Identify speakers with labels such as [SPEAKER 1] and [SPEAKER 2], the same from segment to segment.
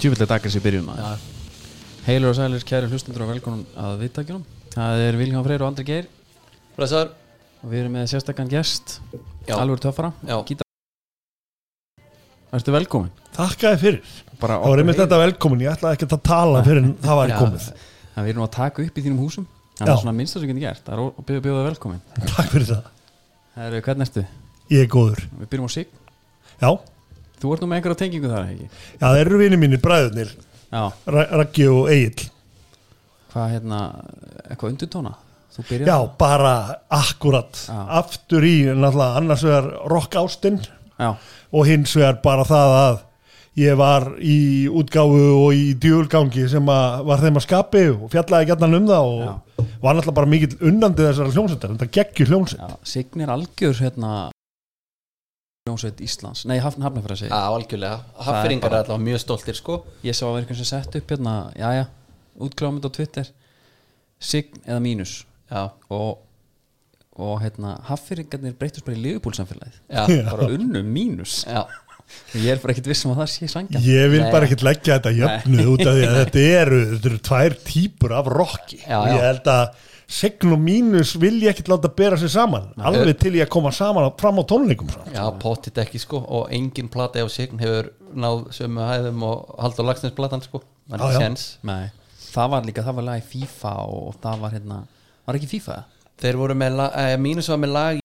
[SPEAKER 1] djúvillig dagir sem byrjum maður
[SPEAKER 2] Já. Heilur og sælir, kæri hlustendur og velkonum að viðtækjunum. Það er Vilhján Freyr og Andri Geir
[SPEAKER 3] Blessaður
[SPEAKER 2] og við erum með sérstakkan gest,
[SPEAKER 3] Já.
[SPEAKER 2] alveg töffara,
[SPEAKER 3] Já.
[SPEAKER 2] gítar. Ertu velkomin?
[SPEAKER 4] Takkaði fyrir
[SPEAKER 1] Bara
[SPEAKER 4] Það var einmitt
[SPEAKER 1] okkur-
[SPEAKER 4] þetta velkomin, ég ætlaði ekkert að tala fyrir en það væri komið
[SPEAKER 2] Það við erum að taka upp í þínum húsum. Það er
[SPEAKER 4] Já.
[SPEAKER 2] svona minnst sem getur gert, það er að bjóða bjóða þig velkomin.
[SPEAKER 4] Takk fyrir það,
[SPEAKER 2] Herru, hvernig ertu?
[SPEAKER 4] ég er góður
[SPEAKER 2] Við byrjum á sig.
[SPEAKER 4] Já,
[SPEAKER 2] Þú ert nú með einhverja tengingu þar, ekki?
[SPEAKER 4] já það eru vinir mínir bræðurnir
[SPEAKER 2] Já.
[SPEAKER 4] Ra- Raggi og Egil
[SPEAKER 2] Hvað hérna, eitthvað undirtóna? Þú byrjar?
[SPEAKER 4] Já, bara akkurat
[SPEAKER 2] Já.
[SPEAKER 4] Aftur í náttúrulega annars vegar rock ástinn
[SPEAKER 2] Já.
[SPEAKER 4] og hins vegar bara það að ég var í útgáfu og í djúlgangi sem að var þeim að skapi og fjallaði gætnan um það og var náttúrulega bara mikill unnandi þessara hljómsveitar en það geggjur hljómsveit
[SPEAKER 2] Já. Sign er algjör hérna Jónsveit Íslands, nei hafn hafnafæra
[SPEAKER 3] Já, algjörlega
[SPEAKER 2] er
[SPEAKER 3] Hafferingar er
[SPEAKER 2] bara-
[SPEAKER 3] allavega mjög stoltir sko
[SPEAKER 2] ég sá að vera einhvern sem sett upp hérna jæja, útklámynd á Twitter sign eða mínus
[SPEAKER 3] Já,
[SPEAKER 2] og, og hérna haffyringarnir breytust bara í liðbúlsamfélagið
[SPEAKER 3] já,
[SPEAKER 2] bara unnu mínus
[SPEAKER 3] já
[SPEAKER 2] ég er bara ekkert viss um að það sé sangja
[SPEAKER 4] Ég vil
[SPEAKER 3] Nei.
[SPEAKER 4] bara ekkert leggja þetta jöfnu út af því að þetta eru, þetta eru tvær típur af rocki
[SPEAKER 3] Já,
[SPEAKER 4] og
[SPEAKER 3] já.
[SPEAKER 4] ég held að segn og mínus vil ég ekkert láta bera sig saman alveg til ég að koma saman á, fram á tónleikum fram.
[SPEAKER 3] Já, pottit ekki sko og engin plata á sign hefur náð sömu hæðum og Haldur Lagsnes platan sko Man
[SPEAKER 4] Já, já.
[SPEAKER 3] er sens
[SPEAKER 2] nei, það var líka, það var lag í FIFA og, og það var hérna, var ekki FIFA það?
[SPEAKER 3] Þeir voru með lag, eh, mínus var með lag í-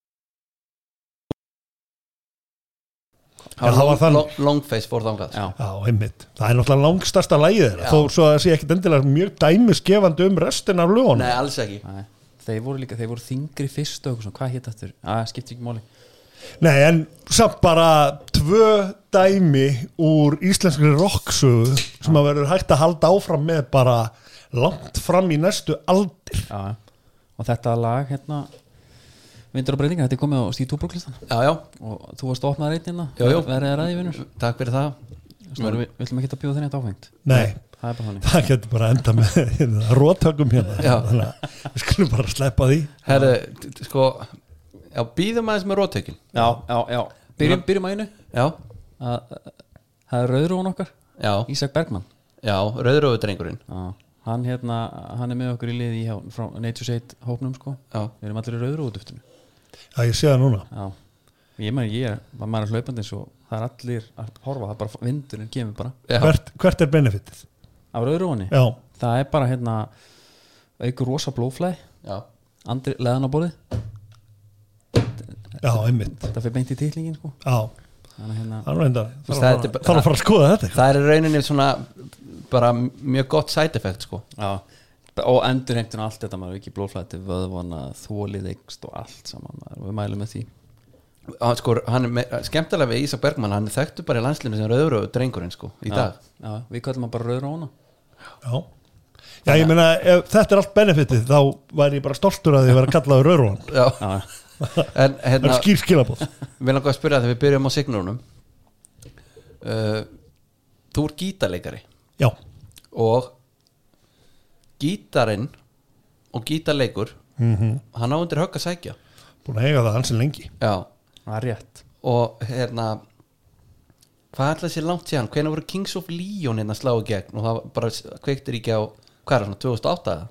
[SPEAKER 4] Já, það var þannig.
[SPEAKER 3] Long- Longface fór þangað sko.
[SPEAKER 2] já,
[SPEAKER 4] Já, einmitt. Það er náttúrulega langstasta lægið þeirra,
[SPEAKER 3] Já.
[SPEAKER 4] þó svo að það sé ekkert endilega mjög dæmiskefandi um restin af lögunum.
[SPEAKER 3] Nei, alls ekki
[SPEAKER 2] nei þeir voru líka, þeir voru þingri fyrst og eitthvað svona, hvað hétt aftur, að skiptir ekki máli
[SPEAKER 4] Nei, en samt bara tvö dæmi úr íslenskri rocksögu sem að verður hægt að halda áfram með bara langt fram í næstu aldir.
[SPEAKER 2] já, og þetta lag hérna vindur og breytingar, þetta er komið á Stíð Túbrúklistan
[SPEAKER 3] Já, já,
[SPEAKER 2] og þú varst að opna reyndina
[SPEAKER 3] Jú, jú.
[SPEAKER 2] verðið að ræði vinnur
[SPEAKER 3] takk fyrir það
[SPEAKER 2] við viljum ekki að bjóða þenni þetta áfengt
[SPEAKER 4] Nei,
[SPEAKER 2] það er bara þannig
[SPEAKER 4] það getur bara enda með hérna, rótökum hérna.
[SPEAKER 3] Já.
[SPEAKER 4] Þannig að við skulum bara sleppa því.
[SPEAKER 3] Herðu, t- t- sko Já, býðum aðeins með rótökin
[SPEAKER 2] já, já, já byrjum, byrjum að einu
[SPEAKER 3] Já,
[SPEAKER 2] að, að, það er rauðrún okkar
[SPEAKER 3] já,
[SPEAKER 2] Ísak Bergmann
[SPEAKER 3] já, rauðröfudrengurinn
[SPEAKER 2] já. hann hérna hann er með okkur í liði hjá, frá Nature's Aid hópnum sko
[SPEAKER 3] Já.
[SPEAKER 2] við erum allir í rauðrúðuftinu
[SPEAKER 4] Já, ég sé það núna.
[SPEAKER 2] já ég meðan ég er var maður er hlaupandi eins og það er allir að horfa það er bara vindurinn kemur bara
[SPEAKER 3] Já,
[SPEAKER 4] Hvert, hvert er benefitið?
[SPEAKER 2] á rauðrúðunni
[SPEAKER 4] Já,
[SPEAKER 2] það er bara hérna aukur rosa blóflæði
[SPEAKER 3] já
[SPEAKER 2] andri leðan á borðið
[SPEAKER 4] já, einmitt.
[SPEAKER 2] þetta fyrir beint í titlingin sko
[SPEAKER 4] Já,
[SPEAKER 2] þannig að hérna
[SPEAKER 4] það er reynda.
[SPEAKER 3] Þú veist,
[SPEAKER 4] Það
[SPEAKER 3] það er
[SPEAKER 4] er
[SPEAKER 3] bara-
[SPEAKER 4] að fara að skoða þetta.
[SPEAKER 3] Það er í rauninni svona bara mjög gott side effect sko
[SPEAKER 2] Já, og endurheimtun og allt þetta maður ekki blóðflæti, vöðvana, þólið eikst og allt saman, maður, við mælum með því
[SPEAKER 3] hann, sko, hann er með, skemmtilega við Ísak Bergmann hann er þekktu bara í landslinu sem rauðröðu drengurinn sko í dag
[SPEAKER 2] Já, já við kallum hann bara rauðróna
[SPEAKER 4] Já. Já, ég meina, ef þetta er allt benefitið, þá væri ég bara stoltur að því að vera kallaður rauðrúan.
[SPEAKER 3] Já.
[SPEAKER 2] Já,
[SPEAKER 3] en
[SPEAKER 4] Það
[SPEAKER 3] hérna,
[SPEAKER 4] er skýr skilabóð.
[SPEAKER 3] við langar að spyrja þegar við byrjum á signurunum uh, þú er gítarleikari
[SPEAKER 4] Já.
[SPEAKER 3] og gítarinn og gítarleikur -hmm. hann á undir högg að sækja
[SPEAKER 4] búin að eiga það hansi lengi
[SPEAKER 3] já,
[SPEAKER 2] það er rétt
[SPEAKER 3] og hérna hvað ætlaði sér langt síðan hvenær voru Kings of Leon hérna slá í gegn og það var bara kveiktir ekki á hvað er það, svona 2008 eða?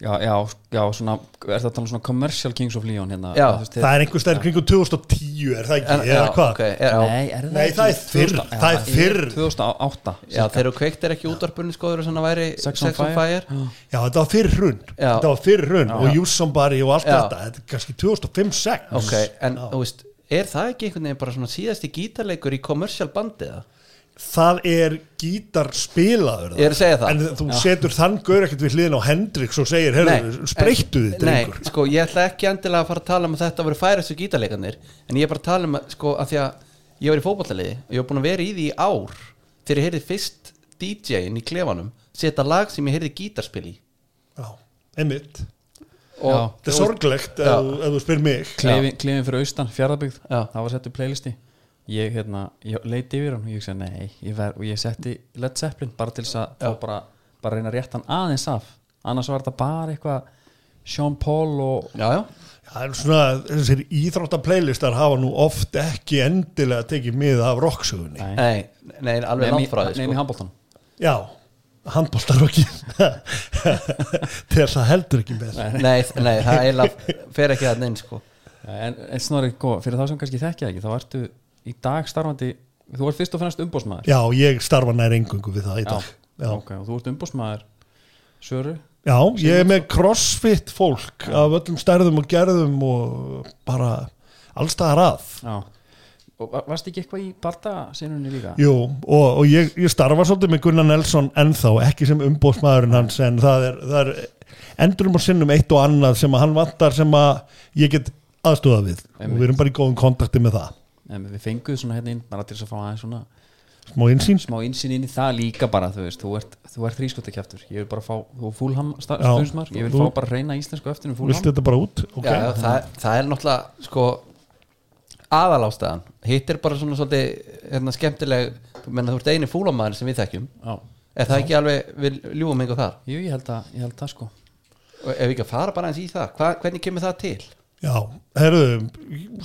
[SPEAKER 2] Já, já, já, svona, er það að tala um svona commercial Kings of Leon hérna
[SPEAKER 3] Já,
[SPEAKER 2] Þú veist,
[SPEAKER 4] það er einhver stær kringum 2010 er það ekki,
[SPEAKER 3] En-
[SPEAKER 4] eða
[SPEAKER 3] já,
[SPEAKER 4] hvað
[SPEAKER 3] ok, er- já.
[SPEAKER 2] Nei, er það
[SPEAKER 4] Nei,
[SPEAKER 2] ekki
[SPEAKER 4] það er fyrr,
[SPEAKER 2] 2000
[SPEAKER 4] það er
[SPEAKER 2] Já,
[SPEAKER 4] fyrr.
[SPEAKER 2] 2008
[SPEAKER 3] já, þeir eru kveiktir ekki í útvarpunni sko þegar svona væri
[SPEAKER 2] Sex
[SPEAKER 3] Sex
[SPEAKER 2] on
[SPEAKER 3] on Fire,
[SPEAKER 4] já þetta var fyrir hrun
[SPEAKER 3] Já.
[SPEAKER 4] þetta var fyrir hrun og Use Somebody og allt
[SPEAKER 3] Já.
[SPEAKER 4] þetta þetta er kannski 2005-06
[SPEAKER 3] ok, en þú veist er það ekki einhvern veginn bara svona síðasti gítarleikur í commercial bandið eða?
[SPEAKER 4] það er gítarspilaður
[SPEAKER 3] Ég er að segja það.
[SPEAKER 4] en þú setur þann gaur ekkert við hliðin á Hendrix og segir heyrðu,
[SPEAKER 3] Nei,
[SPEAKER 4] spreyttu
[SPEAKER 3] en-
[SPEAKER 4] þið drengur
[SPEAKER 3] Nei, sko, ég ætla ekki endilega að fara að tala um að þetta voru færastu gítarleikarnir en ég er bara að tala um að, sko, að því að ég var í fótballaliði og ég var búin að vera í því í ár þegar ég heyrði fyrst DJ-in í klefanum setja lag sem ég heyrði gítarspil í
[SPEAKER 4] já, einmitt
[SPEAKER 3] og,
[SPEAKER 4] þetta er sorglegt ef
[SPEAKER 3] Já.
[SPEAKER 4] þú- ef þú spyr mig
[SPEAKER 2] klefin, klefin fyrir austan, fjárðabyggð
[SPEAKER 3] Já.
[SPEAKER 2] það var sett upp playlisti ég, hérna, ég leiti yfir hann og ég segi nei ég ver, og ég setti Led Zeppelin bara til þess að þá bara, bara reyna að rétta hann aðeins af annars var þetta bara eitthvað Sean Paul og
[SPEAKER 3] já, já,
[SPEAKER 4] það er svona þessir íþróttaplaylistar hafa nú oft ekki endilega tekið mið af rocksögunni
[SPEAKER 2] Nei.
[SPEAKER 3] nei, nei, alveg langt frá því
[SPEAKER 2] nefn í
[SPEAKER 3] sko.
[SPEAKER 2] handbóltan
[SPEAKER 4] já, handbóltarokkin til þess að heldur ekki með
[SPEAKER 3] nei, nei, það eiginlega fer ekki að neinn sko
[SPEAKER 2] En, en snorri, góð, fyrir þá sem kannski þekkja það ekki þá ertu í dag starfandi þú ert fyrst og fremst umbósmaður
[SPEAKER 4] já, ég starfa nær engungu við það í dag já,
[SPEAKER 2] ok, og þú ert umbósmaður Söru,
[SPEAKER 4] já ég er með crossfit fólk af öllum stærðum og gerðum og bara allstaðar að
[SPEAKER 2] já og va- varstu ekki eitthvað í bardasinunni líka?
[SPEAKER 4] Jú, og, og ég, ég starfa svolítið með Gunnar Nelson ennþá, ekki sem umbóðsmaðurinn hans en það er, það er endurum og sinnum eitt og annað sem að hann vantar sem að ég get aðstúða við og við erum bara í góðum kontakti með það
[SPEAKER 2] En við fenguðum svona hérna inn, bara til þess að fá aðeins svona
[SPEAKER 4] smá innsýn
[SPEAKER 2] smá insýn inn í það líka bara þú veist, þú ert, þú ert þrískotakjaftur ég vil bara fá, þú er fúlham
[SPEAKER 4] Já.
[SPEAKER 2] stöðismar ég vil
[SPEAKER 4] Þú-
[SPEAKER 2] fá bara reyna íslensku eftir um fúlham
[SPEAKER 4] Viltu þetta bara út? Ok.
[SPEAKER 3] já, já, það, það er náttúrulega sko aðalástæðan hitt er bara svona svolítið hérna, skemmtileg, menna þú ert eini fúlamæður sem við þekkjum,
[SPEAKER 2] Já,
[SPEAKER 3] er það ekki alveg við ljúum einhver þar,
[SPEAKER 2] jú, ég held að, ég held að sko
[SPEAKER 3] og ef við ekki að fara bara eins í það Hva, hvernig kemur það til?
[SPEAKER 4] Já, herðu,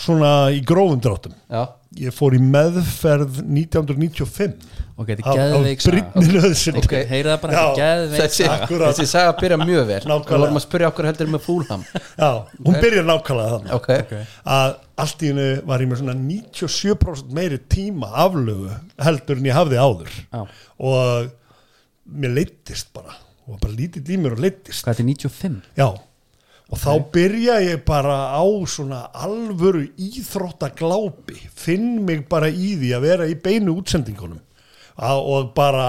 [SPEAKER 4] svona í grófum dráttum
[SPEAKER 3] Já,
[SPEAKER 4] ég fór í meðferð 1995
[SPEAKER 2] Ok, þetta
[SPEAKER 4] Af-
[SPEAKER 2] er
[SPEAKER 4] af
[SPEAKER 2] geðveik saga.
[SPEAKER 4] Brynni Löðsson
[SPEAKER 2] Ok, heyra það bara, þetta
[SPEAKER 4] Já.
[SPEAKER 2] er geðveik
[SPEAKER 3] þessi,
[SPEAKER 4] Akkurat.
[SPEAKER 3] þessi saga byrja mjög vel
[SPEAKER 4] Nákvæmlega.
[SPEAKER 3] við vorum að spyrja okkur heldur um með fúlham
[SPEAKER 4] Já, hún byrjar nákvæmlega þannig
[SPEAKER 3] ok,
[SPEAKER 4] að allt í hennu var ég með svona 97% meiri tíma aflögu heldur en ég hafði áður
[SPEAKER 2] Já.
[SPEAKER 4] og mér leittist bara og bara lítið í mér og leittist
[SPEAKER 2] Hvað þetta er 95?
[SPEAKER 4] já og þá byrja ég bara á svona alvöru íþróttaglápi finn mig bara í því að vera í beinu útsendingunum að, og bara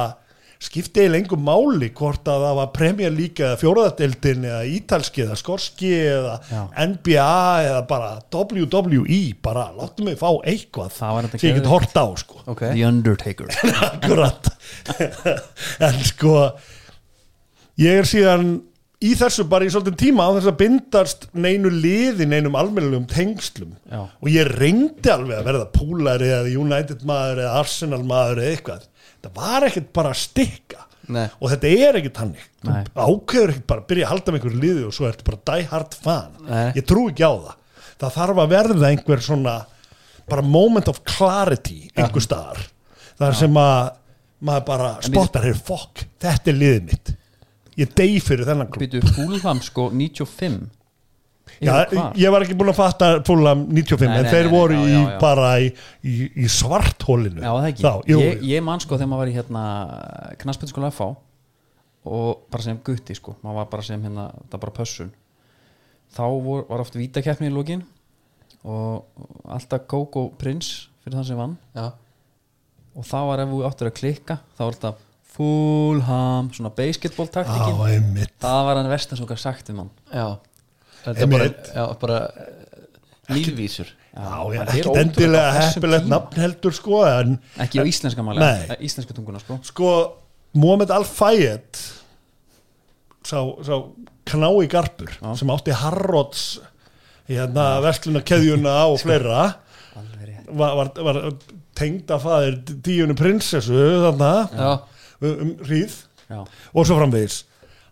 [SPEAKER 4] skipti ég lengur máli hvort að það var premja líka eða fjóraðadeldin eða ítalski eða skorski eða
[SPEAKER 2] Já.
[SPEAKER 4] NBA eða bara WWE bara láttu mig fá eitthvað
[SPEAKER 2] Það var þetta
[SPEAKER 4] sem ég get
[SPEAKER 2] geðveikt.
[SPEAKER 4] hort á sko
[SPEAKER 3] ok
[SPEAKER 2] The Undertaker
[SPEAKER 4] akkurat en sko ég er síðan í þessu bara í svolítið tíma á þess að bindast neinu liði, neinum almennilegum tengslum
[SPEAKER 2] Já.
[SPEAKER 4] og ég reyndi alveg að verða púlari eða United maður eða Arsenal maður eða eitthvað það var ekkert bara að stikka
[SPEAKER 3] Nei.
[SPEAKER 4] og þetta er ekkert hannig
[SPEAKER 2] Nei.
[SPEAKER 4] Þú ákveður ekkert bara að byrja að halda með einhverju liði og svo ertu bara die hard fan
[SPEAKER 3] Nei.
[SPEAKER 4] ég trú ekki á það það þarf að verða einhver svona bara moment of clarity einhver staðar þar sem að maður bara spottar hér fokk, þetta er liðið mitt ég dey fyrir þennan klub
[SPEAKER 2] Býtu Fúlham sko 95
[SPEAKER 4] Já,
[SPEAKER 2] Yfir hvar?
[SPEAKER 4] ég var ekki búin að fatta fúlam 95
[SPEAKER 2] Nei,
[SPEAKER 4] en
[SPEAKER 2] nei,
[SPEAKER 4] þeir
[SPEAKER 2] nei, nei,
[SPEAKER 4] voru
[SPEAKER 2] já,
[SPEAKER 4] í,
[SPEAKER 2] já, já.
[SPEAKER 4] bara í, í, í svarthólinu
[SPEAKER 2] Já, það ekki
[SPEAKER 4] Þá, jú,
[SPEAKER 2] ég, ég man sko þegar maður var í hérna knaspinskóla FH og bara sem gutti sko maður var bara sem hérna, það var bara pössun þá vor, var oft vítakeppni í lokin og og alltaf kók og prins fyrir þann sem vann
[SPEAKER 3] já,
[SPEAKER 2] og þá var ef við áttur að klikka þá var þetta Fúlham svona basketball
[SPEAKER 4] á,
[SPEAKER 2] taktikin
[SPEAKER 4] einmitt
[SPEAKER 2] það var hann vestan svo hvað sagt við mann
[SPEAKER 3] já þetta er
[SPEAKER 4] Einmitt.
[SPEAKER 3] bara, já, bara eh, lífvísur
[SPEAKER 4] Já, já,
[SPEAKER 2] þetta er
[SPEAKER 4] ekkert
[SPEAKER 2] ótrúlegt
[SPEAKER 4] endilega
[SPEAKER 2] á þessum
[SPEAKER 4] heppilegt
[SPEAKER 2] tíma.
[SPEAKER 4] nafn heldur sko en
[SPEAKER 2] ekki á íslenska máli,
[SPEAKER 4] Nei.
[SPEAKER 2] eh, íslenska tunguna sko
[SPEAKER 4] sko Mohamed Al-Fayed sá, sá knái garpur sem átti Harrods hérna veslunakeðjuna og fleira
[SPEAKER 2] alveg rétt
[SPEAKER 4] var, var, var tengd að faðir tíunni prinsessu þarna
[SPEAKER 3] já,
[SPEAKER 4] um, um hríð
[SPEAKER 2] já,
[SPEAKER 4] og svo framvegis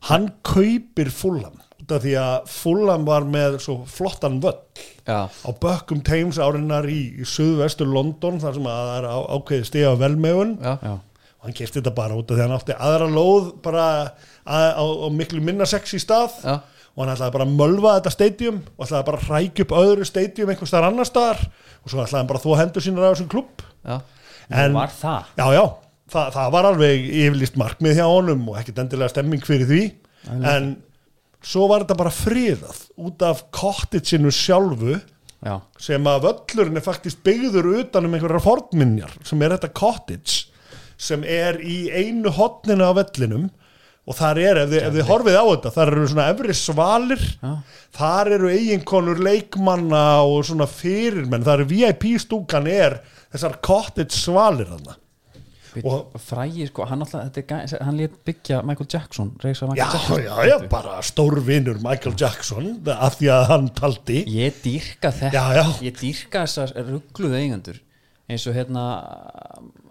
[SPEAKER 4] hann kaupir Fulham út af því að Fulham var með svo flottan völl
[SPEAKER 3] já,
[SPEAKER 4] á bökkum Thames árinnar í, í suðvestur London þar sem að það er á, ákveðið stiga á velmegun
[SPEAKER 3] já,
[SPEAKER 2] já,
[SPEAKER 4] og hann kefti þetta bara út af því að hann átti aðra lóð bara að, á, á miklu minna sexi stað
[SPEAKER 3] Já.
[SPEAKER 4] og hann ætlaði bara að mölva þetta stadium og ætlaði bara að rækja upp öðru stadium einhvers þar annar staðar og svo ætlaði hann bara að þó hendur sínar á þessum klubb
[SPEAKER 3] já
[SPEAKER 4] en,
[SPEAKER 2] var það
[SPEAKER 4] já já, það, það var alveg yfirlýst markmið hjá honum og ekkit endilega stemming fyrir því en svo var þetta bara friðað út af kottitsinu sjálfu
[SPEAKER 2] já,
[SPEAKER 4] sem að völlurinn er faktist byggður utan um einhverjar fornminjar sem er þetta cottage sem er í einu hotninu á vellinum og þar er, ef þið, ef þið horfið á þetta þar eru svona efri svalir
[SPEAKER 2] Já.
[SPEAKER 4] þar eru eiginkonur leikmanna og svona fyrirmenn þar er VIP stúkan er þessar cottage svalir þarna Og-
[SPEAKER 2] og frægi sko, hann alltaf þetta er gæ- hann lét byggja Michael Jackson reisa
[SPEAKER 4] já,
[SPEAKER 2] Michael
[SPEAKER 4] já, já, bara stórvinur Michael Jackson af því að hann taldi
[SPEAKER 2] Jackson ég dýrka þetta,
[SPEAKER 4] Já, já.
[SPEAKER 2] ég dýrka þessar ruggluð eigendur eins og hérna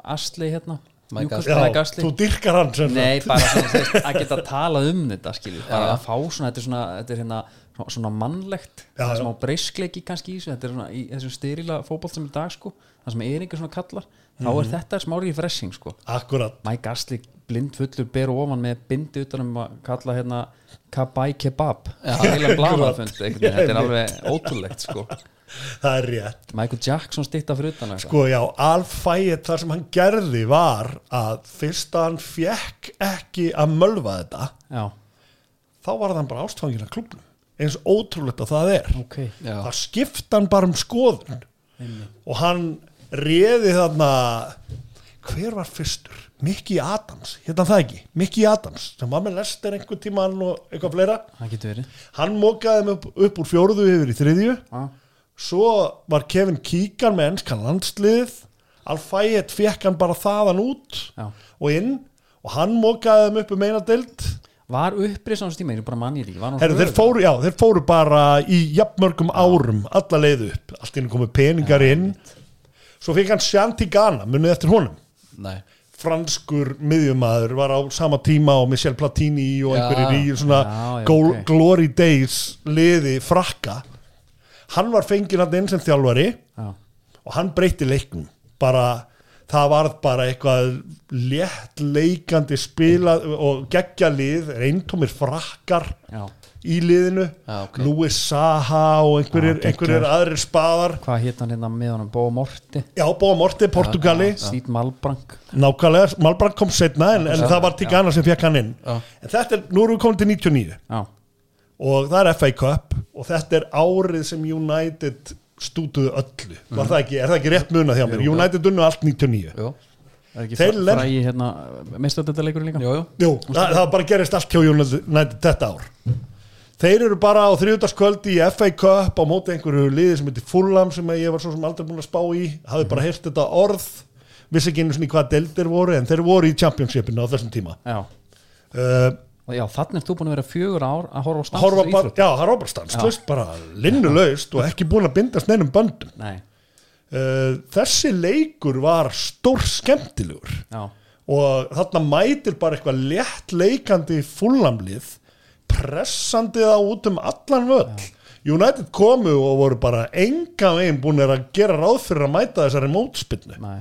[SPEAKER 2] Asli hérna,
[SPEAKER 3] Mike
[SPEAKER 2] Newcastle
[SPEAKER 4] já,
[SPEAKER 2] Mike Asli
[SPEAKER 4] þú dyrkar hann sem
[SPEAKER 2] nei,
[SPEAKER 4] sagt.
[SPEAKER 2] bara svona, þú veist, að geta talað um þetta skilju, bara
[SPEAKER 3] Já.
[SPEAKER 2] að fá svona þetta er svona, þetta er hérna svona- svona mannlegt
[SPEAKER 4] Já,
[SPEAKER 2] það er
[SPEAKER 4] já.
[SPEAKER 2] smá breyskleiki kannski í þessu þetta er svona í þessum styrila fótbolt
[SPEAKER 4] Mhm.
[SPEAKER 2] sem er í dag sko það sem er einhver svona kallar, þá er þetta smári í fressing sko
[SPEAKER 4] akkurat
[SPEAKER 2] Mike Asli blindfullur ber ofan með bindi utanum að kalla hérna kabai kebab heila blaðafund þetta er alveg ótrúlegt sko
[SPEAKER 4] það er rétt
[SPEAKER 2] Michael Jackson stýtta fyrir utan eitthvað.
[SPEAKER 4] sko já, alfæið það sem hann gerði var að fyrst að hann fekk ekki að mölva þetta
[SPEAKER 2] já,
[SPEAKER 4] þá var hann bara ástfangin að klubnum eins ótrúlegt að það er
[SPEAKER 2] ok
[SPEAKER 3] Já.
[SPEAKER 4] það skipta hann bara um skoðun og hann réði þarna hver var fyrstur? Mickey Adams, hérna það ekki Mickey Adams, sem var með lester einhvern tímann og eitthvað fleira
[SPEAKER 2] það getur verið
[SPEAKER 4] hann mókaði mig upp, upp úr fjóruðu yfir í þriðju
[SPEAKER 2] Já.
[SPEAKER 4] svo var Kevin Kíkan með ennskan landslið Alfæet fekk hann bara þaðan út
[SPEAKER 2] Já.
[SPEAKER 4] og inn og hann mókaði þeim upp um eina dild
[SPEAKER 2] var upprið svona tíma, ég er bara manni líka var hún
[SPEAKER 4] Herru, þeir,
[SPEAKER 2] hröð?
[SPEAKER 4] fóru, já, þeir fóru bara í jafnmörgum árum alla leið upp, allt inn komu peningar inn svo fikk hann Shanti Ghana munið eftir honum
[SPEAKER 3] Nei.
[SPEAKER 4] franskur miðjumæður var á sama tíma og Michel Platini og
[SPEAKER 3] Já.
[SPEAKER 4] einhverjir í svona
[SPEAKER 2] Já, já,
[SPEAKER 4] Gol-
[SPEAKER 2] ok.
[SPEAKER 4] Glory Days liði frakka hann var fenginn hann inn sem þjálfari
[SPEAKER 2] já,
[SPEAKER 4] og hann breytti leiknum bara, það varð bara eitthvað létt leikandi spilað og geggja lið reyntómir frakkar
[SPEAKER 2] já,
[SPEAKER 4] í liðinu
[SPEAKER 3] Já, ok.
[SPEAKER 4] Louis Saha og einhverjir,
[SPEAKER 2] Já,
[SPEAKER 4] einhverjir aðrir spaðar
[SPEAKER 2] hvað hétt hann hérna með honum Bó Morti,
[SPEAKER 4] já, Bóa Morti, Portugali
[SPEAKER 2] Stýt Malbrank
[SPEAKER 4] nákvæmlega, Malbrand kom setna en, en það var til Ghana sem fekk hann inn
[SPEAKER 3] Já.
[SPEAKER 4] en þetta er, nú erum við komin til 99
[SPEAKER 2] já,
[SPEAKER 4] og það er FA Cup og þetta er árið sem United stútuðu öllu,
[SPEAKER 3] Mhm.
[SPEAKER 4] var það ekki, er það ekki rétt muna þjá mér, United unnu allt 99
[SPEAKER 3] Jú,
[SPEAKER 2] er ekki
[SPEAKER 4] Þeir ler-
[SPEAKER 2] fræ í hérna meistöldaleikur líka
[SPEAKER 3] jú, jú.
[SPEAKER 4] Jú, það, það bara gerist allt hjá United þetta ár Þeir eru bara á þriðutaskvöldi í FA Cup á móti einhverju liði sem heitir Fulham sem ég var svo sem aldrei búin að spá í hafði bara heyrt þetta orð vissi ekki einu svona í hvað deldir voru en þeir voru í championshipinu á þessum tíma
[SPEAKER 2] já,
[SPEAKER 4] uh,
[SPEAKER 2] og já, þannig er þú búin að vera fjögur ár að horfa á stans
[SPEAKER 4] horfa bara, já, það er obrastans slöst bara linnulaust og ekki búin að bindast neinum böndum
[SPEAKER 2] nei,
[SPEAKER 4] uh, þessi leikur var stór skemmtilegur
[SPEAKER 2] já,
[SPEAKER 4] og þarna mætir bara eitthvað létt leikandi fullamlið pressandi það út um allan völl United komu og voru bara enga veginn búinir að gera ráð fyrir að mæta þessari mótspinnu
[SPEAKER 2] nei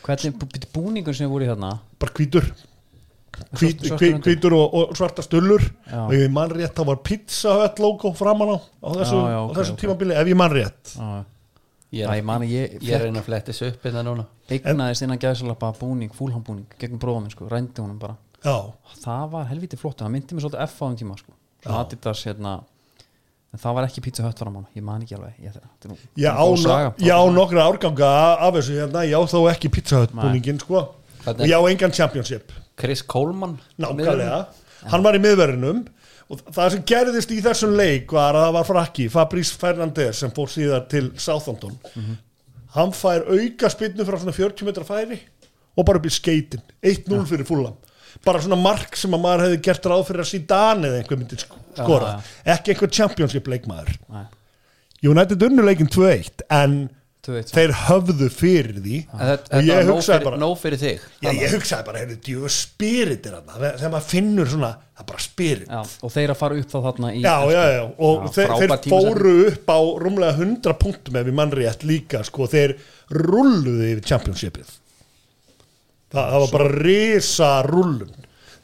[SPEAKER 2] hvernig bú- bíddu, búningur sem voru í hérna
[SPEAKER 4] bara hvítur hvít,
[SPEAKER 2] svartur
[SPEAKER 4] hvít,
[SPEAKER 2] undir.
[SPEAKER 4] hvítur og, og svarta stullur
[SPEAKER 2] Já.
[SPEAKER 4] og ef ég mann rétt þá var pizza hött logo framan á á þessu,
[SPEAKER 2] Já, já,
[SPEAKER 4] á
[SPEAKER 2] ok,
[SPEAKER 4] þessu
[SPEAKER 2] ok.
[SPEAKER 4] tímabili ef ég mann rétt
[SPEAKER 2] já,
[SPEAKER 3] Ég
[SPEAKER 2] já, ég
[SPEAKER 3] er,
[SPEAKER 2] man að ég,
[SPEAKER 3] ég er einn að fletti þessu upp innan núna
[SPEAKER 2] eignaðist innan gæðsalapa búning, fúlhambúning gegn bróða minn sko, rændi honum bara
[SPEAKER 4] já,
[SPEAKER 2] það var helviti flott, það myndi mér svolítið F á þeim tíma sko, svona Adidas hérna en það var ekki pizza hött var á mann, ég man ekki alveg ég, þetta er nú-
[SPEAKER 4] ég
[SPEAKER 2] þetta er
[SPEAKER 4] á,
[SPEAKER 2] góð
[SPEAKER 4] no,
[SPEAKER 2] saga.
[SPEAKER 4] ég á nokkra árganga af þessu hérna, ég á þó ekki pizza hött
[SPEAKER 2] Nei.
[SPEAKER 4] búningin sko
[SPEAKER 3] Hvernig-
[SPEAKER 4] og ég á engan championship
[SPEAKER 3] Chris Coleman
[SPEAKER 4] Nákvæmlega, hann var í miðverðinum og það sem gerðist í þessum leik var að það var frakki, Fabrice Fernandes sem fór síðar til Southampton
[SPEAKER 3] Mhm.
[SPEAKER 4] hann fær auka spynnu frá svona 40 metra færi og bara upp í skeitin 1-0 fyrir fullam bara svona mark sem að maður hefði gert ráð fyrir að síðan eða einhver myndi sk- skora ekki einhver championship leikmaður
[SPEAKER 2] Nei,
[SPEAKER 4] United unnu leikin 2-1 en
[SPEAKER 2] 2-1.
[SPEAKER 4] þeir höfðu fyrir því
[SPEAKER 3] En þetta-
[SPEAKER 4] og
[SPEAKER 3] Þetta
[SPEAKER 4] ég
[SPEAKER 3] var nóg
[SPEAKER 4] hugsaði
[SPEAKER 3] fyrir,
[SPEAKER 4] bara
[SPEAKER 3] nóg fyrir þig
[SPEAKER 4] Já, ég hugsaði bara, heyrðu, djöðu spirit er hann þegar maður finnur svona, það er bara spirit Já,
[SPEAKER 2] já, og þeir að fara upp þá þarna í
[SPEAKER 4] já, já, og
[SPEAKER 2] Já,
[SPEAKER 4] þeir,
[SPEAKER 2] frábær
[SPEAKER 4] þeir
[SPEAKER 2] tímasetning.
[SPEAKER 4] fóru upp á rúmlega 100 punktum ef við mannri rétt líka, sko, þeir rulluðu yfir championshipið Þa, það var bara risa rullun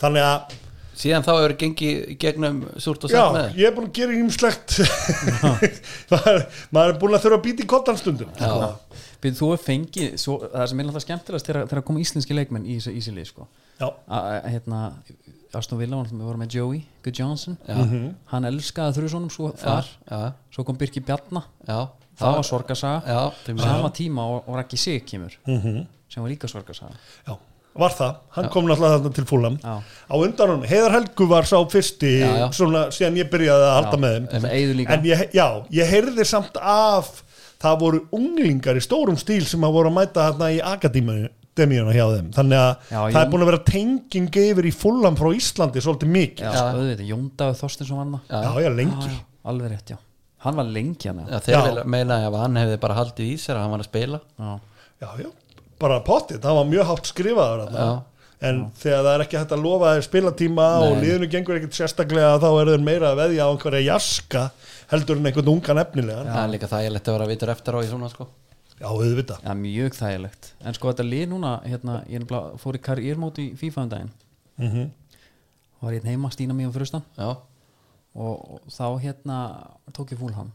[SPEAKER 4] þannig að,
[SPEAKER 3] Síðan þá hefur gengið í gegnum súrt og
[SPEAKER 4] já,
[SPEAKER 3] sætt með þig.
[SPEAKER 4] ég er búin að gera ímslegt maður, maður er búin að þurfa að býta í kottan stundum sko.
[SPEAKER 2] Býtu, þú hefur fengið, svo, það sem er alltaf skemmtilegast þegar, þegar koma íslenski leikmenn í þessi í þessi lið sko.
[SPEAKER 4] Já,
[SPEAKER 2] að að, hérna Aston Villa, var- við vorum með Joey Good Johnson,
[SPEAKER 3] Já.
[SPEAKER 2] hann elskaði þrjusonum svo þar,
[SPEAKER 3] Já,
[SPEAKER 2] svo kom Birki Bjarna
[SPEAKER 3] já
[SPEAKER 2] það var sorgasaga
[SPEAKER 3] Já, til mér.
[SPEAKER 2] sama tíma og, og Raki Sig kemur sem var líka sorgasaga
[SPEAKER 4] já, var það, hann kom náttúrulega þarna til fúlam
[SPEAKER 2] Já.
[SPEAKER 4] á undan hún, Heiðar Helgu var sá fyrsti
[SPEAKER 3] Já, já.
[SPEAKER 4] svona síðan ég byrjaði að halda með þeim
[SPEAKER 2] sem eigður líka
[SPEAKER 4] en ég, já, ég heyrði samt af það voru unglingar í stórum stíl sem að voru að mæta þarna í akademíuna hjá þeim þannig að
[SPEAKER 2] Já, ég-
[SPEAKER 4] það er búin að vera tenging yfir í fullam frá Íslandi svolítið
[SPEAKER 2] já,
[SPEAKER 4] mikið
[SPEAKER 2] Ah,
[SPEAKER 4] já,
[SPEAKER 2] já. auðvitað, Jóndaðu Þorstinsson var hann
[SPEAKER 4] já, lengi
[SPEAKER 2] Já, alveg rétt, já hann var lengi hérna. hann já.
[SPEAKER 3] Já, þeir
[SPEAKER 4] Já.
[SPEAKER 3] vilja meina að hann hefði bara haldið í sér að hann var að spila
[SPEAKER 2] Já.
[SPEAKER 4] já, já, bara pottið, það var mjög hátt skrifaður þarna en þegar það er ekki hægt að lofa þeir spilatíma og liðinu gengur ekkert sérstaklega þá er þeir meira að veðja á einhverja jaska heldur en einhvern ungan efnilegan
[SPEAKER 3] Það er líka þægilegt að vera vitur eftir á í svona sko
[SPEAKER 4] já, auðvitað
[SPEAKER 2] Já, mjög þægilegt en sko þetta lið núna, hérna, ég nefnilega fór í karýrmót í FIFA um daginn var ég einn heima, Stína mér og frustan
[SPEAKER 3] já,
[SPEAKER 2] og og þá hérna tók ég fúlham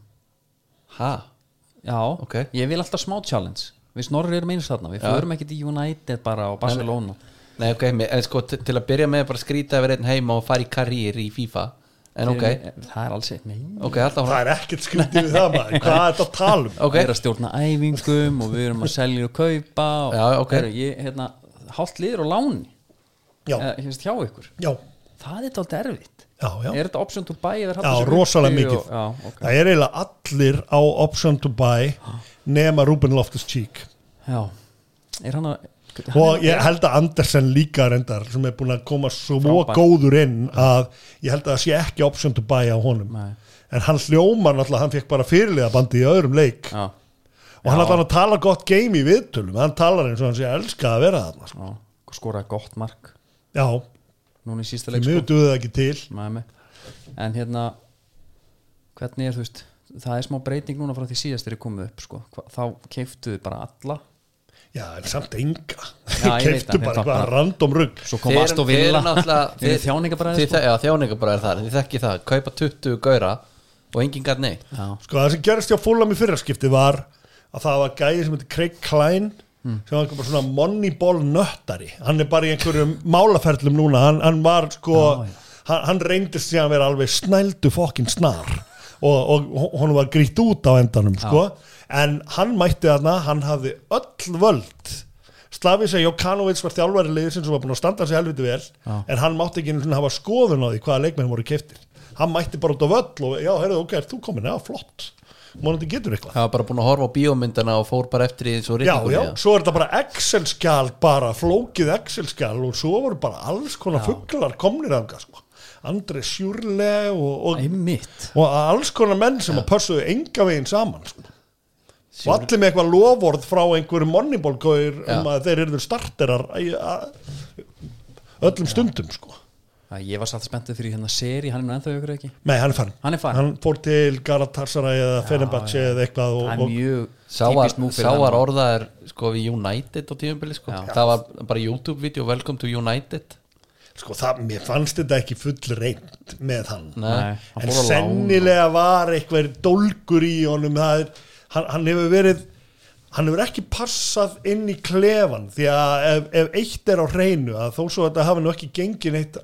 [SPEAKER 3] ha
[SPEAKER 2] já,
[SPEAKER 3] Ok.
[SPEAKER 2] ég vil alltaf smá challenge við snorri erum eins þarna, við
[SPEAKER 3] Já.
[SPEAKER 2] förum ekkit í United bara og Barcelona
[SPEAKER 3] Nei, ok, me- en sko, t- til að byrja með bara skrýta að vera einn heima og fara í karýr í FIFA En ok,
[SPEAKER 2] það er alls eitt, nei
[SPEAKER 3] ok, alltaf
[SPEAKER 4] það er ekkert skrítið við það maður hvað er þetta að tala um
[SPEAKER 3] Ok,
[SPEAKER 2] við erum að stjórna æfingum og við erum að selja og kaupa og
[SPEAKER 3] Já, ok.
[SPEAKER 2] Heyrðu, ég, hérna, hálft liður og láni
[SPEAKER 4] já,
[SPEAKER 2] eða, hérna, hjá ykkur
[SPEAKER 4] já,
[SPEAKER 2] það er þetta erfitt
[SPEAKER 4] já, já,
[SPEAKER 2] er þetta option to buy eða er
[SPEAKER 4] já
[SPEAKER 2] þetta svo
[SPEAKER 4] rosalega
[SPEAKER 2] uppi
[SPEAKER 4] mikið
[SPEAKER 2] og, já, ok.
[SPEAKER 4] það er eiginlega allir á option to buy nema Ruben Loftus-Cheek
[SPEAKER 2] já, er hann að hann
[SPEAKER 4] og ég held að Andersen líka reyndar sem er búin að koma svo
[SPEAKER 2] Frábær.
[SPEAKER 4] góður inn að ég held að það sé ekki option to buy á honum
[SPEAKER 2] Nei.
[SPEAKER 4] en hann hljómar náttúrulega, hann fekk bara fyrirlega bandi í öðrum leik
[SPEAKER 2] já,
[SPEAKER 4] og hann ætlar að tala gott game í viðtölum hann talar eins og hann sé að elska að vera þarna sko.
[SPEAKER 2] já, skoraði gott mark
[SPEAKER 4] já,
[SPEAKER 2] núna í sísta
[SPEAKER 4] því
[SPEAKER 2] leik sko.
[SPEAKER 4] mjög duðið ekki til
[SPEAKER 2] Mæmi. en hérna hvernig er þú veist það er smá breyting núna frá því síðast þegar ég komið upp sko. Hva, þá keiftuðu bara alla
[SPEAKER 4] já, en samt enga
[SPEAKER 2] Já, ég veit það,
[SPEAKER 4] keiftu bara
[SPEAKER 2] þeir
[SPEAKER 4] eitthvað
[SPEAKER 2] tappa.
[SPEAKER 4] random rugg
[SPEAKER 2] svo kom Aston Villa þeir eru þjáningabræði sko.
[SPEAKER 3] Já, þjáningabræðir þar, þið þekki það Kaupa 20 gaura og enginn gæt neitt
[SPEAKER 2] já,
[SPEAKER 4] sko það sem gerist hjá Fulham í fyrraskipti var að það var gæði sem heitir Craig Klein
[SPEAKER 2] Hmm.
[SPEAKER 4] sem var bara svona moneyball nöttari hann er bara í einhverjum málaferlum núna hann, hann var sko
[SPEAKER 2] Já, já.
[SPEAKER 4] hann, hann reyndist síðan að vera alveg snældu fokkin snar og, og honum var grýtt út á endanum sko en hann mætti þarna, hann hafði öll völd Slavisa Jokanovic var þjálfari liðisinn sem var búin að standa sig helviti vel
[SPEAKER 2] Já.
[SPEAKER 4] en hann mátti ekki einu sinni hafa skoðun á því hvaða leikmenn voru keftir hann mætti bara út á völl og já, heyrðu, ok, ert þú komin, já, flott mónandi getur eitthvað
[SPEAKER 3] Það var bara búin að horfa á bíómyndana og fór bara eftir í eins og
[SPEAKER 4] já,
[SPEAKER 3] ritningunni,
[SPEAKER 4] já, svo er þetta bara Excel-skjal bara, flókið Excel-skjal og svo voru bara alls konar fugglar komnir af sko. Andri Sjúrle og, og,
[SPEAKER 2] einmitt
[SPEAKER 4] og alls konar menn sem að pössuðu enga veginn saman sko. og allir með eitthvað lovorð frá einhverju monnibólgóir um
[SPEAKER 3] Já.
[SPEAKER 4] að þeir eru starterar í- að- öllum stundum sko.
[SPEAKER 2] Já, ég var satt spenntu fyrir hérna seri, hann er nú ennþá ykkur ekki
[SPEAKER 4] nei, hann er farin
[SPEAKER 2] Hann er farinn.
[SPEAKER 4] fór til Galatasaray eða Fenerbahce
[SPEAKER 2] já.
[SPEAKER 4] eða eitthvað og,
[SPEAKER 2] það er
[SPEAKER 4] og,
[SPEAKER 2] mjög
[SPEAKER 3] Sáar,
[SPEAKER 2] típist nú fyrir
[SPEAKER 3] sáar
[SPEAKER 2] hann.
[SPEAKER 3] orðaðir sko við United á tíðumbili sko.
[SPEAKER 2] Já.
[SPEAKER 3] það var bara YouTube-vídeó Welcome to United
[SPEAKER 4] sko það, mér fannst þetta ekki full reynd með hann
[SPEAKER 2] Nei, hann
[SPEAKER 4] en
[SPEAKER 2] fór á lán.
[SPEAKER 4] sennilega var eitthvað dólgur í honum það er, hann, hann hefur verið hann hefur ekki passað inn í klefan því að ef, ef eitt er á hreinu að þó svo þetta hafi nú ekki gengið neitt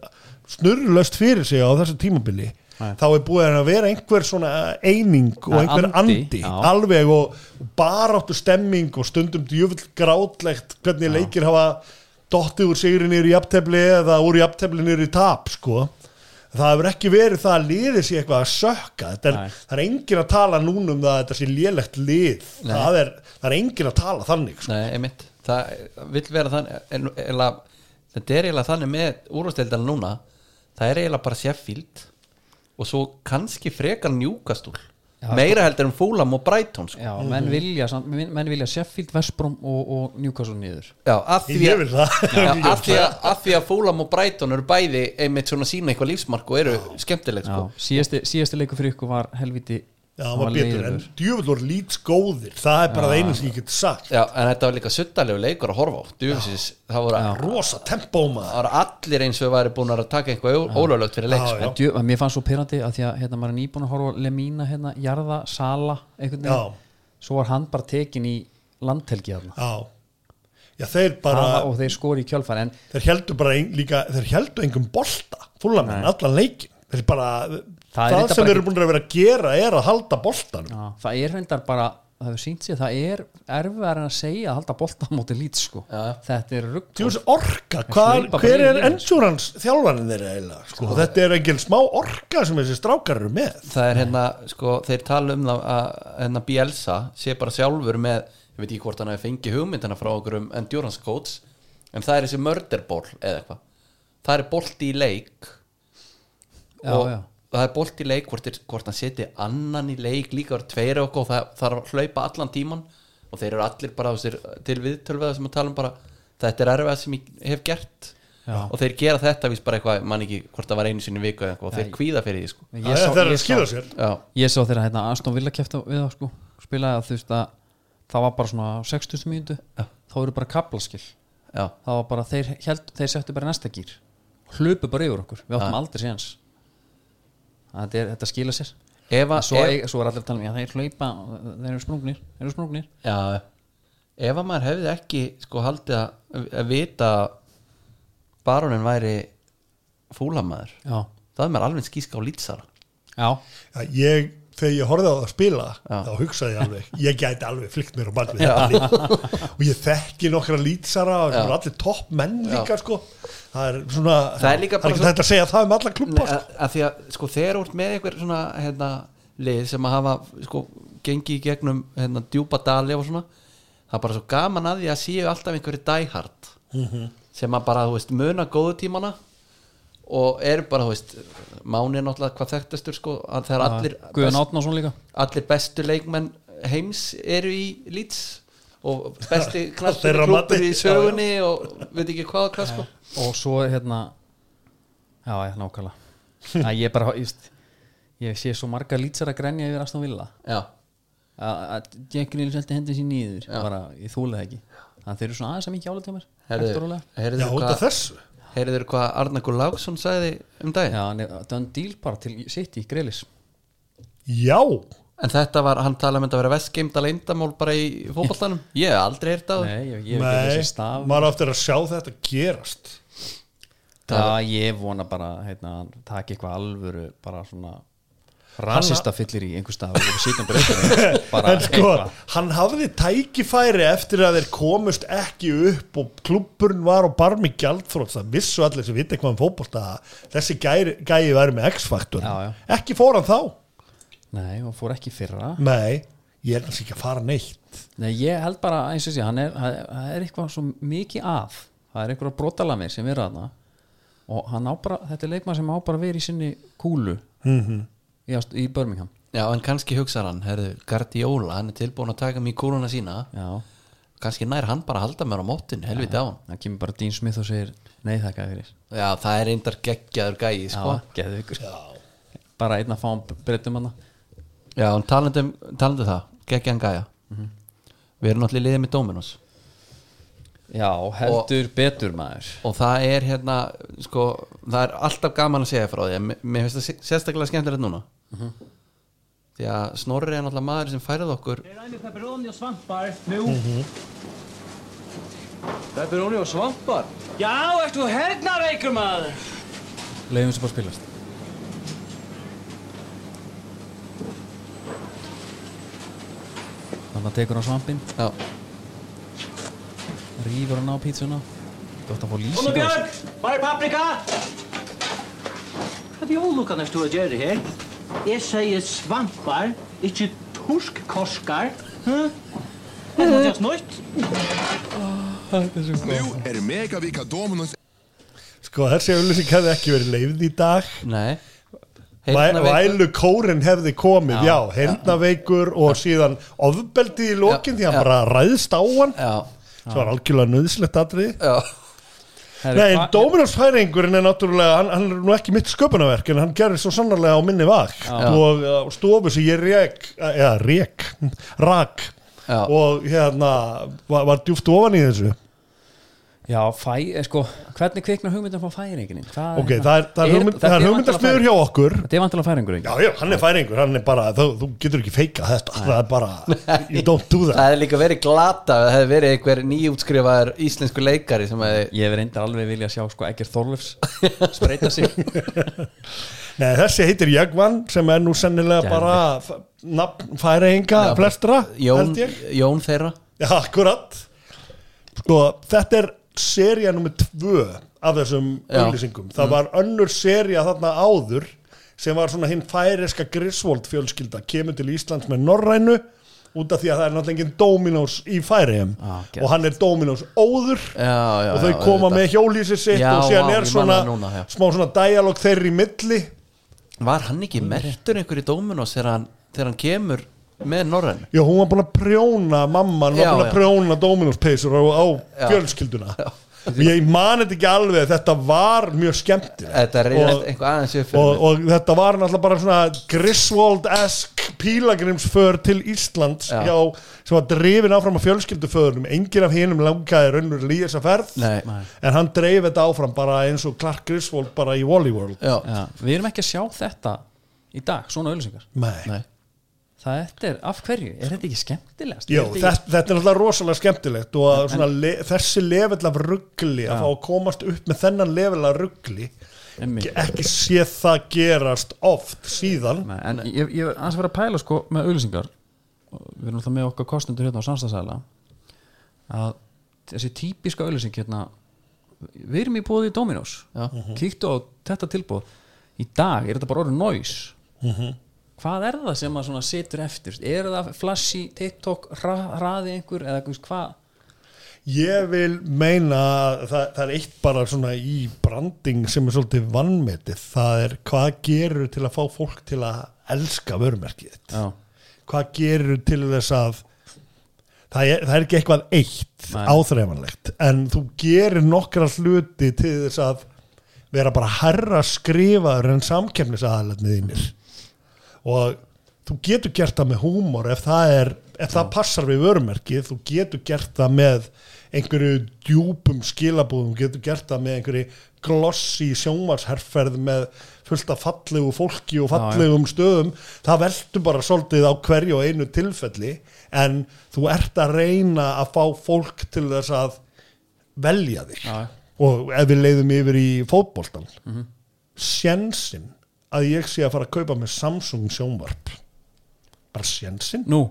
[SPEAKER 4] snurrlöst fyrir sig á þessu tímabili
[SPEAKER 2] Nei.
[SPEAKER 4] þá er búið að vera einhver svona eining og
[SPEAKER 2] Ja,
[SPEAKER 4] einhver
[SPEAKER 2] andi,
[SPEAKER 4] andi,
[SPEAKER 2] já.
[SPEAKER 4] alveg og og baráttu stemming og stundum djöfull grátlegt hvernig leikir hafa dottið úr sigri nýri í jafntefli eða úr jafntefli nýri í tap sko það hefur ekki verið það að liðið sé eitthvað að sökka Þetta
[SPEAKER 2] Nei.
[SPEAKER 4] er, það er engin að tala núna um það að þetta sé lélegt lið það er, það er engin að tala þannig sko.
[SPEAKER 3] Nei, einmitt, það vil vera þannig en, eila, þetta er eiginlega þannig með úrvasteldana núna það er eiginlega bara Sheffield og svo kannski frekar njúkastúl meira heldur en Fúlam og Brighton sko.
[SPEAKER 2] sko. Já, menn vilja, samt- menn menn vilja Sheffield, Vestbrom og, og Newcastle niður
[SPEAKER 3] já, af því
[SPEAKER 4] ég
[SPEAKER 3] að
[SPEAKER 4] vil það
[SPEAKER 3] Já, af því að- af því að Fúlam og Brighton eru bæði einmitt svona sína eitthvað lífsmark og eru skemmtileg
[SPEAKER 2] Já,
[SPEAKER 3] sko.
[SPEAKER 2] síðasti, síðasti leikur fyrir ykkur var helviti
[SPEAKER 4] Já,
[SPEAKER 2] hann
[SPEAKER 4] hann var betur, en
[SPEAKER 2] leiðinlegur.
[SPEAKER 4] djöfull voru lýts góðir það er bara það einu sem ég get sagt
[SPEAKER 3] Já, en þetta var líka suttalegu leikur að horfa á Djúfisins, það voru,
[SPEAKER 4] rosa tempó maður
[SPEAKER 3] það voru allir eins og væri búin að taka eitthvað ólöflögt fyrir leik
[SPEAKER 4] Já,
[SPEAKER 3] sko.
[SPEAKER 4] já.
[SPEAKER 2] En djö, að mér fannst svo pyrrandi að því að hérna, maður er nýbúin að horfa á Lemina, hérna, Jarða, Sala einhvern
[SPEAKER 4] Já.
[SPEAKER 2] veginn, svo var hann bara tekin í landhelgi þarna
[SPEAKER 4] Já, já þeir bara
[SPEAKER 2] Bara, og þeir skori í kjölfar en
[SPEAKER 4] þeir heldur bara ein, líka, þeir heldur engum bolta fúlamenn, allan leikin þeir bara,
[SPEAKER 2] Það
[SPEAKER 4] það,
[SPEAKER 2] er þetta
[SPEAKER 4] sem
[SPEAKER 2] bara
[SPEAKER 4] þeir eru búin að vera að gera er að halda boltanum
[SPEAKER 2] já, það er reyndar bara, það hefur sínt sér það er erfiðar en að segja að halda bolta á móti lít sko,
[SPEAKER 3] Já.
[SPEAKER 2] þetta er rugg
[SPEAKER 4] Tjóðs orka, hvar,
[SPEAKER 2] hlaupa bara
[SPEAKER 4] hver
[SPEAKER 2] yfir
[SPEAKER 4] er
[SPEAKER 2] línuna.
[SPEAKER 4] endurans þjálfanin þeirra eiginlega, sko, þetta er engin smá orka sem þessi strákar eru með
[SPEAKER 3] það er hérna, sko, þeir tala um það að hérna Bielsa sé bara sjálfur með, ég veit ekki hvort hann hafi fengið hugmyndina frá okkur um endurance coach en það er þessi mörderból eða eitthvað það er bolti í leik
[SPEAKER 2] Já,
[SPEAKER 3] og
[SPEAKER 2] já.
[SPEAKER 3] það er bolti í leik hvort, er, hvort hann seti annan í leik líka var tveir og okkur og það þarf að hlaupa allan tíman og þeir eru allir bara á sér til viðtölveða sem að tala um bara þetta er erfið sem ég hef gert
[SPEAKER 2] Já.
[SPEAKER 3] og þeir gera þetta víst bara eitthvað, man ekki hvort það var einu sinni í viku eða eitthvað og þeir kvíða fyrir því sko.
[SPEAKER 4] það er þeir eru að skýða sér
[SPEAKER 3] Já.
[SPEAKER 2] ég sá þeirra hérna Aston Villa kefta við það sko spilaði að þú veist að það var bara svona á 60 mínútu þá eru bara kaplaskill
[SPEAKER 3] Já,
[SPEAKER 2] það var bara þeir, held, þeir settu bara í næsta gýr hlupu bara yfir okkur, við áttum
[SPEAKER 3] Já.
[SPEAKER 2] aldrei séns þetta, er, þetta skila sér
[SPEAKER 3] ef að,
[SPEAKER 2] svo,
[SPEAKER 3] ef,
[SPEAKER 2] e svo er allir að tala um, já þeir hlaupa þeir eru sprungnir, þeir eru sprungnir
[SPEAKER 3] Já, ef að maður hefði ekki sko haldið að, að vita að barónin væri fúlamaður
[SPEAKER 2] já,
[SPEAKER 3] það er maður alveg skíska á lýtsara
[SPEAKER 2] já,
[SPEAKER 4] Já, ég, þegar ég horfði á það að spila
[SPEAKER 3] Já.
[SPEAKER 4] þá hugsaði ég alveg, ég gæti alveg flikt mér á bakvið þetta lið. og ég þekki nokkra lýtsara og svona allir topp menn líka sko. það er svona,
[SPEAKER 3] Það er líka bara
[SPEAKER 4] ekki
[SPEAKER 3] svo-
[SPEAKER 4] þetta að segja það um alla klubba
[SPEAKER 3] að,
[SPEAKER 4] sko.
[SPEAKER 3] að því að sko þegar úr með einhver svona hérna, lið sem að hafa sko gengi í gegnum hérna, djúpa dali og svona það er bara svo gaman að því að séu alltaf einhverju dæhart Mhm. sem að bara, þú veist, muna góðu tímana og er bara, þú veist máni er náttúrulega hvað þekktastur sko að það er allir
[SPEAKER 2] Guðan Átnason líka
[SPEAKER 3] allir bestu leikmenn heims eru í Leeds og besti
[SPEAKER 4] Þeirra
[SPEAKER 3] knasturklubur
[SPEAKER 4] mati.
[SPEAKER 3] í sögunni og veit ekki hvað og hvað sko
[SPEAKER 2] og svo er hérna já, já, nákvæmlega að ég bara, just, ég sé svo marga lýtsar að grenja yfir Aston Villa
[SPEAKER 3] já,
[SPEAKER 2] að að Jack Grealish heldur hendin sín nýður bara, ég þúlega ekki þannig að þeir eru svona aðeins að mikið álið til mér hægt og
[SPEAKER 3] heyrðu
[SPEAKER 2] rólega.
[SPEAKER 4] já,
[SPEAKER 3] heyrðu
[SPEAKER 4] út af
[SPEAKER 3] hvað
[SPEAKER 4] þessu
[SPEAKER 3] heyrðu hvað Arnakur Láksson sagði um daginn
[SPEAKER 2] já, hann er- Dun Deal bara til City, Grealish
[SPEAKER 4] já,
[SPEAKER 3] en þetta var, hann talaði með að vera vestgeimda leyndamál bara í fótballtanum ég hef aldrei heyrt á það
[SPEAKER 2] nei, ég, ég er ekki
[SPEAKER 4] nei,
[SPEAKER 2] þessi staf
[SPEAKER 4] maður áttir að sjá þetta gerast
[SPEAKER 2] það ég vona bara hérna, að hann taki eitthvað alvöru bara svona rasista fyllir í einhver staf og sýtum bara, bara
[SPEAKER 4] en sko,
[SPEAKER 2] eitthvað.
[SPEAKER 4] hann hafði tækifæri eftir að þeir komust ekki upp og klubburinn var á barmi gjaldþrótt það vissu allir sem vita eitthvað um fótbolta að þessi gæri, gæi væri með X-faktor
[SPEAKER 2] Já, já.
[SPEAKER 4] ekki fór hann þá
[SPEAKER 2] nei, og fór ekki í fyrra
[SPEAKER 4] Nei, ég er kannski ekki að fara neitt
[SPEAKER 2] Nei, ég held bara eins og sé, hann er, hann það er eitthvað svo mikið að það er einhverja brotalami sem er aðna og hann á bara, þetta er leikmað sem á bara verið í sinni kúlu -hmm.
[SPEAKER 4] Mhm.
[SPEAKER 2] í, ást- í Birmingham
[SPEAKER 3] já, en kannski hugsa hann, heyrðu, Guardiola hann er tilbúin að taka mig í kúruna sína
[SPEAKER 2] Já,
[SPEAKER 3] kannski nær hann bara að halda mér á mótin helviti á hann,
[SPEAKER 2] það kemur bara Dean Smith og segir nei þakka þér fyrir
[SPEAKER 3] já, það er reyndar geggjaður gæi, sko
[SPEAKER 2] Já, geðu ykkur Bara einn að fá hann breytum hann
[SPEAKER 3] Já, en talandi um- talandi um það, geggjan gæja Við erum náttúrulega í liðið með Dominos
[SPEAKER 2] Já, heldur betur maður
[SPEAKER 3] Og það er hérna, sko Það er alltaf gaman að segja frá því en Mér mér finnst það sé- sérstaklega skemmtilegt núna Því að Snorri er náttúrulega maður sem færið okkur
[SPEAKER 1] Det är med er pepperoni och svampar nu. Pepperoni och svampar? Já, ert þú hérna, veikur maður?
[SPEAKER 2] Leifum sem bara spilast Þannig að tekur hann svampinn
[SPEAKER 3] Já,
[SPEAKER 2] rýfur hann á pítsuna Gott að fá lýsing
[SPEAKER 1] Kom
[SPEAKER 2] á
[SPEAKER 1] og
[SPEAKER 2] þessu.
[SPEAKER 1] Björk, var är paprika? Hvað jólukan er að gera hér? Ég segi svampar, ekki torskkorskar. Huh? Er það just nýtt?
[SPEAKER 5] Nú er Megavika Dominos
[SPEAKER 4] Sko, þessi auðlýsing hefði ekki verið leifð í dag
[SPEAKER 3] nei hérna
[SPEAKER 4] Væ-
[SPEAKER 3] Heyrnarveikur-
[SPEAKER 4] Vælu kórin hefði komið, já, heyrnaveikur og síðan ofbeldi í lokin því að hann
[SPEAKER 3] já.
[SPEAKER 4] bara ræðst á hann
[SPEAKER 3] Já,
[SPEAKER 4] sem var algjörlega nöðslegt atrið
[SPEAKER 3] já
[SPEAKER 2] Herru,
[SPEAKER 4] Nei, en
[SPEAKER 2] hva-
[SPEAKER 4] Dominos færingurinn er náttúrulega hann, hann er nú ekki mitt sköpunarverk en hann gerir svo sannarlega á minni vak og uh, stofu sem ég rek eh, eða rek, rak
[SPEAKER 3] Já.
[SPEAKER 4] og hérna var, var djúft ofan í þessu
[SPEAKER 2] Já, fæ, eh, sko, hvernig kviknar hugmyndin frá færingin? Hvað,
[SPEAKER 4] ok, það er, það er, hugmynd, það er hugmyndasmiður hjá okkur
[SPEAKER 2] Þetta er vantilega færingurinn
[SPEAKER 4] já, já, hann er færingur, hann er bara þú, þú getur ekki feika þetta, það er bara you don't do that
[SPEAKER 3] Það hefði líka verið glata ef Það hefði verið einhver nýjútskrifaður íslensku leikari sem hefði
[SPEAKER 2] Ég hef reyndar alveg vilja sjá sko Egger Þorlefs spreita sig
[SPEAKER 4] Nei, þessi heitir Jögvan sem er nú sennilega
[SPEAKER 2] Geðveikt.
[SPEAKER 4] bara f- nafn færinga flestra
[SPEAKER 3] Jón,
[SPEAKER 4] held ég.
[SPEAKER 3] Jón þeirra
[SPEAKER 4] Já, akkurat Sko, þetta er seria nummer tvö af þessum
[SPEAKER 3] Já. Mm.
[SPEAKER 4] auðlýsingum Það var önnur seria þarna áður sem var svona hinn færeska Griswold fjölskylda kemur til Íslands með Norrænu út af því að það er náttúrulega engin Dominos í Færiðum
[SPEAKER 2] Ah, geðveikt.
[SPEAKER 4] og hann er Dominos óður
[SPEAKER 3] Já, já,
[SPEAKER 4] og þau
[SPEAKER 3] já,
[SPEAKER 4] koma
[SPEAKER 3] auðvitað.
[SPEAKER 4] með hjólísi sitt
[SPEAKER 3] Já,
[SPEAKER 4] og síðan
[SPEAKER 3] vá,
[SPEAKER 4] er
[SPEAKER 3] ég man
[SPEAKER 4] svona
[SPEAKER 3] það núna, já.
[SPEAKER 4] smá svona dialog þeirri í milli
[SPEAKER 3] Var hann ekki mertur einhverju Dominos þegar hann, þegar hann kemur með Norræn?
[SPEAKER 4] Já, hún var búin að prjóna mamman var
[SPEAKER 3] Já,
[SPEAKER 4] búin að
[SPEAKER 3] já.
[SPEAKER 4] prjóna Dominos peysur á, á
[SPEAKER 3] Já.
[SPEAKER 4] fjölskylduna
[SPEAKER 3] Já.
[SPEAKER 4] ég man þetta ekki alveg þetta var mjög skemmtilegt
[SPEAKER 3] Þetta er
[SPEAKER 4] Og-
[SPEAKER 3] reynast einhver aðeins upp fyrir
[SPEAKER 4] og,
[SPEAKER 3] mig.
[SPEAKER 4] og þetta var náttúrulega bara svona Griswold-esk pílagrimsför til Íslands
[SPEAKER 3] Já.
[SPEAKER 4] hjá, sem var drifin áfram af fjölskylduföðurum engin af hinum langaði raunur í þessa ferð
[SPEAKER 3] Nei.
[SPEAKER 4] en hann dreif þetta áfram bara eins og Clark Griswold bara í Wally World
[SPEAKER 3] Já,
[SPEAKER 2] Já, við erum ekki að sjá þetta í dag, svona auðlýsingar
[SPEAKER 4] Nei.
[SPEAKER 3] nei
[SPEAKER 2] það þetta er, af hverju, er þetta ekki skemmtilegast?
[SPEAKER 4] Jó,
[SPEAKER 2] Er þetta
[SPEAKER 4] þetta, þetta er náttúrulega rosalega skemmtilegt og að svona, le, þessi level af ruggli að fá að komast upp með þennan level af ruggli
[SPEAKER 2] ekki- Einmitt.
[SPEAKER 4] ekki sé það gerast oft síðan
[SPEAKER 2] Nei, en ég, ég aðeins að vera að pæla sko með auðlýsingar Og við erum alltaf með okkar kostendur hérna á samstagsæla að þessi típiska auðlýsing hérna við erum í bóði í Dominos
[SPEAKER 3] Já.
[SPEAKER 2] kíktu á þetta tilbúð í dag er þetta bara orðið noise hvað er það sem maður svona situr eftir er það flashy, tiktok, ra, raði einhver eða þú veist, hvað
[SPEAKER 4] Ég vil meina að það, það er eitt bara svona í branding sem er svolítið vannmetið það er hvað gerur til að fá fólk til að elska vörumerkið þitt?
[SPEAKER 2] Já.
[SPEAKER 4] hvað gerur til þess að það er, það er ekki eitthvað eitt
[SPEAKER 2] Nei.
[SPEAKER 4] áþreifanlegt en þú gerir nokkra hluti til þess að vera bara herra skrifaður en samkemnisaðalarnir þínir og þú getur gert það með húmor ef það er ef það passar við vörumerkið þú getur gert það með einhverju djúpum skilabúðum þú getur gert það með einhverju glossi sjónvarsherferð með fullt af fallegu fólki og fallegum stöðum það veldur bara svolítið á hverju og einu tilfelli en þú ert að reyna að fá fólk til þess að velja þig
[SPEAKER 2] Já.
[SPEAKER 4] og ef við leiðum yfir í fótboltan mm sjensin að ég sé að fara að kaupa með Samsung sjónvarp bara sjensin,
[SPEAKER 2] nú,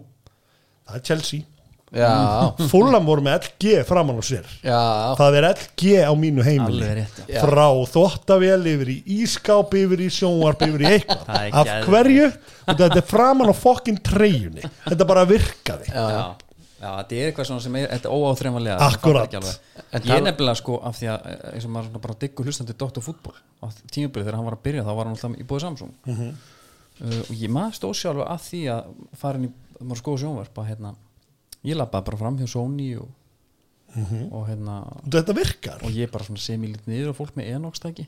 [SPEAKER 4] það er Chelsea
[SPEAKER 3] Já,
[SPEAKER 4] Fulham voru með LG framan á sér
[SPEAKER 3] já,
[SPEAKER 4] það er LG á mínu heimili
[SPEAKER 2] Alveg rétt,
[SPEAKER 3] já.
[SPEAKER 4] frá þóttavél yfir í ískáp yfir í sjónvarp yfir í
[SPEAKER 2] Það er
[SPEAKER 4] eitthvað af
[SPEAKER 2] geðveikt.
[SPEAKER 4] hverju, og þetta er framan á fokkin treyjunni, þetta bara virkaði
[SPEAKER 2] já, já. þetta er eitthvað svona sem er, þetta er óáþreifanlega
[SPEAKER 4] Akkúrat.
[SPEAKER 2] ég er nefnilega sko af því að eh, eins og maður svona bara diggur hlustandi dótt á fútbol á tímubili þegar hann var að byrja þá var hann alltaf í bóði Samsung uh, og ég maður stóð sjálf að því að farin í maður skoðu sjónvarp að hérna ég labbaði bara fram hjá Sony og, og hérna
[SPEAKER 4] þetta virkar
[SPEAKER 2] og ég bara svona sem í lítið niður og fólk með enókstæki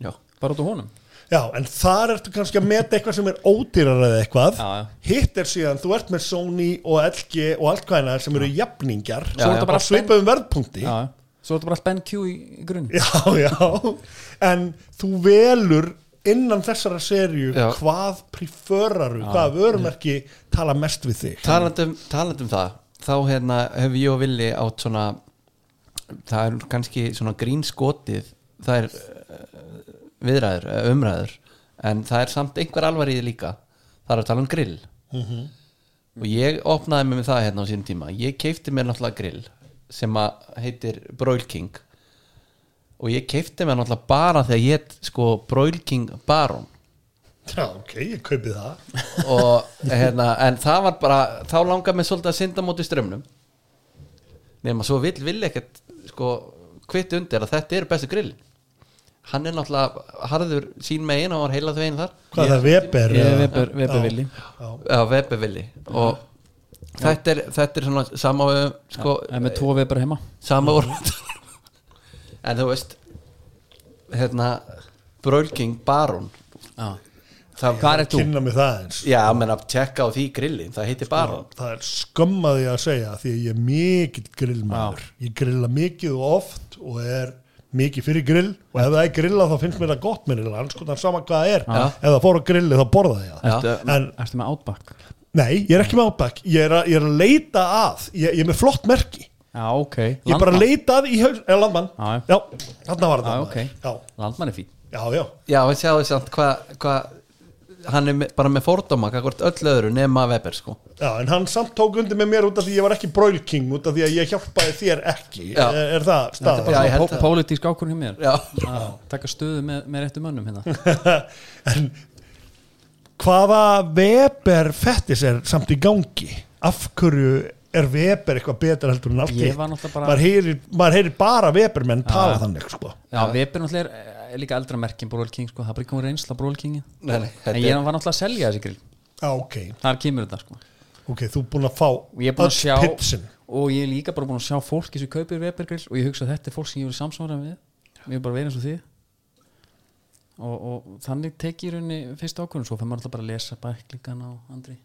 [SPEAKER 3] já.
[SPEAKER 2] bara út á honum
[SPEAKER 4] Já, en þar ertu kannski að meta eitthvað sem er ódýrar eða eitthvað
[SPEAKER 2] Já, já.
[SPEAKER 4] Hitt er síðan, þú ert með Sony og LG og allt hvað hana sem eru jafningjar
[SPEAKER 2] Svo er þetta bara
[SPEAKER 4] og svipaðum verðpunkti
[SPEAKER 2] já, já. svo er þetta bara Ben Q í, í grunn
[SPEAKER 4] já, já. En þú velur innan þessara serju
[SPEAKER 3] Já.
[SPEAKER 4] hvað preferaru, hvaða vörumerki tala mest við þig
[SPEAKER 3] Talandi um, talandi um það þá hérna hef ég og Villi átt svona það er kannski svona grínskotið það er eh, viðræður, eh, umræður en það er samt einhver alvarið líka það er að tala um grill og ég opnaði mig með það hérna á sínum tíma ég keipti mér náttúrulega grill sem að heitir Broil King og ég keipti mér náttúrulega bara þegar ég hétt sko Broil King Baron
[SPEAKER 4] Já, ok, ég kaupi það
[SPEAKER 3] og hérna, en það var bara þá langaði mig svolítið að synda á móti strömmnum nema svo vill vill ekkert sko kvitt undir að þetta eru bestu grill hann er náttúrulega harður sín megin og var heilað veginn þar
[SPEAKER 4] Hvað það Weber?
[SPEAKER 2] ég
[SPEAKER 4] eða-
[SPEAKER 2] vepur, vepur
[SPEAKER 4] Já.
[SPEAKER 2] villi
[SPEAKER 3] á vebevilli og þetta er, þetta er svona sama uh, sko,
[SPEAKER 2] en með tvo vepur heima
[SPEAKER 3] sama úr en þú veist hérna Brölking Baron
[SPEAKER 2] já.
[SPEAKER 3] það, hvað er þú?
[SPEAKER 4] Kynna mig það eins
[SPEAKER 3] Já, menn að tjekka á því grillin, það heitir Baron
[SPEAKER 4] það er skömmaði að segja því að ég er mikill grillmaður ég grilla mikið og oft og er mikið fyrir grill og ef það er grilla þá finnst mér það gott mér er anskotan sama hvað það er
[SPEAKER 3] Já.
[SPEAKER 4] ef það fór á grilli þá borða ég það
[SPEAKER 3] Já.
[SPEAKER 4] en
[SPEAKER 2] ertu með Outback
[SPEAKER 4] nei, ég er ekki með ábæk ég er að, ég er að leita að ég, ég er með flott merki ég
[SPEAKER 2] já, ok
[SPEAKER 4] er bara að leita að í haus eða landmann,
[SPEAKER 2] Já,
[SPEAKER 4] já, þarna var
[SPEAKER 2] Já,
[SPEAKER 4] það
[SPEAKER 2] ok. Landmann er fín
[SPEAKER 4] já, já, já,
[SPEAKER 3] Já, við sjáum samt hvað hva, hann er með, bara með fordóma hvort öll öðru nema Weber sko
[SPEAKER 4] já en hann samt tók undir með mér út af því ég var ekki broilking út af því að ég hjálpaði þér ekki
[SPEAKER 3] Já.
[SPEAKER 4] er, er
[SPEAKER 3] Þetta
[SPEAKER 4] það
[SPEAKER 3] er
[SPEAKER 4] staðan?
[SPEAKER 3] bara- Já, ég held
[SPEAKER 2] Pó-
[SPEAKER 3] það.
[SPEAKER 2] pólitísk ákvörðun hjá mér
[SPEAKER 3] Já,
[SPEAKER 2] að taka stöðu með, með réttu mönnum hérna
[SPEAKER 4] en hvaða Weber fettis er samt í gangi af hverju er Weber eitthvað betra heldur en allt
[SPEAKER 2] Ég
[SPEAKER 4] hitt?
[SPEAKER 2] var náttúrulega bara- Ah.
[SPEAKER 4] maður, heyrir, maður heyrir bara Weber menn tala þannig sko.
[SPEAKER 2] Já, Weber náttúrulega er, er líka eldra merkin Brol King, sko, það er bara ekki um reynsla Brol Kingi
[SPEAKER 3] nei, nei,
[SPEAKER 2] En
[SPEAKER 3] þetta
[SPEAKER 2] ég
[SPEAKER 3] er
[SPEAKER 2] var náttúrulega að selja þessi grill
[SPEAKER 4] á, Ah, ok,
[SPEAKER 2] Þar kemur þetta, sko
[SPEAKER 4] ok, þú er búin að fá
[SPEAKER 2] og ég er búin að sjá
[SPEAKER 4] pitsin
[SPEAKER 2] og ég er líka bara búin að sjá fólki sem kaupir Webergrill og ég hugsa að þetta er fólk sem ég vil samsvara með mér er bara verið eins og því og, og þannig teki ég raunni fyrst ákvörðun svo fann maður alltaf bara að lesa bæklingana og andri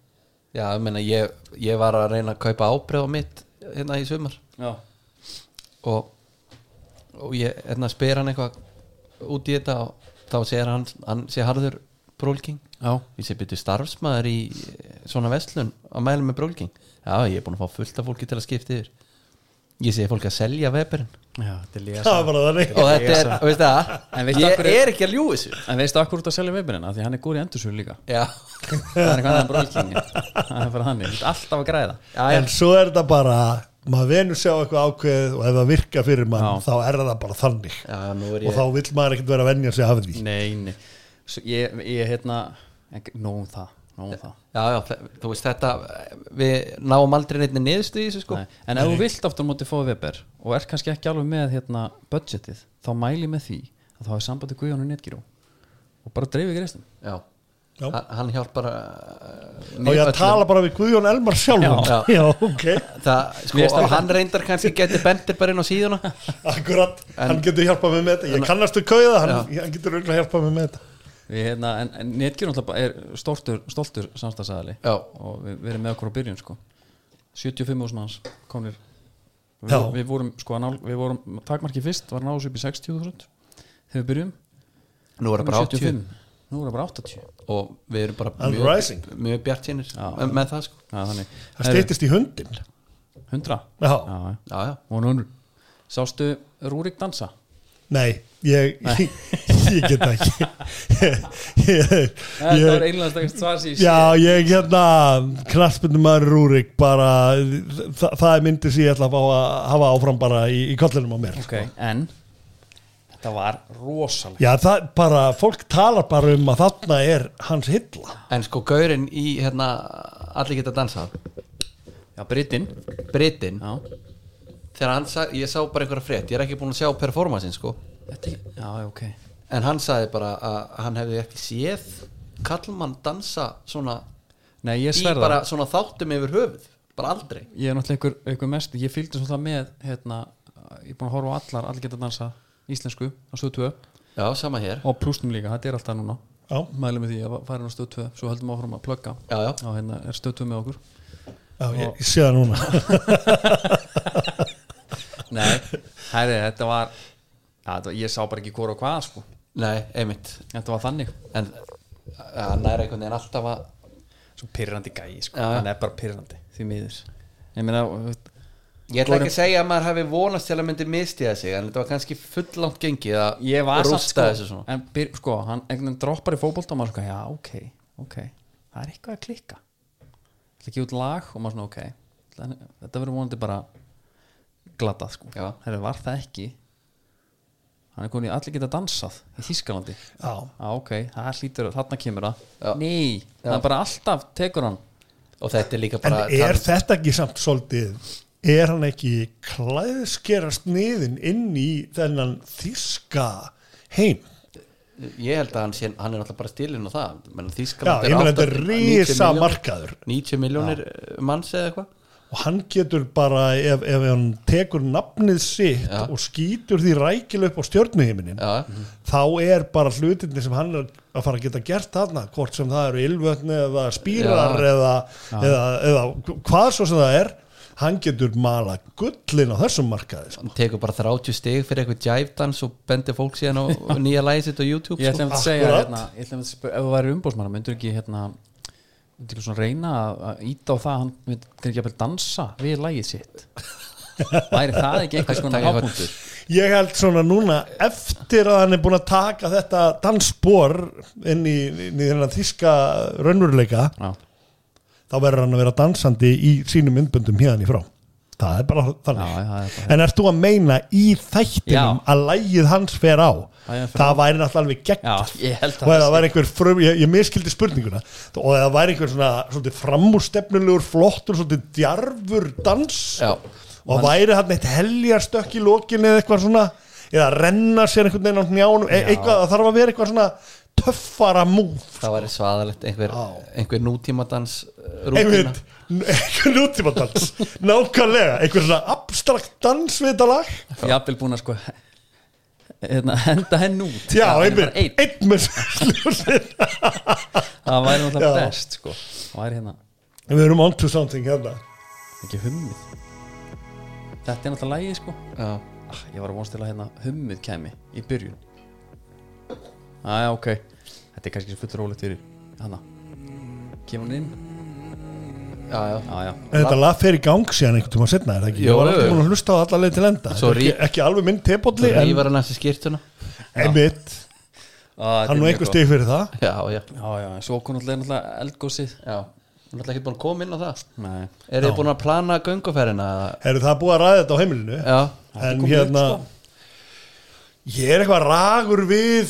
[SPEAKER 3] Já, ég meina, ég, ég var að reyna að kaupa ábreið á mitt hérna í sumar
[SPEAKER 2] já,
[SPEAKER 3] og, og ég hérna, spyr hann eitthvað út í þetta og þá segir hann, hann sé harður brólking
[SPEAKER 2] já,
[SPEAKER 3] ég sé byrju starfsmaður í eh, svona vestlun að mæla með brólking já, ég er búin að fá fullt af fólki til að skipta yfir ég sé fólki að selja veberinn
[SPEAKER 2] já þetta er
[SPEAKER 4] það
[SPEAKER 2] lesa
[SPEAKER 4] er bara þannig
[SPEAKER 3] og þetta er, veistu
[SPEAKER 2] En
[SPEAKER 3] það
[SPEAKER 2] veistu af
[SPEAKER 3] ég
[SPEAKER 2] hverju-
[SPEAKER 3] er ekki að ljúi þessu
[SPEAKER 2] en veistu akkur út að selja Weberinn af því hann er góð í endursölu líka
[SPEAKER 3] já,
[SPEAKER 2] það er eitthvað annað en brólkingi það er bara hann, alltaf að græða
[SPEAKER 3] já, já.
[SPEAKER 4] en svo er þetta bara maður venur sjá eitthvað ákveð og ef það virka fyrir mann
[SPEAKER 2] Já.
[SPEAKER 4] þá er það bara þannig
[SPEAKER 3] já nú er
[SPEAKER 4] og þá
[SPEAKER 3] ég
[SPEAKER 4] vill maður ekkert vera að venja sig af því
[SPEAKER 2] nei, nei, Svo ég, ég hérna nóg um það, nóg um það
[SPEAKER 3] já, já, þe- þú veist þetta við náum aldrei neitt niðurstu í þessu sko
[SPEAKER 2] Nei, en ef þú vilt aftur á móti fóða Weber og er kannski ekki alveg með hérna, budgetið þá mæli ég með því að þá hafi sambandi Guðjónu Netgyró og bara dreifir greiðstum
[SPEAKER 3] já,
[SPEAKER 4] Já.
[SPEAKER 3] Hann, hann hjálpar uh,
[SPEAKER 4] og ég að tala bara við Guðjón Elmar sjálfur
[SPEAKER 3] Já.
[SPEAKER 4] já, já ok,
[SPEAKER 3] það,
[SPEAKER 2] Mér
[SPEAKER 3] sko,
[SPEAKER 2] finnst það-
[SPEAKER 3] hann reyndar kannski getur bendir bara inn á síðuna
[SPEAKER 4] akkurat hann getur hjálpað mig með þetta, ég kannast við kauða hann, hann getur auðvitað hjálpað mig með þetta
[SPEAKER 2] við, hérna, en, en Netgyró náttúrulega bara er stoltur, stoltur samstagsæðali
[SPEAKER 3] Já.
[SPEAKER 2] og við verðum með okkur á byrjun sko. 75 hús manns komnir við,
[SPEAKER 4] Já.
[SPEAKER 2] við vorum sko að nál, við vorum takmarki fyrst var náðs upp í 60.000 þegar við byrjum
[SPEAKER 3] nú er það bara 80
[SPEAKER 2] nú er það bara 80
[SPEAKER 3] og við erum bara
[SPEAKER 4] And rising.
[SPEAKER 3] mjög, mjög bjart sínir með, með það sko
[SPEAKER 2] Já, þannig,
[SPEAKER 4] það stýttist í hundin
[SPEAKER 2] 100
[SPEAKER 4] já.
[SPEAKER 2] já, já.
[SPEAKER 3] já, já.
[SPEAKER 2] Og nú- sástu Rúrik dansa
[SPEAKER 4] nei, ég ég, ég get það ekki ég, ég,
[SPEAKER 2] Þetta var
[SPEAKER 4] ég,
[SPEAKER 2] einlega stakast svar sér
[SPEAKER 4] já, ég hérna knaspinu maður Rúrik bara, það, það er myndið sem ég ætla að fá að hafa áfram bara í, í kollinum á mér
[SPEAKER 2] Ok, en Þetta var rosalega
[SPEAKER 4] já, það bara, fólk talar bara um að þarna er hans hilla
[SPEAKER 3] en sko gaurinn í hérna allir geta dansað
[SPEAKER 2] Já, Britinn
[SPEAKER 3] Britinn,
[SPEAKER 2] Já,
[SPEAKER 3] þegar hann sagði, ég sá bara einhverja frétt, ég er ekki búin að sjá performancein sko,
[SPEAKER 2] þetta, já, ok
[SPEAKER 3] en hann sagði bara að hann hefði ekki séð kallmann dansa svona
[SPEAKER 2] Nei, ég
[SPEAKER 3] í
[SPEAKER 2] sverða
[SPEAKER 3] bara svona þáttum yfir höfuð bara aldrei
[SPEAKER 2] Ég er náttúrulega einhver, einhver mest Ég fylgdi svolítið með hérna, Ég er búin að horfa á allar, allir geta dansa Íslensku á stöð 2
[SPEAKER 3] já, sama hér,
[SPEAKER 2] Og plúsnum líka, þetta er alltaf núna
[SPEAKER 4] já,
[SPEAKER 2] Mælum við því að fara inn á stöð 2 Svo höldum áfram að plugga
[SPEAKER 3] já, já,
[SPEAKER 2] Og hérna er stöð 2 með okkur
[SPEAKER 4] já ég, ég sé það núna
[SPEAKER 2] Nei, herri, þetta var ja, þetta, var- Ég sá bara ekki hvora og hvað sko.
[SPEAKER 3] nei, einmitt
[SPEAKER 2] Þetta var þannig
[SPEAKER 3] en hann er einhvern veginn alltaf að
[SPEAKER 2] Svo pyrrandi gæi, sko,
[SPEAKER 3] Já, já.
[SPEAKER 2] hann er bara pyrrandi Því miður Ég meina, þú veist,
[SPEAKER 3] ég ætla ekki að segja að maður hafi vonast til að myndi mistiða sig, en þetta var kannski fullangt gengið að
[SPEAKER 2] ég var samt
[SPEAKER 3] rústa
[SPEAKER 2] sko,
[SPEAKER 3] þessu svona
[SPEAKER 2] en byr, sko, hann einhvern veginn droppar í fótbolt og maður sko, já, ok, ok það er eitthvað að klikka það er ekki út lag og maður svona, ok Þannig- þetta verður vonandi bara glatað, sko,
[SPEAKER 3] Já.
[SPEAKER 2] Heru, var það ekki hann er komin í allir geta dansað í Þískalandi,
[SPEAKER 4] já,
[SPEAKER 2] já, ok það hlýtur, þarna kemur það,
[SPEAKER 3] Já.
[SPEAKER 2] ný það er bara alltaf, tekur hann
[SPEAKER 3] og þetta er líka
[SPEAKER 4] En
[SPEAKER 3] bara
[SPEAKER 4] er
[SPEAKER 3] Karl-
[SPEAKER 4] þetta ekki samt svolítið er hann ekki klæðskerast niðin inn í þennan þíska heim
[SPEAKER 3] ég held að hann, sé, hann er alltaf bara stilin og það menn,
[SPEAKER 4] já,
[SPEAKER 3] Þískaland
[SPEAKER 4] ég meina þetta er
[SPEAKER 3] 80
[SPEAKER 4] risa
[SPEAKER 3] 90 milljón-
[SPEAKER 4] markaður
[SPEAKER 3] 90 miljónir manns eða eitthvað
[SPEAKER 4] og hann getur bara ef, ef hann tekur nafnið sitt
[SPEAKER 3] Já.
[SPEAKER 4] og skýtur því rækilega upp á stjörnuhiminin
[SPEAKER 3] Já,
[SPEAKER 4] þá er bara hlutinni sem hann er að fara að geta gert þarna hvort sem það eru ylvötni eða spýrar
[SPEAKER 3] Já.
[SPEAKER 4] eða, eða, eða hvað svo sem það er hann getur mala gullin á þessum markaði sko.
[SPEAKER 3] hann tekur bara 30 stig fyrir eitthvað jive dance og bendir fólk síðan á nýja lægið sitt á YouTube
[SPEAKER 2] ég ætla
[SPEAKER 3] sko.
[SPEAKER 2] um að segja
[SPEAKER 4] Akkurat.
[SPEAKER 2] hérna, ég ætla um að spyrja, ef þú væri umbóðsmann myndur ekki hérna myndur ekki svona reyna að- að íta á það að hann myndur ekki að dansa við lagið sitt væri það ekki einhvers konar
[SPEAKER 3] Taka eitthvað-
[SPEAKER 2] hápunktur
[SPEAKER 4] Ég held svona núna eftir að hann er búin að taka þetta dansspor inn í, inn í þennan þíska raunveruleika
[SPEAKER 2] já,
[SPEAKER 4] þá verður hann að vera dansandi í sínum myndböndum hérna í frá það er bara þannig
[SPEAKER 2] Já, já, það er bara-
[SPEAKER 4] en ert þú að meina í þættinum
[SPEAKER 2] Já.
[SPEAKER 4] að lægið hans fer á
[SPEAKER 2] Já, já, fer
[SPEAKER 4] það væri náttúrulega alveg gegn
[SPEAKER 2] já, ég held
[SPEAKER 4] og
[SPEAKER 2] að
[SPEAKER 4] ef það væri einhver frum, ég, ég miskildi spurninguna og ef það væri einhver svona svolítið framúrstefnulegur, flottur, svolítið djarfur dans
[SPEAKER 3] Já.
[SPEAKER 4] og það væri hann eitt heljarstökk í lokin eða eitthvað svona, eða renna sér einhvern veginn á njánum, e eitthvað það þarf að vera eitthvað svona töffara múf
[SPEAKER 3] það væri svaðalegt einhver, einhver nútímadans eh, rútína
[SPEAKER 4] einhvern einhvern nútímadans nákvæmlega, einhvern svona abstrakt dans við þetta lag
[SPEAKER 2] Ég hafði búin að sko hérna, henda henn út
[SPEAKER 4] já,
[SPEAKER 2] Það væri bara
[SPEAKER 4] einmitt,
[SPEAKER 2] einn.
[SPEAKER 4] einn með sljósið
[SPEAKER 2] Það væri náttúrulega
[SPEAKER 4] Já.
[SPEAKER 2] best sko Það væri hérna
[SPEAKER 4] við erum on to something hérna
[SPEAKER 2] ekki hummið Þetta er náttúrulega lægi sko
[SPEAKER 3] Já.
[SPEAKER 2] ah, Ég var að vonst til að hérna hummið kæmi í byrjun Æja, ok Þetta er kannski fullur ólegt fyrir Hanna Kemur hún inn? Ah,
[SPEAKER 3] Já, já.
[SPEAKER 2] Æja,
[SPEAKER 4] En þetta lag fer í gang síðan einhvern tíma setna er það ekki?
[SPEAKER 3] Jú,
[SPEAKER 4] ég var
[SPEAKER 3] jú.
[SPEAKER 4] alltaf búin að hlusta á alla leið til enda Þetta er
[SPEAKER 3] Sorry.
[SPEAKER 4] ekki, ekki alveg minn tepolli
[SPEAKER 3] Ég
[SPEAKER 4] en
[SPEAKER 3] var að næsta skýrtuna
[SPEAKER 4] einmitt,
[SPEAKER 2] Ah,
[SPEAKER 4] hann er nú einhver stig fyrir það
[SPEAKER 3] Já, já,
[SPEAKER 2] Já, já, en svo kom náttúrulega náttúrulega eldgósið
[SPEAKER 3] já Hún er alltaf ekki búin að koma inn á það
[SPEAKER 2] Nei,
[SPEAKER 3] Er þið búin að plana gönguferðina?
[SPEAKER 4] Herru, það er búið að ræða þetta á heimilinu
[SPEAKER 3] Já,
[SPEAKER 4] en hérna
[SPEAKER 2] sko.
[SPEAKER 4] ég er eitthvað ragur við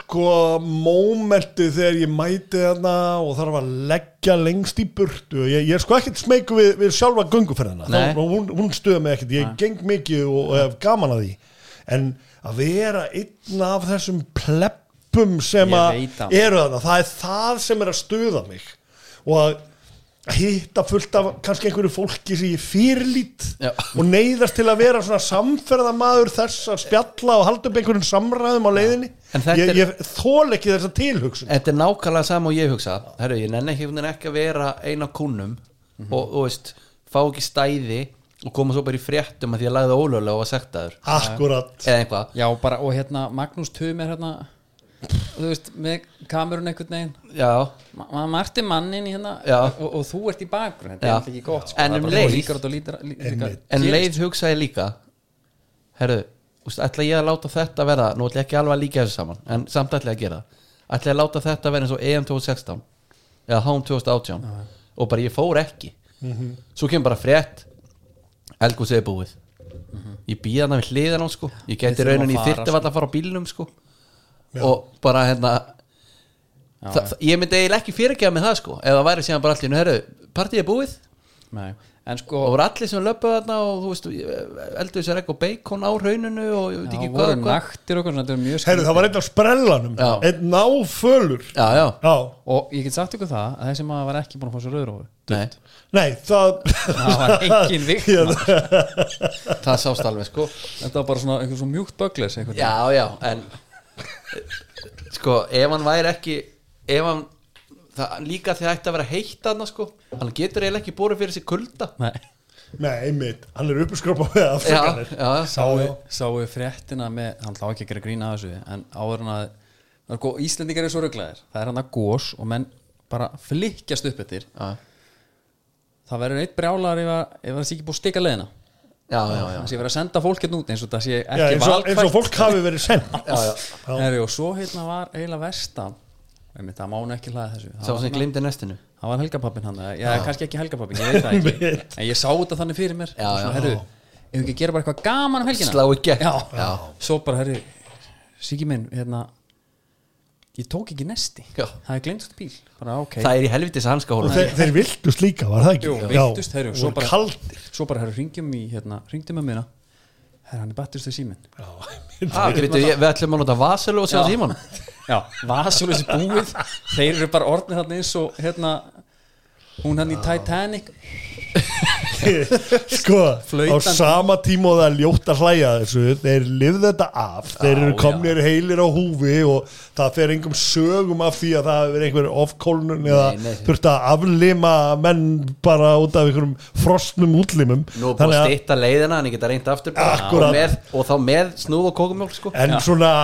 [SPEAKER 4] sko mómentu þegar ég mæti þarna og þarf að leggja lengst í burtu ég, ég er sko ekkert smeyku við, við sjálfa gönguferðina
[SPEAKER 3] Nei.
[SPEAKER 4] Þá, hún, hún stöða mig ekkert, ég geng mikið og, og hef gaman að því en að vera einn af þessum pleppum sem
[SPEAKER 2] Ég
[SPEAKER 4] að
[SPEAKER 2] veit það.
[SPEAKER 4] eru þarna, það er það sem er að stöða mig og að hitta fullt af kannski einhverju fólki sem ég fyrirlít
[SPEAKER 3] Já.
[SPEAKER 4] og neyðast til að vera svona samferðamaður þess að spjalla og halda upp einhverjum samræðum á leiðinni
[SPEAKER 3] En þetta
[SPEAKER 4] ég,
[SPEAKER 3] er-
[SPEAKER 4] ég þól ekki þessa tilhugsun
[SPEAKER 3] þetta er nákvæmlega sama og ég hugsa Herru, ég nenni ekki, ekki að vera eina kúnum og, og veist, fá ekki stæði og koma svo bara í fréttum að því að lagði ólögulega og var sektaður
[SPEAKER 4] akkurat
[SPEAKER 3] eða eitthvað
[SPEAKER 2] já bara, og hérna Magnús Tum er hérna Þú veist, með kamerun einhvern veginn
[SPEAKER 3] Já,
[SPEAKER 2] Ma- maður marti mannin hérna
[SPEAKER 3] Já.
[SPEAKER 2] og, og þú ert í bakgrunn þetta
[SPEAKER 3] Já.
[SPEAKER 2] er alltaf ekki gott sko.
[SPEAKER 3] En
[SPEAKER 2] Það er
[SPEAKER 3] um
[SPEAKER 2] bara svo
[SPEAKER 3] leið-
[SPEAKER 2] líkar þetta og lítar- lí- líkar-
[SPEAKER 4] Einmitt.
[SPEAKER 3] en um
[SPEAKER 2] gerist.
[SPEAKER 3] leið hugsa ég líka Herru, úst, ætla ég að láta þetta vera nú ætla ég ekki alveg að líka þessu saman en samt ætla ég að gera það ætla ég að láta þetta vera eins og EM 2016 eða HM 2018 og bara ég fór ekki
[SPEAKER 2] Mhm.
[SPEAKER 3] svo kemur bara frétt Elgúsið er búið ég býða hana við hliðan á sko ég geti
[SPEAKER 2] Mhm. Við þurfum
[SPEAKER 3] raunin
[SPEAKER 2] að
[SPEAKER 3] í
[SPEAKER 2] fara,
[SPEAKER 3] þyrti vall að fara á bílnum sko og bara hérna þa- þa- ég myndi eiginlega ekki fyrirgefa með það sko ef það væri síðan bara allir, herru, partíð er búið
[SPEAKER 2] Nei. en sko
[SPEAKER 3] og voru allir sem löpuð þarna og þú veist, eldur sér eitthvað bacon á rauninu og ég veit
[SPEAKER 2] það
[SPEAKER 3] ekki
[SPEAKER 2] voru
[SPEAKER 3] hvað, hvað.
[SPEAKER 2] naktir og eitthvað svona, þetta er mjög
[SPEAKER 4] Heru,
[SPEAKER 2] skrítið.
[SPEAKER 4] það var einn af sprellanum
[SPEAKER 3] Já.
[SPEAKER 4] einn náfölur
[SPEAKER 3] já, já,
[SPEAKER 4] já.
[SPEAKER 2] og ég get sagt ykkur það að þessi maður var ekki búin að fá sér rauðrófu
[SPEAKER 3] nei,
[SPEAKER 4] nei það
[SPEAKER 2] það var engin vikna
[SPEAKER 3] það sást alveg sko
[SPEAKER 2] þetta var bara svona einhver svona mjúkt bögles einhvern
[SPEAKER 3] já, já, en sko, ef hann væri ekki ef hann það, líka þegar ætti að vera heitt þarna sko hann getur eiginlega ekki búið fyrir sér kulda
[SPEAKER 2] veginn. Nei.
[SPEAKER 4] nei, einmitt, hann er uppskrópa með
[SPEAKER 3] já,
[SPEAKER 4] afsakanir
[SPEAKER 3] já,
[SPEAKER 4] já, já.
[SPEAKER 2] sáu fréttina með, hann lá ekki að gera grína þessu en áður en að það er gó- Íslendingar eru svo ruglaðir, það er hann að gós og menn bara flikkjast upp eftir
[SPEAKER 3] Já.
[SPEAKER 2] það verður eitt brjálar ef að- ef það sé ekki búið að stika leiðina
[SPEAKER 3] já, já, já,
[SPEAKER 2] það sé verið að senda fólk hérna út eins og það sé
[SPEAKER 4] Já,
[SPEAKER 2] ekki
[SPEAKER 4] eins, og, eins og
[SPEAKER 2] valkvæmt
[SPEAKER 4] fólk hafi verið sendt
[SPEAKER 3] já, já.
[SPEAKER 2] Heri, og svo hérna var eiginlega vestan Einmitt, það mánu ekki hlaða þessu
[SPEAKER 3] sá
[SPEAKER 2] það var,
[SPEAKER 3] sem glimdi nestinu
[SPEAKER 2] það var helgapappin hann eða- já, kannski ekki helgapappin, ég veit það ekki en ég sá þetta þannig fyrir mér
[SPEAKER 3] Já,
[SPEAKER 2] og svona,
[SPEAKER 3] já.
[SPEAKER 2] herru, ef við ekki gera bara eitthvað gaman um helgina
[SPEAKER 3] slá ekki
[SPEAKER 2] já.
[SPEAKER 3] já,
[SPEAKER 2] svo bara, herru, Siggi minn hérna, ég tók ekki nesti
[SPEAKER 3] Já.
[SPEAKER 2] það er glemt út í bíl bara, ok,
[SPEAKER 3] það er í helvitis hanska
[SPEAKER 4] og
[SPEAKER 3] hóla
[SPEAKER 4] þeir, þeir viltust líka, var það ekki?
[SPEAKER 2] Jú, veiktust, heyrðu, svo
[SPEAKER 4] svo
[SPEAKER 2] bara-
[SPEAKER 4] bara kaldir
[SPEAKER 2] svo bara, herru, ringjum í hérna, ringdum að minna herru, hann er battist í síminn
[SPEAKER 3] ah, við, við ætlum að nota vasalu og sjá
[SPEAKER 2] Já.
[SPEAKER 3] síman
[SPEAKER 2] Já, vasuleysi búið Þeir eru bara orðnið þarna eins og hérna, hún hann í Titanic
[SPEAKER 4] sko, á
[SPEAKER 2] Flautandi.
[SPEAKER 4] sama tíma og það er ljótt að hlæja að þessu þeir lifðu þetta af, þeir eru komnir heilir á húfi og það fer engum sögum af því að það hefur verið einhver ofkólnun eða
[SPEAKER 3] Nei, nei.
[SPEAKER 4] þurft að aflima menn bara út af einhverjum frostnum útlimum
[SPEAKER 3] Nú er búið að stýtta leiðina en ég geta reynd aftur
[SPEAKER 4] Akkúrat.
[SPEAKER 3] og, með, og þá með snúð og kókumjólk sko.
[SPEAKER 4] en svona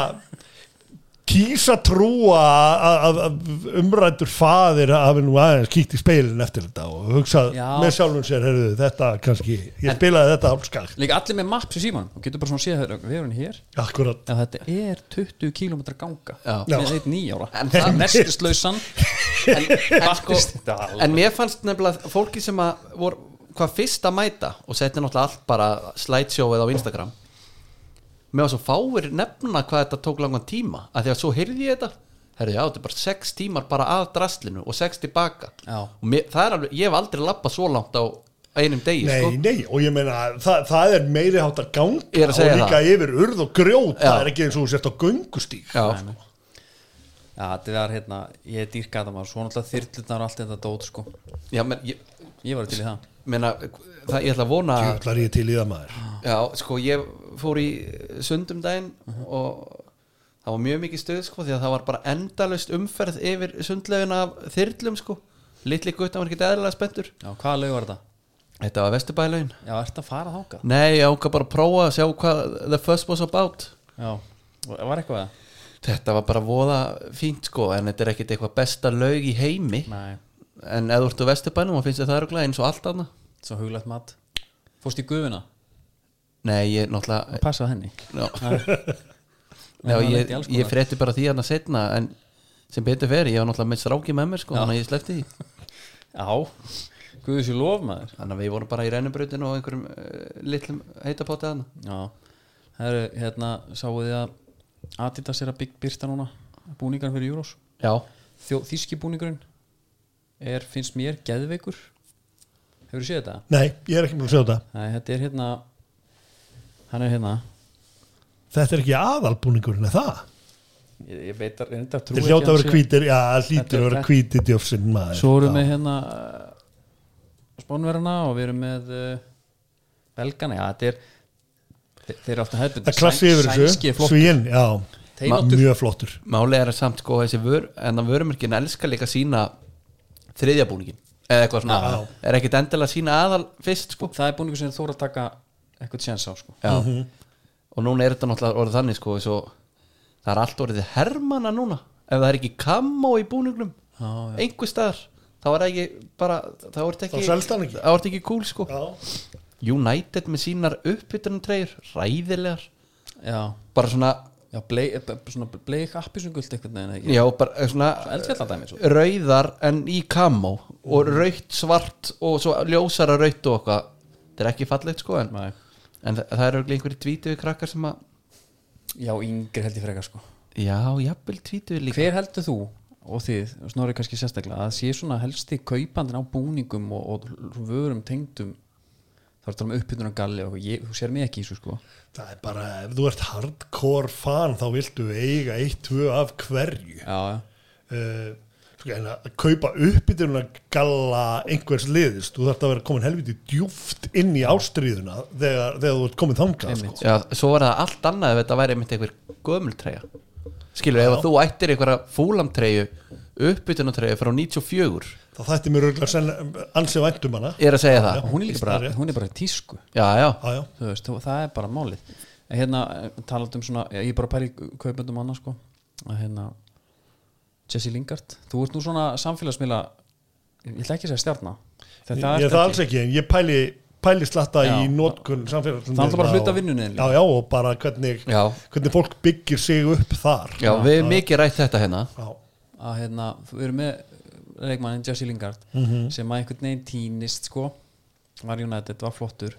[SPEAKER 4] kýsa trúa að- að að umræddur faðir hafi nú aðeins kíkt í speilin eftir þetta og hugsað
[SPEAKER 2] Já.
[SPEAKER 4] með sjálfum sér heyrðu, þetta kannski, ég spilaði þetta álskakt
[SPEAKER 2] Líka allir með maps í síman og getur bara svona séð heyrðu, Við erum hér
[SPEAKER 4] akkurat
[SPEAKER 2] Já, þetta er 20 km ganga
[SPEAKER 3] Já.
[SPEAKER 2] með einn nýjára
[SPEAKER 3] En það-
[SPEAKER 2] nestislausan
[SPEAKER 3] en, en, sko,
[SPEAKER 2] Þetta er alveg-
[SPEAKER 3] en mér fannst nefnilega fólki sem að voru hvað fyrst að mæta og setti náttúrulega allt bara slideshowið á Instagram mér var svo fáir nefna hvað þetta tók langan tíma að því að svo heyrði ég þetta herrðu já, þetta er bara 6 tímar bara að drastlinu og 6 tilbaka
[SPEAKER 2] Já.
[SPEAKER 3] og mér, það er alveg, ég hef aldrei lappað svo langt á einum degi
[SPEAKER 4] Nei,
[SPEAKER 3] sko.
[SPEAKER 4] nei, og ég meina það, það er meiri hátt
[SPEAKER 3] Ég
[SPEAKER 4] að ganga
[SPEAKER 3] er að
[SPEAKER 4] og
[SPEAKER 3] segja
[SPEAKER 4] líka yfir urð og grjót
[SPEAKER 3] Já.
[SPEAKER 4] það er ekki eins og þú sért á göngustík
[SPEAKER 3] já,
[SPEAKER 2] Já, þetta var hérna, ég dýrkaði það maður Svo náttúrulega þyrlutnar og allt þetta dót sko
[SPEAKER 3] Já, menn, ég
[SPEAKER 2] Ég var til í það
[SPEAKER 3] meina, það, ég ætla að vona að-
[SPEAKER 4] Jöflar ég til í það maður
[SPEAKER 3] Já, sko, ég fór í sundum daginn og það var mjög mikið stöð, sko, því að það var bara endalust umferð yfir sundlegin af þyrlum, sko Litli gutta var ekki eðlilega spenntur
[SPEAKER 2] Já, hvaða lög var þetta?
[SPEAKER 3] Þetta var vesturbælaugin
[SPEAKER 2] Já, ertu að fara þáka?
[SPEAKER 3] Nei, ég ákvað bara að prófa að sjá hvað the fuss was about
[SPEAKER 2] Já, var eitthvað það?
[SPEAKER 3] Þetta var bara voða fínt, sko, en þetta er ekkit eitthvað besta laug í heimi
[SPEAKER 2] Nei,
[SPEAKER 3] En eða þú ertu vesturbænum og finnst þér það eru eins og allt annað
[SPEAKER 2] svo huglægt mat Fórst í gufuna?
[SPEAKER 3] Nei, ég náttúrulega
[SPEAKER 2] Passaði henni
[SPEAKER 3] Já,
[SPEAKER 2] það
[SPEAKER 3] Já ég,
[SPEAKER 2] lendi í alls
[SPEAKER 3] ég
[SPEAKER 2] konar.
[SPEAKER 3] frétti bara því hann að setna en sem betur fer, ég var náttúrulega með stráki með mér sko,
[SPEAKER 2] Já.
[SPEAKER 3] þannig að ég sleppti því
[SPEAKER 2] Já, guðu sér lof maður
[SPEAKER 3] þannig að við vorum bara í rennubrautin og einhverjum uh, litlum heitapáti hann
[SPEAKER 2] Já, herru, hérna sáu þið að Adidas er að bygg byrta núna Búningar fyrir Júrós
[SPEAKER 3] Já,
[SPEAKER 2] Þjó, Þíski búningurinn er, finnst mér, geðveikur Hefur séð þetta?
[SPEAKER 4] Nei, ég er ekki múin að sjá þetta
[SPEAKER 2] Nei, þetta er hérna Hann er hérna
[SPEAKER 4] Þetta er ekki aðalbúningurinn, er það?
[SPEAKER 2] Ég, ég veit að reynda að trú
[SPEAKER 4] Þetta er hljóta að vera hvítir, já, það hlýtur að vera
[SPEAKER 2] Þetta-
[SPEAKER 4] hvítir djöfsinn maður
[SPEAKER 2] Svo erum
[SPEAKER 4] Já.
[SPEAKER 2] við hérna Spánverðina og við erum með uh, Belgana, já þetta er þe- Þeir eru alltaf hefðbund
[SPEAKER 4] Það er klassi yfir
[SPEAKER 2] Sænski
[SPEAKER 4] þessu,
[SPEAKER 2] flokk
[SPEAKER 4] svíinn, já
[SPEAKER 2] Þeir áttu-
[SPEAKER 4] Mjög flottur
[SPEAKER 3] máli er að samt sko þessi vör, en að vörumerkin elskar líka sína þriðjabúningin eða eitthvað svona,
[SPEAKER 4] Já.
[SPEAKER 3] er ekkit endilega sína aðal fyrst sko
[SPEAKER 2] Það er búningur sem þóra að taka eitthvað tjens á sko.
[SPEAKER 3] Já,
[SPEAKER 4] Mhm.
[SPEAKER 3] og núna er þetta náttúrulega orðið þannig sko, svo, það er allt orðið hermana núna ef það er ekki kamó í búningnum
[SPEAKER 2] Já,
[SPEAKER 3] einhver staðar þá er ekki bara, þá er þetta ekki
[SPEAKER 4] Þá selst hann ekki.
[SPEAKER 3] þá er þetta ekki cool sko
[SPEAKER 4] Já,
[SPEAKER 3] United með sínar uppbytunum treyjur ræðilegar,
[SPEAKER 2] Já,
[SPEAKER 3] bara svona
[SPEAKER 2] já bleik, b- svona bleik appisungult eitthvað neina ekki
[SPEAKER 3] já, bara eh, svona
[SPEAKER 2] Eldfjalladæmi svo
[SPEAKER 3] rauðar en í kamó
[SPEAKER 4] Mhm.
[SPEAKER 3] og rautt svart og svo ljósara rautt og okkar þetta er ekki fallegt sko en,
[SPEAKER 2] Nei.
[SPEAKER 3] en það, það eru einhverjir tvítuðu krakkar sem að
[SPEAKER 2] Já, yngri held ég frekar sko
[SPEAKER 3] já, jafnvel tvítuðu líka
[SPEAKER 2] Hver heldur þú og þið, og snorri kannski sérstaklega að sé svona helsti kaupandin á búningum og, og vörum tengdum þá er þetta um uppbyrðunar galli og ég, þú sér mig ekki í þessu sko
[SPEAKER 4] það er bara, ef þú ert hardcore fan þá viltu eiga eitt, tvö af hverju
[SPEAKER 2] Já,
[SPEAKER 4] uh, sko, en að kaupa uppbytun að galla einhvers liðist þú þarf að vera komin helviti djúft inn í ástriðuna þegar, þegar þú ert komin þangað sko.
[SPEAKER 3] Já, svo var það allt annað ef þetta væri einmitt einhver gömultreyja Skilur, ef þú ættir einhverja fúlamtreyju uppbytunartreyju frá 94
[SPEAKER 4] þá þætti mér auðvitað senn ansið væntum hana
[SPEAKER 3] Ég er að segja það
[SPEAKER 2] hún er líka bara,
[SPEAKER 4] Stærri.
[SPEAKER 2] hún er bara í tísku
[SPEAKER 3] Já, já,
[SPEAKER 4] Já, já.
[SPEAKER 2] þú veist, þú- það er bara málið En hérna, talað um svona ég er bara að pæla í kaupendum annars sko að hérna, Jesse Lingard þú ert nú svona samfélagsmiðla ég ætla ekki að segja stjarna
[SPEAKER 4] ég ég er það alls ekki, en ég pæli pæli slatta
[SPEAKER 2] Já.
[SPEAKER 4] í nótkunn samfélagslega
[SPEAKER 2] Það er alltaf bara hluti af vinnunni þinni.
[SPEAKER 4] já, já, og bara hvernig,
[SPEAKER 3] Já.
[SPEAKER 4] hvernig fólk byggir sig upp þar
[SPEAKER 3] já við erum mikið rætt þetta hérna
[SPEAKER 4] Já.
[SPEAKER 2] að hérna, við erum með leikmannin Jesse Lingard
[SPEAKER 4] Mhm.
[SPEAKER 2] sem að einhvern veginn tínist sko var United, var flottur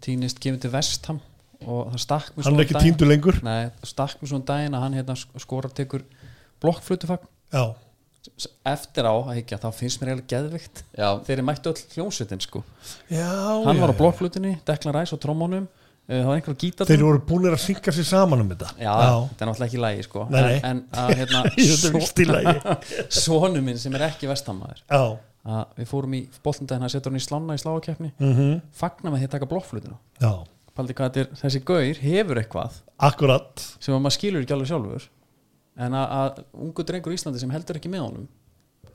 [SPEAKER 2] tínist kemur til Vestham og það stakk mér
[SPEAKER 4] Hann er
[SPEAKER 2] svona
[SPEAKER 4] ekki
[SPEAKER 2] daginn-
[SPEAKER 4] týndur lengur.
[SPEAKER 2] Nei, það stakk mér svona daginn að hann hérna skora tekur blokkflutufagn
[SPEAKER 4] já,
[SPEAKER 2] S- eftir á að higgja, þá finnst mér eiginlega geðvikt
[SPEAKER 3] Já.
[SPEAKER 2] þeir mættu öll hljómsveitin sko
[SPEAKER 4] já
[SPEAKER 2] hann
[SPEAKER 4] já,
[SPEAKER 2] var á
[SPEAKER 4] já.
[SPEAKER 2] blokkflutinni, Deklan Ræs og trómónum Eh, það var einhver gítar
[SPEAKER 4] þeir voru búinir að synga sér saman um þetta
[SPEAKER 2] Já, þetta er náttúrulega ekki í lægi sko
[SPEAKER 4] Nei, nei.
[SPEAKER 2] En, en að hérna
[SPEAKER 4] Þetta er víst í lagi.
[SPEAKER 2] Sónu minn sem er ekki vestamæður
[SPEAKER 4] já,
[SPEAKER 2] að við fórum í boltundaginn að setja hann í slána í sláakeppni mm
[SPEAKER 4] Mhm.
[SPEAKER 2] -hmm. fagna með því að taka blokkflutina
[SPEAKER 4] já,
[SPEAKER 2] Paldi hvað þetta er, þessi gaur hefur eitthvað
[SPEAKER 4] akkurat
[SPEAKER 2] sem að maður skilur ekki alveg sjálfur en að, að ungu drengur í Íslandi sem heldur ekki með honum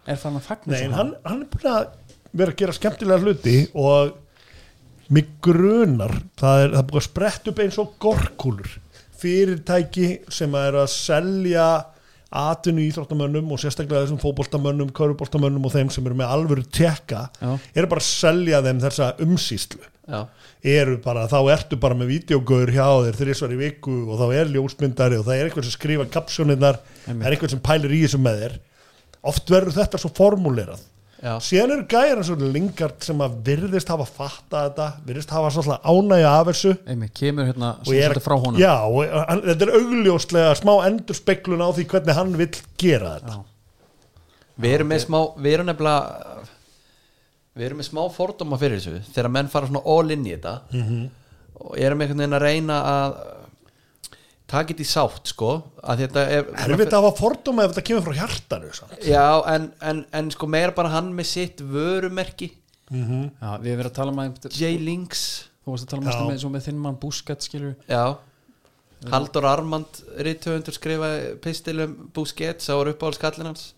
[SPEAKER 2] er farin að fagna
[SPEAKER 4] Nei, en
[SPEAKER 2] svona.
[SPEAKER 4] hann, hann er búin að vera að gera skemmtilega hluti og mig grunar það er, það er búin að spretta upp eins og gorkúlur fyrirtæki sem er að selja atinu íþróttamönnum og sérstaklega þessum fótboltamönnum, körfuboltamönnum og þeim sem eru með alvöru tekka
[SPEAKER 2] Já.
[SPEAKER 4] eru bara að selja þeim þessa umsýslu
[SPEAKER 3] Já,
[SPEAKER 4] eru bara, þá ertu bara með vídeogauður hjá þér þrísvar í viku og þá er ljósmyndari og það er einhver sem skrifa kapsjónirnar, það er einhver sem pælir í þessu með þér oft verður þetta svo formulerað
[SPEAKER 3] Já.
[SPEAKER 4] síðan eru gæjar eins og lingart sem að virðist hafa fatta þetta, virðist hafa svona ánægja af þessu
[SPEAKER 2] Einmitt, kemur hérna
[SPEAKER 4] og ég
[SPEAKER 2] svolítið frá honum
[SPEAKER 4] já, og hann, þetta er augljóslega smá endurspeglun á því hvernig hann vill gera þetta
[SPEAKER 3] við erum með smá við erum nefnilega við erum með smá fordóma fyrir þessu þegar Mhm. menn fara svona all in í þetta og erum einhvern veginn að reyna að það get ég sátt sko að þetta er
[SPEAKER 4] Erfitt að hafa fordóma ef þetta kemur frá hjartanu samt.
[SPEAKER 3] Já, en, en, en sko meira bara hann með sitt vörumerki
[SPEAKER 2] Já, við erum verið að tala um að þú
[SPEAKER 3] J-Links
[SPEAKER 2] varst að tala um
[SPEAKER 4] Já.
[SPEAKER 2] að með, svo með þinn mann Busquets skilur
[SPEAKER 3] Já Haldur Armand rithöfundur skrifaði pistilum Busquets, sá er uppáhaldskallin hans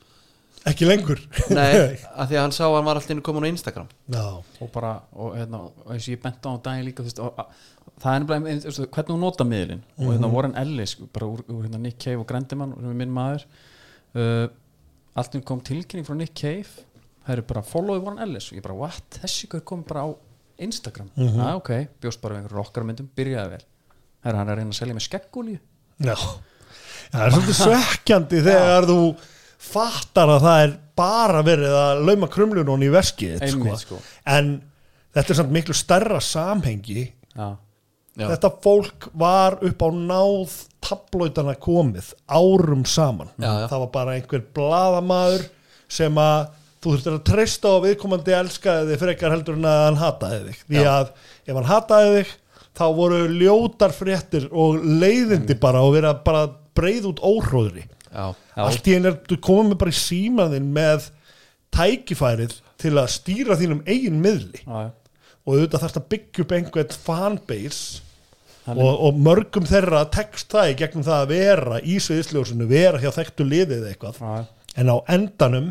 [SPEAKER 4] Ekki lengur
[SPEAKER 3] Nei, að því að hann sá að hann var alltaf inn komin á Instagram
[SPEAKER 4] Ná,
[SPEAKER 2] og bara, og hérna, og eins og ég bent á á daginn líka, þú veist, og, a, það er nefnilega ein- þú veist, hvernig hún nota miðlinn og hérna Warren Ellis, bara úr, úr hérna Nick Cave og Grendimann, sem er minn maður uh, allt um kom tilkynning frá Nick Cave, það eru bara followið Warren Ellis og ég bara, what, þessi hver kom bara á Instagram, mm ok bjóst bara við einhverjum rockarmyndum, byrjaði vel það er hann er að reyna að selja með skeggulíu
[SPEAKER 4] ná Það er svolítið svekkjandi þegar þú fattar að það er bara verið að lauma krumlunum í veskið
[SPEAKER 2] Einmitt, sko.
[SPEAKER 4] En þetta er samt miklu stærra samhengi
[SPEAKER 2] já,
[SPEAKER 3] Já.
[SPEAKER 4] Þetta fólk var upp á náð tablautana komið árum saman
[SPEAKER 3] Já, já.
[SPEAKER 4] Það var bara einhver bladamaður sem að þú þurftir að treysta á að viðkomandi elskaði þig frekar heldur en að hann hataði þig því að ef hann hataði þig þá voru ljótar fréttir og leiðindi bara og verið að bara breið út óhróðri
[SPEAKER 3] Já,
[SPEAKER 4] allt í einu er- þú komið með bara í símaðinn með tækifærið til að stýra þínum eigin miðli
[SPEAKER 2] já, já
[SPEAKER 4] og auðvitað þarfst að byggja upp einhvern fanbase og, og mörgum þeirra tekst það í gegnum það að vera í sviðsljósinu, vera hjá þekktu liðið eða eitthvað,
[SPEAKER 2] Já.
[SPEAKER 4] en á endanum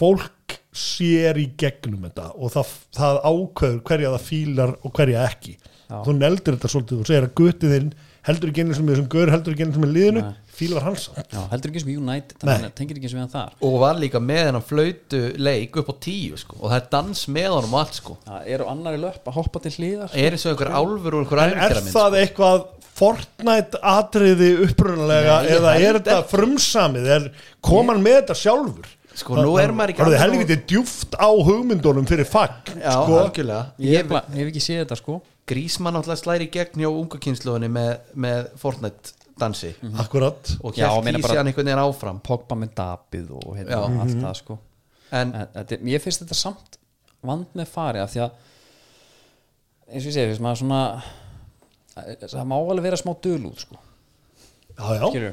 [SPEAKER 4] fólk sér í gegnum þetta og það, það ákveður hverja það fílar og hverja ekki
[SPEAKER 2] Já.
[SPEAKER 4] þú neldir þetta svolítið og segir að gutiðinn heldur ekki einu sem þessum gaur, heldur ekki einu sem er liðinu
[SPEAKER 2] Nei.
[SPEAKER 4] fílar hans samt.
[SPEAKER 2] Já, heldur ekki sem United,
[SPEAKER 4] Nei.
[SPEAKER 2] þannig að tengir ekki sem við hann þar
[SPEAKER 3] og var líka með hennan flautu leik upp á tíu sko og það er dans með honum og allt sko
[SPEAKER 2] Það er á annari löp að hoppa til hlýðar
[SPEAKER 3] er eins og einhver álfur og einhver sko?
[SPEAKER 4] En er
[SPEAKER 3] æfingera minn
[SPEAKER 4] það eitthvað Fortnite atriði upprunalega
[SPEAKER 3] Nei, ég
[SPEAKER 4] eða er
[SPEAKER 3] held
[SPEAKER 4] þetta
[SPEAKER 3] ekki.
[SPEAKER 4] frumsamið er koman með þetta sjálfur
[SPEAKER 3] Sko, nú er maður ekki
[SPEAKER 4] Það er
[SPEAKER 3] alveg nógu-
[SPEAKER 4] helviti djúft á hugmyndunum fyrir fag
[SPEAKER 3] Já,
[SPEAKER 4] sko.
[SPEAKER 3] algjörlega
[SPEAKER 2] Ég
[SPEAKER 3] ég,
[SPEAKER 2] hef, hef ekki séð þetta sko
[SPEAKER 3] Grísmann alltaf slæri í gegn hjá ungu kynsluðinni með, með Fortnite dansi
[SPEAKER 4] Mm. Akkurat
[SPEAKER 3] og
[SPEAKER 2] Já, og
[SPEAKER 3] hjælt
[SPEAKER 2] meina
[SPEAKER 3] í
[SPEAKER 2] bara-
[SPEAKER 3] sig hann einhvern veginn áfram
[SPEAKER 2] Pogba með dapið og
[SPEAKER 3] Já.
[SPEAKER 2] hérna,
[SPEAKER 4] Mhm.
[SPEAKER 2] allt það sko
[SPEAKER 3] en
[SPEAKER 2] en, þetta, Ég finnst þetta samt vand með fari af því að eins og ég segi, þess maður svona það má alveg vera smá dölúð sko
[SPEAKER 4] já, já.
[SPEAKER 2] Skilur,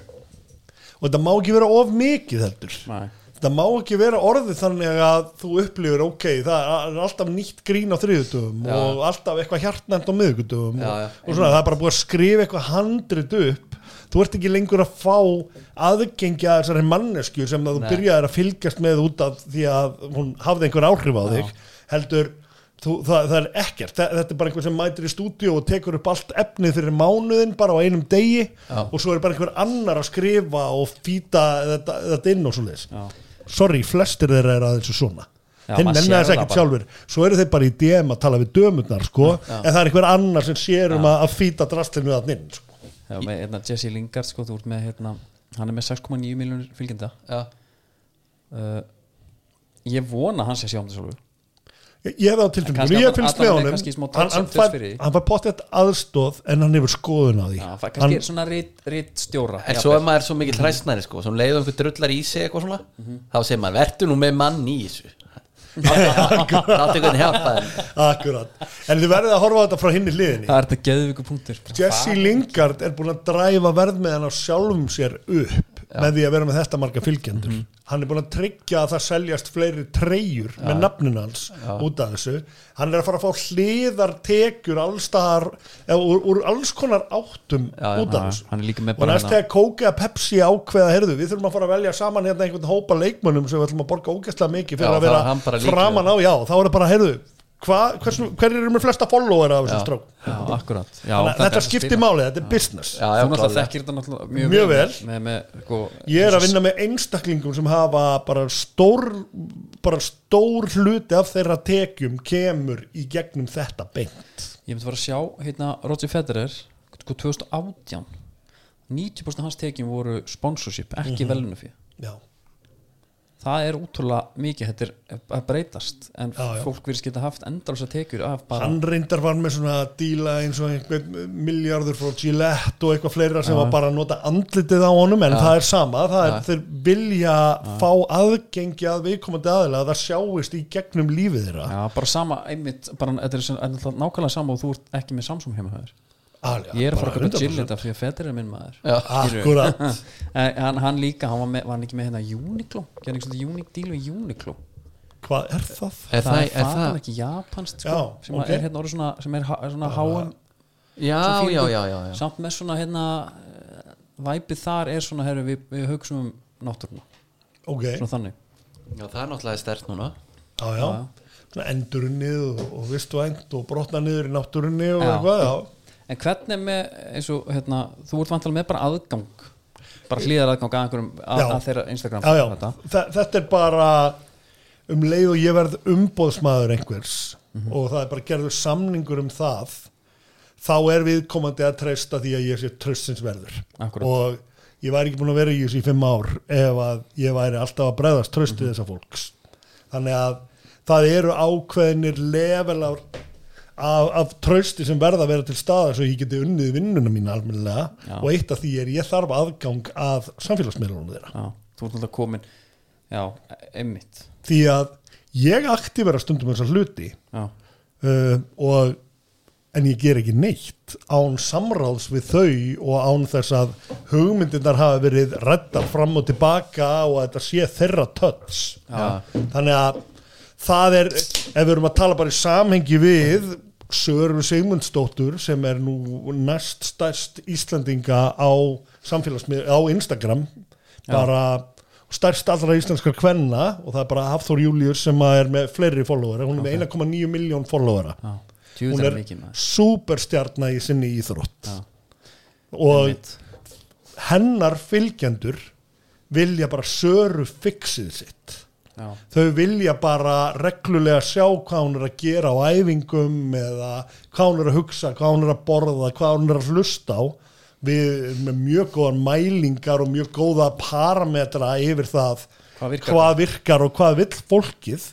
[SPEAKER 4] Og þetta má ekki vera of mikið heldur
[SPEAKER 2] Nei.
[SPEAKER 4] Þetta má ekki vera orðið þannig að þú upplifir ok, það er alltaf nýtt grín á þriðutum og alltaf eitthvað hjartnæmt á miðugutum
[SPEAKER 3] Já, já.
[SPEAKER 4] og, og svona, það er bara búið að skrifa eitthvað handrit upp þú ert ekki lengur að fá aðgengi að þessari mannesku sem að þú byrjaðir að fylgjast með út af því að hún hafði einhver áhrif á þig heldur þú, það, það er ekkert, Þa- þetta er bara einhver sem mætir í stúdíu og tekur upp allt efnið fyrir mánuðin bara á einum degi og svo er bara einhver annar að skrifa og fýta þetta, þetta inn og svo leis sorry, flestir þeirra er aðeins og svona
[SPEAKER 2] Já,
[SPEAKER 4] þeim
[SPEAKER 2] maður
[SPEAKER 4] nefna
[SPEAKER 2] sér
[SPEAKER 4] þess
[SPEAKER 2] það
[SPEAKER 4] ekkert
[SPEAKER 2] bara.
[SPEAKER 4] sjálfur svo eru þeir bara í DM að tala við dömurnar sko, en það er einhver annar sem sér um að, að fýta drastlinu að inn sko.
[SPEAKER 2] Já, með hérna, Jesse Lingard sko, þú ert með hérna, hann er með 6,9 miljonir fylgjenda
[SPEAKER 3] já,
[SPEAKER 2] uh, Ég vona að hann sé sjá um það sjálfur
[SPEAKER 4] Ég- Ég hef það á tilfengjum,
[SPEAKER 2] Kannski
[SPEAKER 4] ég
[SPEAKER 2] hann-
[SPEAKER 4] finnst
[SPEAKER 2] allan
[SPEAKER 4] með
[SPEAKER 2] er
[SPEAKER 4] honum
[SPEAKER 2] kannski smá
[SPEAKER 4] hann, hann,
[SPEAKER 2] touch-up
[SPEAKER 4] fær,
[SPEAKER 2] fyrir því.
[SPEAKER 4] hann fær potið aðstóð en hann hefur skoðun á því
[SPEAKER 2] Já, það er
[SPEAKER 4] hann,
[SPEAKER 2] kannski svona ritt, ritt stjóra
[SPEAKER 3] en svo er maður svo mikill hræstnæri sko sem leiðum einhver drullar í sig eitthvað svona þá segir maður, vertu nú með mann í þessu láttu einhvern hjálpa þeim
[SPEAKER 4] Akkurat, en þið verðið að horfa á þetta frá hinni hliðinni
[SPEAKER 2] Það er þetta geðvíku punktur
[SPEAKER 4] Jesse Lingard er búin að dræfa verð með hann á sjálfum sér upp með því að vera með þetta marga fylgjendur
[SPEAKER 2] Mhm.
[SPEAKER 4] hann er búin að tryggja að það seljast fleiri treyjur með nafnin hans út af þessu, hann er að fara að fá hliðartekjur allstaðar eða úr, úr alls konar áttum
[SPEAKER 2] já,
[SPEAKER 4] út af þessu
[SPEAKER 2] hann er líka með
[SPEAKER 4] og
[SPEAKER 2] bara
[SPEAKER 4] næst
[SPEAKER 2] hérna-
[SPEAKER 4] þegar kóka eða Pepsi ákveða heyrðu, við þurfum að fara að velja saman hérna einhvern hópa leikmönnum sem við ætlum að borga ógæstlega mikið fyrir
[SPEAKER 3] Já,
[SPEAKER 4] að
[SPEAKER 3] þá er hann
[SPEAKER 4] vera
[SPEAKER 3] bara líklegur.
[SPEAKER 4] framan á, já, þá er það bara heyrðu, hva, hversu, hver eru með flesta followera af þessum strók
[SPEAKER 2] Já, akkurat já,
[SPEAKER 4] þetta skiptir málið, þetta er business
[SPEAKER 3] já, já,
[SPEAKER 2] Þú náttúrulega
[SPEAKER 3] klárlega.
[SPEAKER 2] þekkir þetta náttúrulega mjög,
[SPEAKER 4] Mjög vel.
[SPEAKER 2] með, með, sko,
[SPEAKER 4] ég er að vinna með einstaklingum sem hafa bara stór bara stór hluti af þeirra tekjum kemur í gegnum þetta beint
[SPEAKER 2] Ég myndi fara að sjá hérna Roger Federer sko 2018 90% hans tekjum voru sponsorship ekki mm -hmm.
[SPEAKER 4] já,
[SPEAKER 2] það er útrúlega mikið þetta er að breytast en
[SPEAKER 4] Já, já.
[SPEAKER 2] fólk virðist geta haft endalsa tekjur af bara
[SPEAKER 4] hann reyndar var með svona díla eins og einhvern miljardur frá Gillette og eitthvað fleira sem var bara að nota andlitið á honum en það er sama, það er þeir vilja fá aðgengi að viðkomandi aðila að það sjáist í gegnum lífið þeirra
[SPEAKER 2] Já, bara sama, einmitt, bara, þetta er sem- þetta er nákvæmlega sama og þú ert ekki með Samsung heima höfður
[SPEAKER 4] Alveg,
[SPEAKER 2] Ég er að fara að
[SPEAKER 4] bara
[SPEAKER 2] köpa
[SPEAKER 4] 100%.
[SPEAKER 2] Gilletta því að fetir er minn maður
[SPEAKER 3] Já.
[SPEAKER 2] Skilurðu?
[SPEAKER 4] Akkúrat.
[SPEAKER 2] En hann, hann líka, hann var, með, var hann ekki með hérna Uniqlo Gerði ekki svona Uniq deal við Uniqlo
[SPEAKER 4] Hvað er það?
[SPEAKER 2] Eh,
[SPEAKER 3] Er það, er
[SPEAKER 2] fatan
[SPEAKER 3] það
[SPEAKER 2] ekki japanst sko,
[SPEAKER 4] Já,
[SPEAKER 2] sem að
[SPEAKER 4] ok.
[SPEAKER 2] er hérna orðið svona sem er, ha- er svona háum
[SPEAKER 3] Já, já, já, já, já.
[SPEAKER 2] samt með svona hérna eh, væpið þar er svona herru við, við hugsum um náttúruna
[SPEAKER 4] Ok,
[SPEAKER 2] svona þannig
[SPEAKER 3] já Það er náttúrulega stert núna
[SPEAKER 4] já, já Svona endurunnið og, og vistu engt og brotna niður í náttúrunni og
[SPEAKER 2] Já.
[SPEAKER 4] eitthvað, já
[SPEAKER 2] en hvernig er með eins og hérna þú ert vantilega með bara aðgang bara hlýðar aðgang að einhverjum að,
[SPEAKER 4] Já.
[SPEAKER 2] að þeirra Instagram
[SPEAKER 4] já, já.
[SPEAKER 2] Þetta.
[SPEAKER 4] Þa- Þetta er bara um leið og ég verð umboðsmaður einhvers
[SPEAKER 2] Mhm.
[SPEAKER 4] og það er bara gerður samningur um það þá er viðkomandi að treysta því að ég sé tröstins verður
[SPEAKER 2] Akkúrat.
[SPEAKER 4] og ég væri ekki búin að vera í þessu í fimm ár ef að ég væri alltaf að bregðast
[SPEAKER 2] Mhm.
[SPEAKER 4] tröstið þessa fólks þannig að það eru ákveðinir level af, af, af trösti sem verða að vera til staðar svo ég geti unnið vinnuna mína almennilega
[SPEAKER 2] Já.
[SPEAKER 4] og eitt af því er ég þarf aðgang að samfélagsmiðlunum þeirra
[SPEAKER 2] Já, þú ert náttúrulega komin já, einmitt
[SPEAKER 4] því að ég aktivera stundum þessar hluti
[SPEAKER 2] já,
[SPEAKER 4] uh, og en ég ger ekki neitt án samráðs við þau og án þess að hugmyndirnar hafa verið reddar fram og tilbaka og að þetta sé þeirra töts
[SPEAKER 2] Já.
[SPEAKER 4] þannig að það er ef við erum að tala bara í samhengi við Söru Sigmundsdóttur sem er nú næst stærst Íslandinga á samfélagsmið á Instagram bara stærst allra íslenskar kvenna og það er bara Hafþór Július sem að er með fleiri followera, hún er með 1,9 miljón followera
[SPEAKER 2] já,
[SPEAKER 4] hún
[SPEAKER 2] djúðar
[SPEAKER 4] er
[SPEAKER 2] mikið maður
[SPEAKER 4] superstjarna í sinni íþrótt
[SPEAKER 2] Já.
[SPEAKER 4] og
[SPEAKER 2] Einmitt.
[SPEAKER 4] hennar fylgjendur vilja bara söru fixið sitt
[SPEAKER 2] já,
[SPEAKER 4] þau vilja bara reglulega sjá hvað hún er að gera á æfingum eða hvað hún er að hugsa, hvað hún er að borða, hvað hún er að hlusta á við erum með mjög góðan mælingar og mjög góða parametra yfir það
[SPEAKER 2] Hvað virkar? Mm.
[SPEAKER 4] hvað virkar og hvað vill fólkið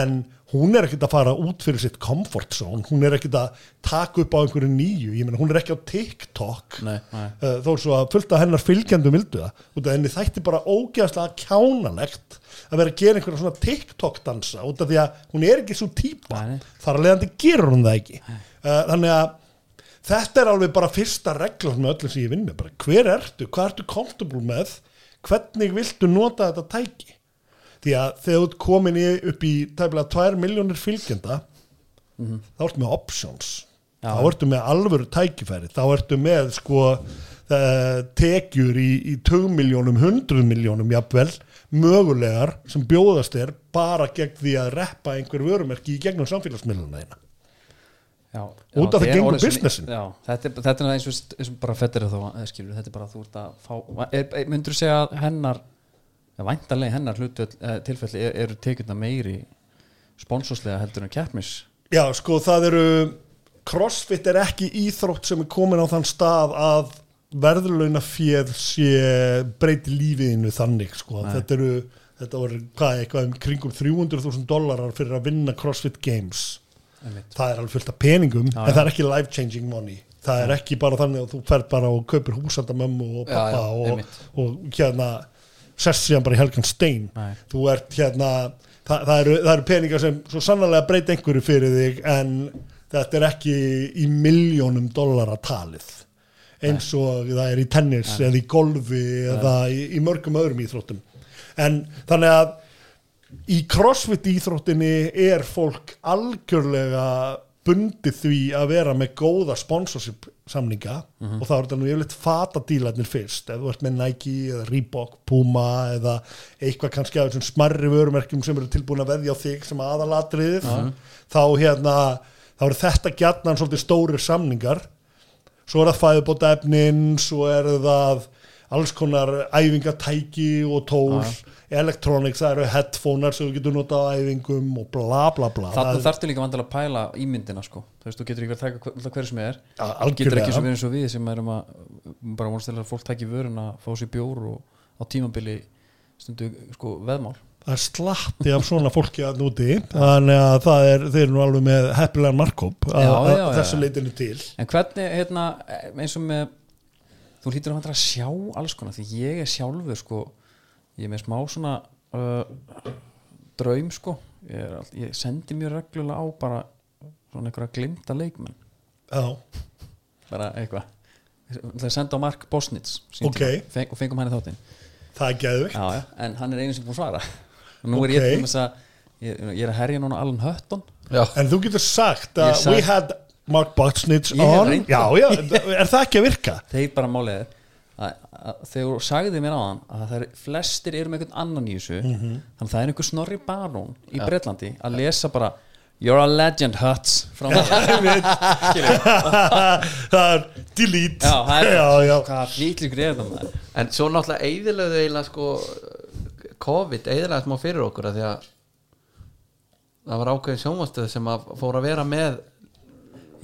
[SPEAKER 4] en hún er ekkert að fara út fyrir sitt comfort zone, hún er ekkert að taka upp á einhverju nýju, ég meina hún er ekki á TikTok
[SPEAKER 3] Nei.
[SPEAKER 2] Nei.
[SPEAKER 4] Uh, þó svo að fullta hennar fylgjandum vildu það út af henni þætti bara ógeðslega kjánalegt að vera að gera einhverja svona TikTok dansa út af því að hún er ekki svo típa
[SPEAKER 2] Nei, nei.
[SPEAKER 4] þar að leiðandi gerur hún það ekki uh, þannig að þetta er alveg bara fyrsta regla með öllum sem ég vinn með bara, hver ertu, hvað ertu comfortable með hvernig viltu nota þetta tæki því að þegar þú ert komin í, upp í tæmlega 2 miljónir fylgjanda þá ertu með options
[SPEAKER 2] Já.
[SPEAKER 4] þá ertu með alvöru tækifæri þá ertu með sko eh, tekjur í, í 2 miljónum 100 miljónum jafnvel mögulegar sem bjóðast er bara gegn því að reppa einhver vörumerki í gegnum samfélagsmiðluna þína
[SPEAKER 2] já,
[SPEAKER 4] Út af
[SPEAKER 2] já,
[SPEAKER 4] það gengur
[SPEAKER 2] orðið svo-
[SPEAKER 4] businessin.
[SPEAKER 2] já, þetta, er- þetta er eins og, eins og bara fettir þó, eh, skilur, þetta er bara að þú ert að fá er, er, myndur segja að hennar væntanlega í hennar hlutu, tilfelli er, eru tekjurna meiri sponsorslega heldur en keppnis
[SPEAKER 4] Já, sko, það eru crossfit er ekki íþrótt sem er komin á þann stað að verðlauna fjöð sé breyti lífiðinu þannig, sko þetta eru, þetta voru, hvað, eitthvað um kringum 300.000 dólarar fyrir að vinna crossfit games
[SPEAKER 2] Einmitt.
[SPEAKER 4] það er alveg fullt af peningum en
[SPEAKER 2] já.
[SPEAKER 4] það er ekki life changing money það er ekki bara þannig að þú ferð bara og kaupir húsandamömmu og
[SPEAKER 3] Já,
[SPEAKER 4] pappa
[SPEAKER 3] já,
[SPEAKER 4] og,
[SPEAKER 3] einmitt.
[SPEAKER 4] og hérna sest síðan bara í helgan stein
[SPEAKER 2] Nei.
[SPEAKER 4] þú ert hérna það, það, eru, það eru peningar sem svo sannlega breyta einhverju fyrir þig en þetta er ekki í miljónum dollara talið eins og það er í tennis eða í golfi eða í, í mörgum öðrum íþróttum en þannig að í crossfit íþróttinni er fólk algjörlega bundið því að vera með góða sponsorship samninga og það er þetta nú yfirleitt fata dílarnir fyrst ef þú ert með Nike eða Reebok, Puma eða eitthvað kannski af þessum smarri vörumerkjum sem eru tilbúin að veðja á þig sem aðalatriðið þá hérna þá eru þetta gjarnan svolítið stórir samningar svo er það fæðubóta efnin svo er það alls konar æfingatæki og tól elektronik, það eru headphonear sem þú getur notað á æfingum og bla bla bla
[SPEAKER 2] Þarna
[SPEAKER 4] Það-
[SPEAKER 2] þarftu líka vandilega að pæla ímyndina sko. þú veist, þú getur ekki verið að taka hver- alltaf hverju sem er
[SPEAKER 4] Ja,
[SPEAKER 2] Þú getur
[SPEAKER 4] algjörlega.
[SPEAKER 2] ekki svo verið eins og við sem erum að bara vonast til að fólk tæki vörun að fá sér bjór og á tímabili stundu sko veðmál
[SPEAKER 4] það er slatti af svona fólki að núti þannig að það er, þeir eru nú alveg með heppilegan markkóp að-
[SPEAKER 2] Já,
[SPEAKER 4] að
[SPEAKER 2] já, já,
[SPEAKER 4] þessu
[SPEAKER 2] já.
[SPEAKER 4] leitinu til
[SPEAKER 2] en hvernig, hérna, eins og með þú hlýtur að vandilega að sjá alls konar því ég er sjálfur sko ég er með smá svona uh, draum sko ég, er all, ég sendi mjög reglulega á bara svona einhverja glimta leikmenn
[SPEAKER 4] já,
[SPEAKER 2] bara eitthvað það senda á Mark Bosnitz sínum
[SPEAKER 4] Ok.
[SPEAKER 2] tíma. Feng, og fengum hann í þáttinn
[SPEAKER 4] það er geðvikt
[SPEAKER 2] já, já, en hann er einu sem búin að svara og nú
[SPEAKER 4] Ok.
[SPEAKER 2] er ég til þess að ég, ég er að herja núna Alan Hutton
[SPEAKER 4] en þú getur sagt
[SPEAKER 2] Ég
[SPEAKER 4] að
[SPEAKER 2] sagði-
[SPEAKER 4] we had Mark Botsnitz
[SPEAKER 2] Ég hef
[SPEAKER 4] on
[SPEAKER 2] reynt
[SPEAKER 4] já, já, er það ekki að virka?
[SPEAKER 2] þeir bara málið er að- að þegar þú sagði mér á hann að það er flestir eru með einhvern annan í þessu þannig að það er einhver snorri barón í Bretlandi að lesa bara You're a legend, Huts frá mér
[SPEAKER 4] það er delete
[SPEAKER 2] Já, það er
[SPEAKER 4] já, já.
[SPEAKER 2] Hvað flýtlikur er þetta maður
[SPEAKER 3] En svo náttúrulega eðilöðu eiginlega sko COVID eðilöðu smá fyrir okkur af því að það var ákveðin sjónvastöð sem að fór að vera með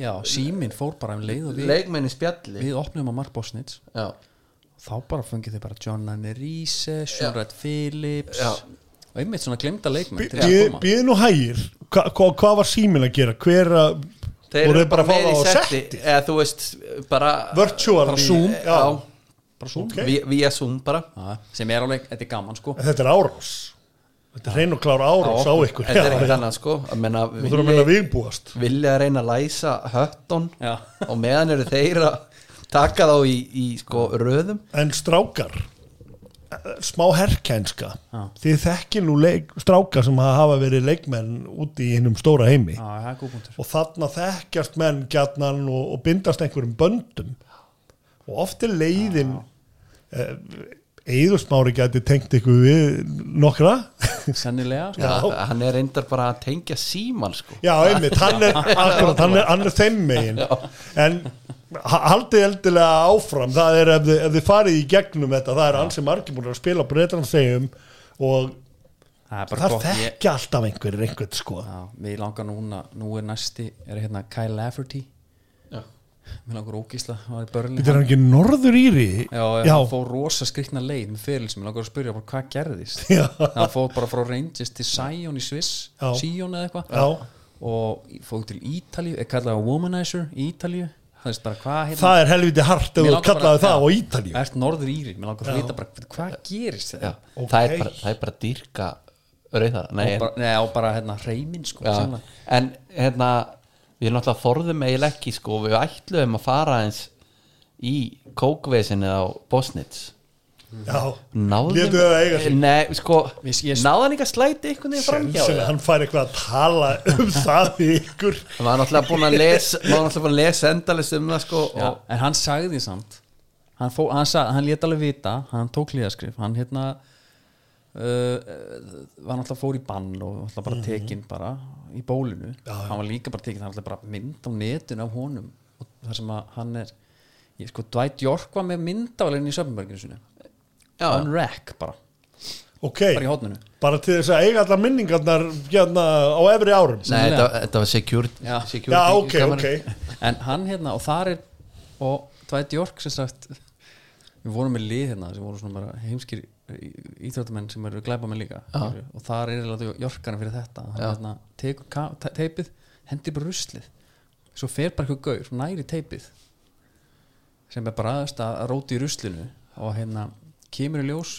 [SPEAKER 2] Já, síminn fór bara um leið og við
[SPEAKER 3] leikmenn í spjalli
[SPEAKER 2] Við opnum á Mark Bosnitz
[SPEAKER 3] Já,
[SPEAKER 2] Þá bara fengið þið bara John Anne Reese Sean
[SPEAKER 3] Já.
[SPEAKER 2] Red Phillips
[SPEAKER 3] Já.
[SPEAKER 2] Og einmitt svona glemda leikmenn til að koma
[SPEAKER 4] Býðu nú hægir Hva- hva- Hvað var síminn að gera? Hver að voru þeir bara að fá
[SPEAKER 3] með
[SPEAKER 4] það
[SPEAKER 3] í
[SPEAKER 4] á
[SPEAKER 3] setti,
[SPEAKER 4] setti?
[SPEAKER 3] Eða þú veist, bara
[SPEAKER 4] Virtual
[SPEAKER 3] bara
[SPEAKER 4] í-
[SPEAKER 3] Zoom
[SPEAKER 4] já.
[SPEAKER 2] Bara svo
[SPEAKER 4] Ok.
[SPEAKER 3] Vía- Vía Zoom bara
[SPEAKER 2] Já, Sem er alveg, þetta er gaman sko
[SPEAKER 4] Þetta er árás Þetta er hrein og klár árás á ykkur
[SPEAKER 3] Þetta er
[SPEAKER 4] Já,
[SPEAKER 3] ekkert
[SPEAKER 4] já.
[SPEAKER 3] annað sko að menna,
[SPEAKER 4] Þú þurfum að minna viðbúast
[SPEAKER 3] vilja að reyna að læsa höttun
[SPEAKER 2] Já.
[SPEAKER 3] og meðan eru þeir að taka þá í, í sko röðum
[SPEAKER 4] En strákar eh, smá herkænska
[SPEAKER 2] Já.
[SPEAKER 4] þið þekkir nú leik, strákar sem hafa verið leikmenn úti í hinnum stóra heimi
[SPEAKER 2] Já, það er góð punktur
[SPEAKER 4] og þarna þekkjast menn gjarnan og, og bindast einhverjum böndum og oft er leiðin Eðursmári gæti tengt ykkur við nokkra
[SPEAKER 2] Sennilega sko.
[SPEAKER 4] Já.
[SPEAKER 3] að, hann er reyndar bara að tengja síman sko
[SPEAKER 4] Já, einmitt, hann er, akkurat, hann er, hann er þeim megin en ha- haldið eldilega áfram það er ef þið, ef þið farið í gegnum þetta það er ansi margir búin að spila breytlansegjum og
[SPEAKER 2] Það er bara
[SPEAKER 4] það
[SPEAKER 2] gott ég,
[SPEAKER 4] þekkja alltaf einhverjir einhvern sko
[SPEAKER 2] já, Við langar núna, nú er næsti Er hérna Kyle Lafferty
[SPEAKER 3] Já.
[SPEAKER 2] Mér langar ógísla, hann er börnli
[SPEAKER 4] Þetta er hann ekki norður íri
[SPEAKER 2] Já, já. hann fór rosa skrikna leið með fyrir sem ég langar að spyrja bara hvað gerðist
[SPEAKER 4] Já.
[SPEAKER 2] hann fór bara frá Rangers til Sion í Sviss
[SPEAKER 4] Já.
[SPEAKER 2] Sion eða
[SPEAKER 4] Já.
[SPEAKER 2] eitthvað og fór til Ítalíu er kallað að womanizer í Ítalíu það veist bara hvað hérna
[SPEAKER 4] það er helviti hart ef
[SPEAKER 2] Mér
[SPEAKER 4] þú
[SPEAKER 2] langar bara-
[SPEAKER 4] kallaði það á
[SPEAKER 2] Já.
[SPEAKER 4] Ítalíu
[SPEAKER 2] ert norður íri, mér langar að vita bara hvað gerist
[SPEAKER 3] Já,
[SPEAKER 2] þetta
[SPEAKER 3] það,
[SPEAKER 4] Ok.
[SPEAKER 3] er bara, það er bara dýrka rauðara Nei,
[SPEAKER 2] og bara, neða, og bara hérna reymin sko,
[SPEAKER 3] en,
[SPEAKER 2] sennilega.
[SPEAKER 3] já, en hérna við náttúrulega þorðum eiginlega ekki sko við ætluðum að fara eins í kókvesinni á Bosnitz
[SPEAKER 2] Mm.
[SPEAKER 4] Já,
[SPEAKER 3] Náðum
[SPEAKER 4] Létu það eiga sig.
[SPEAKER 3] Nei, sko,
[SPEAKER 2] Ég- ég-
[SPEAKER 3] náðan ekki að slæti einhvern veginn framhjá
[SPEAKER 4] Sennilega hann fær eitthvað að tala um það við ykkur
[SPEAKER 3] Það var náttúrulega búin að lesa maður var náttúrulega búin að lesa endalist um það sko
[SPEAKER 2] Já,
[SPEAKER 3] og,
[SPEAKER 2] en hann sagði samt hann, fó, hann, sag, hann lét alveg vita hann tók hlýðaskrif hann hérna uh, uh, var náttúrulega fór í bann og náttúrulega bara tekinn bara í bólinu hann var líka bara tekinn, hann var náttúrulega bara mynd á netinu af honum og þar sem að hann er ég, sko, Dwight York var með myndavalinn í Söfnberginu sinu
[SPEAKER 3] Já.
[SPEAKER 2] on rack bara,
[SPEAKER 4] Ok,
[SPEAKER 2] bara í hótninu
[SPEAKER 4] bara til þess að eiga allar minningarnar hérna á efri árum
[SPEAKER 3] Nei, þetta, þetta var security,
[SPEAKER 2] Já.
[SPEAKER 3] security
[SPEAKER 4] Já, ok,
[SPEAKER 3] kameran.
[SPEAKER 4] ok
[SPEAKER 2] en hann hérna og þar er og Dwight York sem sagt við vorum með lið hérna sem voru svona bara heimskir íþjóttamenn sem eru glæpa með líka skilju, og þar er hérna Yorkana fyrir þetta hann hérna tekur ka- te- teipið hendir bara ruslið svo fer bara eitthvað gaur, næri teipið sem er bara aðeins að róti í ruslinu og hérna kemur í ljós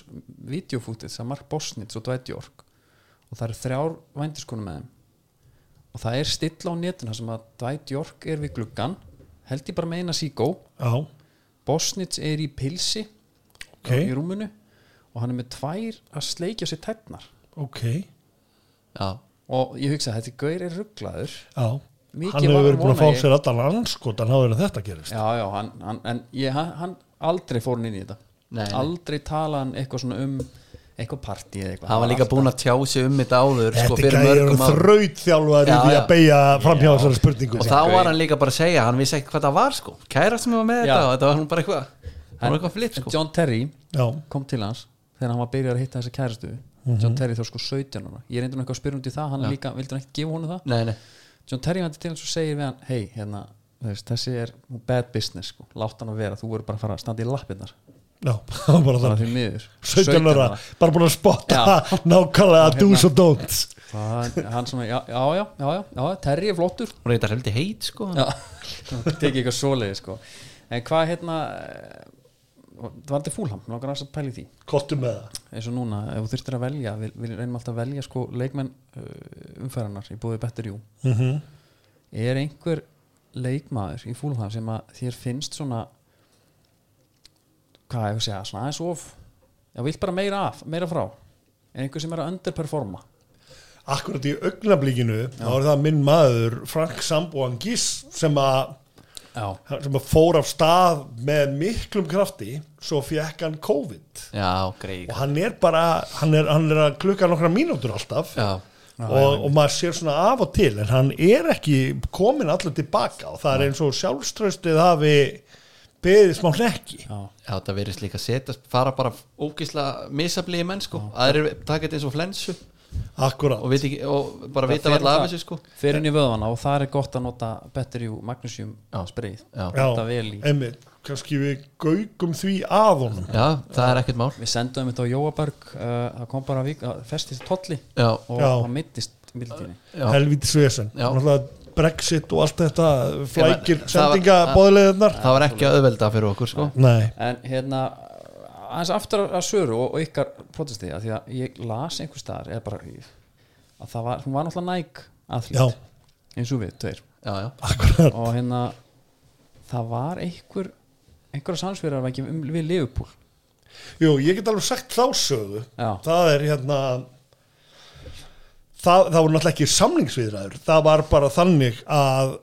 [SPEAKER 2] videofútið sem Mark Bosnitz og Dwight York og það eru þrjár vændiskonum með þeim og það er stilla á netinu þar sem að Dwight York er við gluggan held ég bara með eina sígó
[SPEAKER 4] Já,
[SPEAKER 2] Bosnitz er í pilsi
[SPEAKER 4] ok,
[SPEAKER 2] í rúminu og hann er með tvær að sleikja sér tætnar
[SPEAKER 4] ok
[SPEAKER 3] Já,
[SPEAKER 2] og ég hugsa að þetta gaur er rugglaður
[SPEAKER 4] Já,
[SPEAKER 2] Mikið
[SPEAKER 4] hann
[SPEAKER 2] var
[SPEAKER 4] hefur verið búin
[SPEAKER 2] vona
[SPEAKER 4] að fá
[SPEAKER 2] ég-
[SPEAKER 4] sér allar anskotan áður en þetta gerist
[SPEAKER 2] já já hann, hann, en ég, hann, hann aldrei fór hann inn í þetta
[SPEAKER 3] Nei, nei.
[SPEAKER 2] aldrei tala hann eitthvað svona um eitthvað partí eða eitthvað
[SPEAKER 3] hann var líka búin að tjá sig um þetta áður sko,
[SPEAKER 4] Þetta
[SPEAKER 3] fyrir
[SPEAKER 4] gæði eru
[SPEAKER 3] mörgum árum
[SPEAKER 4] þraut þjálfar í
[SPEAKER 3] Já,
[SPEAKER 4] því
[SPEAKER 3] já.
[SPEAKER 4] að beigja framhjá þessari spurningu
[SPEAKER 3] og þá var hann líka bara að segja, hann vissi ekkert hvað það var sko kæra sem var með
[SPEAKER 2] Já.
[SPEAKER 3] þetta og þetta var hann bara eitthvað hann var eitthvað flitt
[SPEAKER 2] En
[SPEAKER 3] sko
[SPEAKER 2] John Terry
[SPEAKER 4] Já,
[SPEAKER 2] kom til hans þegar hann var byrjað að hitta þessa kæristu
[SPEAKER 3] Mhm.
[SPEAKER 2] John Terry þá sko 17 ára ég reyndi hann eitthvað að spyrja um til það hann líka, vildi hann ekki gefa honum það
[SPEAKER 3] Nei, nei,
[SPEAKER 2] John Terry vandi til hans og segir við hann hei, hérna, þú veist, þessi er bad business, sko, látt hann að vera þú verður bara að fara að standa í lappirnar
[SPEAKER 4] já, það var bara
[SPEAKER 2] bara
[SPEAKER 4] það
[SPEAKER 2] því miður
[SPEAKER 4] 17 ára, bara búin að spotta
[SPEAKER 2] Já.
[SPEAKER 4] nákvæmlega do's
[SPEAKER 2] hérna.
[SPEAKER 4] og don'ts
[SPEAKER 2] Það- hann svona, já, já, já, já, já, já Terry er flottur
[SPEAKER 3] hún reyndar heldur heit sko
[SPEAKER 2] já, tekið eitthvað svoleiði, sko en hvað, hérna eh, það var þetta fúlham, langar aðeins að pæli því
[SPEAKER 4] Kortum með það
[SPEAKER 2] eins og núna, ef þú þurftir að velja við, við reynum alltaf að velja sko leikmenn uh, umferðarnar í búið Better You
[SPEAKER 4] Mhm.
[SPEAKER 2] er einhver leikmaður í fúlham sem að þér finnst svona hvað ég að segja, svona aðeins of já, vilt bara meira af, meira frá en einhver sem er að underperforma
[SPEAKER 4] Akkurat í augnablíkinu þá er það minn maður Frank Samboangis sem að
[SPEAKER 2] já,
[SPEAKER 4] sem að fór af stað með miklum krafti svo fekk hann COVID
[SPEAKER 3] Já, greið
[SPEAKER 4] og hann er bara hann er, hann er að klukka nokkra mínútur alltaf
[SPEAKER 3] Já.
[SPEAKER 4] og, og maður sér svona af og til en hann er ekki komin allir tilbaka og það er eins og sjálfströstið hafi beðið smá hrekki
[SPEAKER 2] já,
[SPEAKER 3] Já, þetta verðist líka að setja, fara bara ógísla misabliði menn sko, aðrir taka þetta eins og flensu
[SPEAKER 4] akkurat
[SPEAKER 3] og, vita ekki, og bara vita
[SPEAKER 2] fer
[SPEAKER 3] alltaf af
[SPEAKER 2] það-
[SPEAKER 3] þessu sko
[SPEAKER 2] fer inn í vöðvana og það er gott að nota Battery Magnesium
[SPEAKER 3] Já.
[SPEAKER 2] spreyð
[SPEAKER 3] Já.
[SPEAKER 2] þetta vel í
[SPEAKER 4] einmitt, kannski við gaugum því að honum
[SPEAKER 3] Já, það er ekkert mál
[SPEAKER 2] við sendum þetta á Jóaberg uh, það kom bara vik, uh, festist tolli
[SPEAKER 3] Já,
[SPEAKER 2] og
[SPEAKER 4] Já.
[SPEAKER 2] það mittist mildtíni
[SPEAKER 3] já,
[SPEAKER 4] helvítis vesen
[SPEAKER 3] Já.
[SPEAKER 4] Náttúrulega Brexit og allt þetta flækir
[SPEAKER 3] það var-
[SPEAKER 4] sendingabóðleðunar
[SPEAKER 3] það var ekki að auðvelda fyrir okkur sko
[SPEAKER 4] Nei,
[SPEAKER 2] en hérna aðeins aftur að söru og, og ykkar protesti að því að ég las einhver staðar eða bara í- að það var, hún var náttúrulega næg
[SPEAKER 4] Já.
[SPEAKER 2] aðlít eins og við, tveir
[SPEAKER 3] Já, já,
[SPEAKER 4] akkurat
[SPEAKER 2] og hérna það var einhver einhverja sannsverðar ekki um, við Liverpool
[SPEAKER 4] Jú, ég get alveg sagt þá sögu
[SPEAKER 2] Já.
[SPEAKER 4] Það er hérna það, það voru náttúrulega ekki samningsviðræður Það var bara þannig að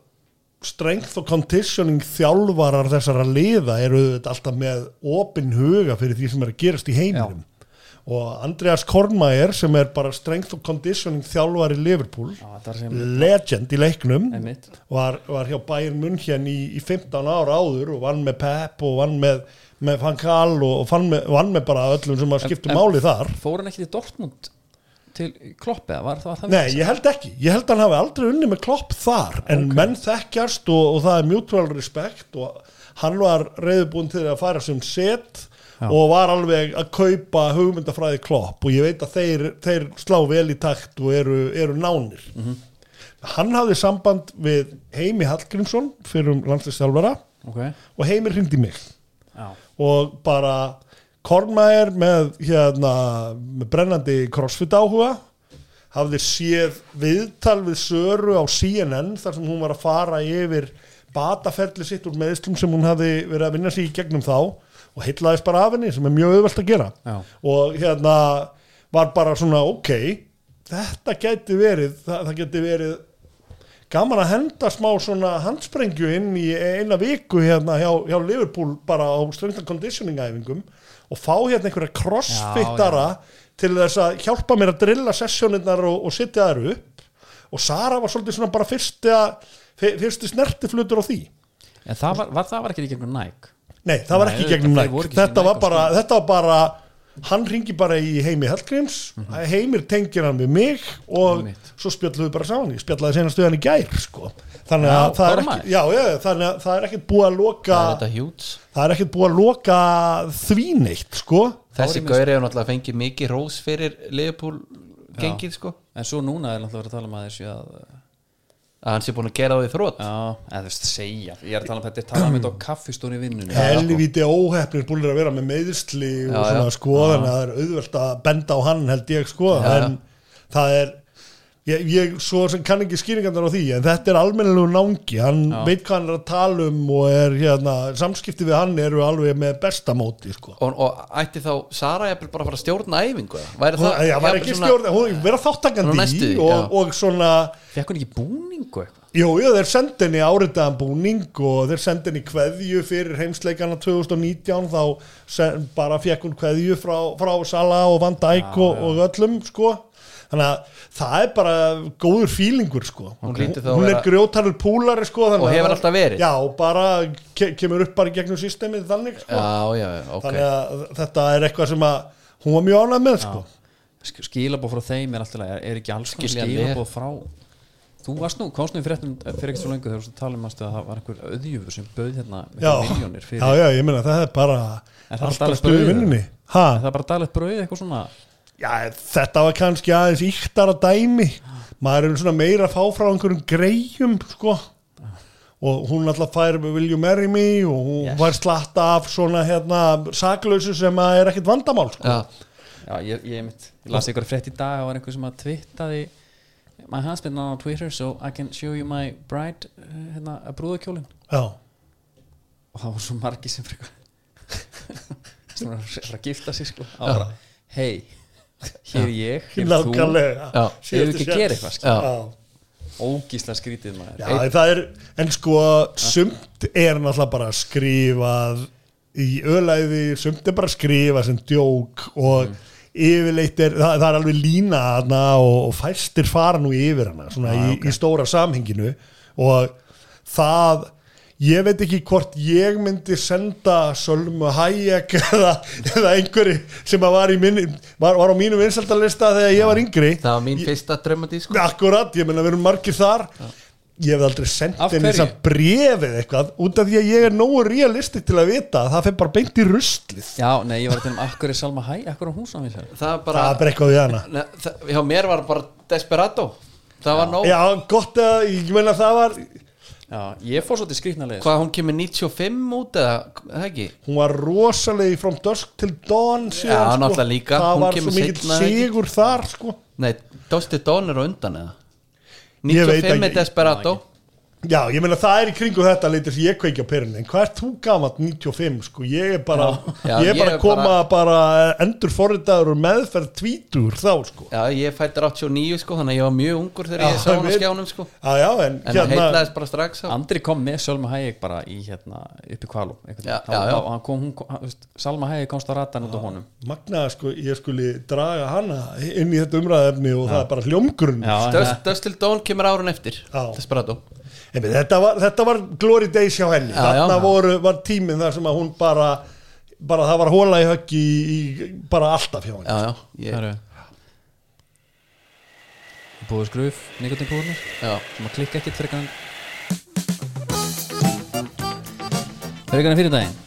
[SPEAKER 4] strength og conditioning þjálfarar þessara liða eru þetta alltaf með opin huga fyrir því sem er að gerast í heiminum og Andreas Kornmaier sem er bara strength og conditioning þjálfari Liverpool
[SPEAKER 2] Já, þetta var sem-
[SPEAKER 4] legend í leiknum
[SPEAKER 2] Einmitt.
[SPEAKER 4] var, var hjá Bayern München í, í 15 ára áður og vann með Pep og vann með, með Van Gaal og, og vann með, vann með bara öllum sem að skipta
[SPEAKER 2] en-
[SPEAKER 4] máli þar
[SPEAKER 2] fór hann ekki til Dortmund til Klopp eða var, var það
[SPEAKER 4] Nei, ég held ekki, ég held að hann hafi aldrei unni með klopp þar, en menn þekkjast og, og það er mutual respect og hann var reyðbúin til að fara sem set og var alveg að kaupa hugmyndafræði klopp og ég veit að þeir, þeir slá vel í takt og eru, eru nánir hann hafði samband við Heimi Hallgrímsson fyrir um landslistjálfara
[SPEAKER 2] okay.
[SPEAKER 4] og Heimir hringdi í mig
[SPEAKER 2] Já.
[SPEAKER 4] og bara Kornmæður með, hérna, með brennandi crossfit áhuga hafði séð viðtal við Söru á CNN þar sem hún var að fara yfir bataferli sitt úr meðslum sem hún hafði verið að vinna sér í gegnum þá og heitlaðist bara af henni sem er mjög auðvelt að gera
[SPEAKER 2] Já.
[SPEAKER 4] og hérna var bara svona ok þetta gæti verið það, það gæti verið gaman að henda smá svona handsprengju inn í eina viku hérna hjá, hjá Liverpool bara á strength and conditioning æfingum og fá hérna einhverja crossfittara til þess að hjálpa mér að drilla sessjónirnar og, og setja þær upp og Sara var svolítið svona bara fyrsta, fyr- fyrsti snertiflutur á því
[SPEAKER 2] En það var, var, það var ekki í gegnum Nike
[SPEAKER 4] Nei, það var
[SPEAKER 2] Nei,
[SPEAKER 4] ekki
[SPEAKER 2] auðvitað,
[SPEAKER 4] gegnum
[SPEAKER 2] þeir
[SPEAKER 4] næk
[SPEAKER 2] voru ekki
[SPEAKER 4] þetta,
[SPEAKER 2] í
[SPEAKER 4] var
[SPEAKER 2] Nike á
[SPEAKER 4] bara, þetta var bara hann ringi bara í Heimi Hallgríms Heimir tengir hann við mig og
[SPEAKER 2] Einmitt.
[SPEAKER 4] svo spjalluðu bara saman ég spjallaði senast við hann í gær sko. þannig, að
[SPEAKER 2] Já,
[SPEAKER 4] það er
[SPEAKER 2] bara
[SPEAKER 4] ekki,
[SPEAKER 2] maður.
[SPEAKER 4] já, já, þannig að það er ekkert búið að loka
[SPEAKER 3] það er þetta hjúts
[SPEAKER 4] það er ekkert búið að loka því neitt sko.
[SPEAKER 3] Þessi
[SPEAKER 2] Árið með-
[SPEAKER 3] gauri hefur náttúrulega fengið mikið rós fyrir Liverpool gengið sko
[SPEAKER 2] En svo núna er náttúrulega verið að tala um að þessu að
[SPEAKER 3] að hann sé búin að gera það í þrótt
[SPEAKER 2] Já, eða þú veist, segja Ég er að tala um þetta, ég tala um þetta á kaffistón í vinnunni
[SPEAKER 4] helvíti óhefnir búinir að vera með meðsli
[SPEAKER 3] sko.
[SPEAKER 4] og
[SPEAKER 3] Já,
[SPEAKER 4] svona
[SPEAKER 3] já.
[SPEAKER 4] sko þannig að það er auðvelt að benda á hann held ég sko
[SPEAKER 3] Já, já.
[SPEAKER 4] en það er ég, ég svo sem kann ekki skýringandar á því en þetta er almennilegu nangi hann veit hvað hann er að tala um og er hérna samskipti við hann eru alveg með besta móti sko
[SPEAKER 3] og, og ætti þá Sara jafnvel bara að fara að stjórna æfingu eða? væri
[SPEAKER 4] Hún,
[SPEAKER 3] það
[SPEAKER 4] já, var
[SPEAKER 3] jafnvel
[SPEAKER 4] ekki
[SPEAKER 3] svona-
[SPEAKER 4] stjórn, hún vera
[SPEAKER 3] Hún
[SPEAKER 4] þáttakandi
[SPEAKER 3] er næstu
[SPEAKER 4] í
[SPEAKER 3] því, já.
[SPEAKER 4] og, og svona
[SPEAKER 2] Fekk hún ekki búningu eitthvað
[SPEAKER 4] Jú, jú, þeir sendi henni áritaðan búning og þeir sendi henni kveðju fyrir heimsleikana 2019 þá sem, bara fekk hún kveðju frá, frá Sala og Van Dijk og, og öllum sko. þannig að það er bara góður fílingur sko.
[SPEAKER 3] Hún hlýtur þá að
[SPEAKER 4] hún er
[SPEAKER 3] vera-
[SPEAKER 4] grótarur púlari sko, þannig
[SPEAKER 3] Og
[SPEAKER 4] að-
[SPEAKER 3] hefur alltaf verið.
[SPEAKER 4] Já, og bara ke kemur upp bara í gegnum systemið þannig sko.
[SPEAKER 3] Já, já, já, ok
[SPEAKER 4] þannig að þetta er eitthvað sem að hún var mjög ánægð með sko.
[SPEAKER 2] Sk- Skilabóð frá þeim er alltaf er, er ekki alls konar
[SPEAKER 3] Skilja
[SPEAKER 2] skilabóð frá Þú varst nú, komst nú í fréttum fyrir ekki svo lengu þegar þú varst að tala um manstu, að það var einhver auðjöfur sem bauð hérna
[SPEAKER 4] já.
[SPEAKER 2] miljónir fyrir
[SPEAKER 4] já, já, ég meina það er bara
[SPEAKER 2] Er það
[SPEAKER 4] alltaf
[SPEAKER 2] bara
[SPEAKER 4] stuð í
[SPEAKER 2] brauðið?
[SPEAKER 4] vinninni
[SPEAKER 2] En
[SPEAKER 4] Ha?
[SPEAKER 2] Það er bara daglegt brauð eitthvað svona
[SPEAKER 4] Já, þetta var kannski aðeins íktara dæmi maður er svona meira að fá frá einhverjum greyjum sko og hún alltaf fær Will you marry me og hún yes. var slatta af svona hérna saklausu sem að er ekkit vandamál sko.
[SPEAKER 3] Já,
[SPEAKER 2] Já, ég, ég, ég, ég las ykkur frétt í dag og var einhver sem að tvittaði my husband on Twitter so I can show you my bride uh, hérna, að brúðakjólin
[SPEAKER 4] já,
[SPEAKER 2] og það voru svo margi sem frekar sem var að gifta sig sko Það var bara, hei, hér er ég hér er þú,
[SPEAKER 4] nákvæmlega
[SPEAKER 3] Já.
[SPEAKER 2] hefur
[SPEAKER 4] Síðasti
[SPEAKER 2] ekki
[SPEAKER 4] séns.
[SPEAKER 2] að gera eitthvað sko.
[SPEAKER 3] Já.
[SPEAKER 4] Já.
[SPEAKER 2] ógísla skrítið maður
[SPEAKER 4] Já, það er, en sko sumt er náttúrulega bara skrifað í ölaði sumt er bara skrifað sem djók og
[SPEAKER 3] Mm.
[SPEAKER 4] yfirleitt er það, það er alveg lína hana og, og fæstir fara nú yfir hana svona
[SPEAKER 3] Ah,
[SPEAKER 4] í, í stóra samhenginu og það ég veit ekki hvort ég myndi senda Sölmu Hayek eða, eða einhverju sem að var, í minni, var, var á mínum vinsaldalista þegar ég var yngri
[SPEAKER 3] það var mín fyrsta draumadísk
[SPEAKER 4] Akkurat, ég meina við erum margir þar Ég hef aldrei sendt
[SPEAKER 2] Af
[SPEAKER 4] henni
[SPEAKER 2] hverju?
[SPEAKER 4] þess að brefið eitthvað út af því að ég er nógu realistik til að vita að það fer bara beint í ruslið
[SPEAKER 2] já, nei, ég var að tala um akkur er Salma Hæ, akkur er hún svona við
[SPEAKER 3] það var
[SPEAKER 4] Það er
[SPEAKER 3] bara
[SPEAKER 4] bara eitthvað við hana
[SPEAKER 3] ne, það, hjá mér var bara desperado það var nóg
[SPEAKER 4] Já, gott að, ég meina það var hún
[SPEAKER 2] já, ég fór svolítið skrítna leið sko.
[SPEAKER 3] hvað hún kemur 95 út eða er það ekki
[SPEAKER 4] var rosalegi from dusk til dawn síðan,
[SPEAKER 3] Já,
[SPEAKER 4] sko.
[SPEAKER 3] náttúrulega líka.
[SPEAKER 4] Það
[SPEAKER 3] Hún
[SPEAKER 4] var
[SPEAKER 3] kemur
[SPEAKER 4] svo mikill
[SPEAKER 3] seinna, ekki?
[SPEAKER 4] sigur þar, sko
[SPEAKER 3] nei, Dusty Dawn er á undan eða
[SPEAKER 4] Ég veit
[SPEAKER 3] 95
[SPEAKER 4] ekki.
[SPEAKER 3] er desperado
[SPEAKER 4] Já, ég meina það er í kringu þetta leytir sem ég kveikja perinni, en hvað ert þú gamalt 95, sko, ég er bara
[SPEAKER 3] Já,
[SPEAKER 4] ég er bara
[SPEAKER 3] ég er
[SPEAKER 4] að koma bara, endur forritaður og meðferð tvítur þá, sko
[SPEAKER 3] já, ég fættir 89 sko þannig að ég var mjög ungur þegar
[SPEAKER 4] Já,
[SPEAKER 3] ég sá hún á
[SPEAKER 4] við-
[SPEAKER 3] skjánum sko
[SPEAKER 4] Já, já, en, hérna,
[SPEAKER 3] en það heitlaðist bara strax á
[SPEAKER 2] Andri kom með Salma Hæ bara í hérna upp í kvalum
[SPEAKER 3] Já,
[SPEAKER 2] Hann-
[SPEAKER 3] já, já.
[SPEAKER 2] hann- hann kom, hún kom- hann- þú veist, Salma Hæ komst á ratan út á honum
[SPEAKER 4] magnaði að sko, ég skuli draga hana inn í þetta umræðefni og það er bara hljómgrunn
[SPEAKER 2] já,
[SPEAKER 3] Dust, Dusty Dawn kemur árun eftir
[SPEAKER 4] hérna. Já.
[SPEAKER 3] desperado
[SPEAKER 4] Einmitt, þetta, var, þetta var glory days hjá henni
[SPEAKER 3] Já,
[SPEAKER 4] þarna
[SPEAKER 3] já.
[SPEAKER 4] voru, var tíminn þar sem að hún bara, bara það var hóla í höggi í, í, bara alltaf hjá henni
[SPEAKER 3] já, já, ég,
[SPEAKER 2] Herru Búið skruf, nikotinpúðurnir
[SPEAKER 3] já.
[SPEAKER 2] sem að klikka ekkert fyrir kannan fyrir kannan fyrir daginn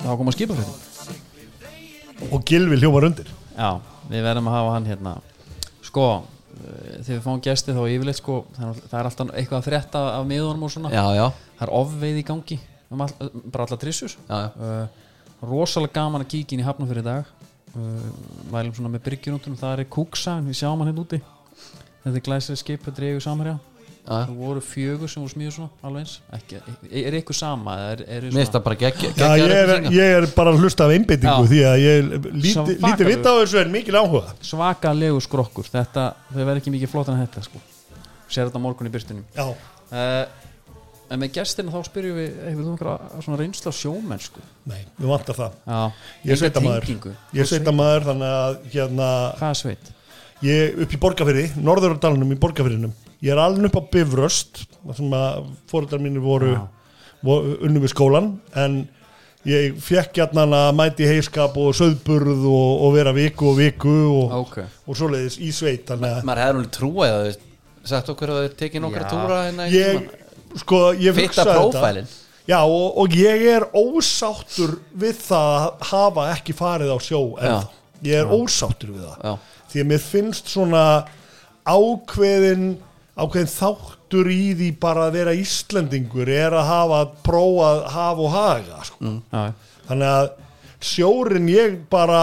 [SPEAKER 2] þá kom að skipa fyrir
[SPEAKER 4] og Gilvi hljómar undir
[SPEAKER 2] já, við verðum að hafa hann hérna sko, eh, þegar við fáum gesti þá yfirleitt sko, það er- það er alltaf eitthvað að frétta af miðunum og svona
[SPEAKER 3] já, já,
[SPEAKER 2] það er ofveið í gangi um all, bara alla trissur
[SPEAKER 3] Já, já.
[SPEAKER 2] uh, rosalega gaman að kíkja inn í hafnum fyrir dag uh, mælum svona með byrgjurúndunum það er kúksa, en við sjáum hann hérna úti þetta er glæslega skip, þetta er eigu samherja
[SPEAKER 3] já.
[SPEAKER 2] það voru fjögur sem voru smíðu svona alveg eins, ekki, er ykkur sama eða er, er
[SPEAKER 3] Mér finnst það bara geggja
[SPEAKER 4] Já, ég er, ég er bara að hlusta af einbeitingu
[SPEAKER 2] Já.
[SPEAKER 4] því að ég líti,
[SPEAKER 2] Svakalegur.
[SPEAKER 4] líti vitt á þessu en mikil áhuga
[SPEAKER 2] svakalegu skrokkur þetta, þau verður ekki mikið flottan að þetta sko sér þetta á morgun í byrstunum
[SPEAKER 4] Já,
[SPEAKER 2] uh, en með gestina þá spyrjum við hefur þú einhverja svona reynsla á sjómennsku
[SPEAKER 4] nei, við vantar það
[SPEAKER 2] já,
[SPEAKER 4] Ég
[SPEAKER 2] sko?
[SPEAKER 4] er
[SPEAKER 2] Enga
[SPEAKER 4] sveitamaður
[SPEAKER 2] tengingu.
[SPEAKER 4] Ég er sveitamaður þannig að hérna,
[SPEAKER 2] hvað er sveit?
[SPEAKER 4] Ég er upp í Borgarfyrði, norður á dalnum í Borgarfyrðinum Ég er alveg upp á Bifröst þar sem að fóreldrar mínir voru, voru unnum við skólan en ég fekk hérna að mæti heiskap og söðburð og, og vera viku og viku og,
[SPEAKER 2] Ok.
[SPEAKER 4] og svoleiðis í sveit þannig að
[SPEAKER 3] Maður hefði alveg trúið að þau sagt okkur að þau tekið nokkra
[SPEAKER 2] Já.
[SPEAKER 3] túra hérna í
[SPEAKER 4] ég
[SPEAKER 3] tímann.
[SPEAKER 4] sko, ég
[SPEAKER 3] Fitta
[SPEAKER 4] hugsaði þetta.
[SPEAKER 3] prófælin.
[SPEAKER 4] Já, og, og ég er ósáttur við það að hafa ekki farið á sjó en ég er ósáttur við það
[SPEAKER 3] Já.
[SPEAKER 4] því að mér finnst svona ákveðin ákveðin þáttur í því bara að vera Íslendingur er að hafa að prófa að hafa og haga sko.
[SPEAKER 2] Já,
[SPEAKER 4] þannig að sjórin ég bara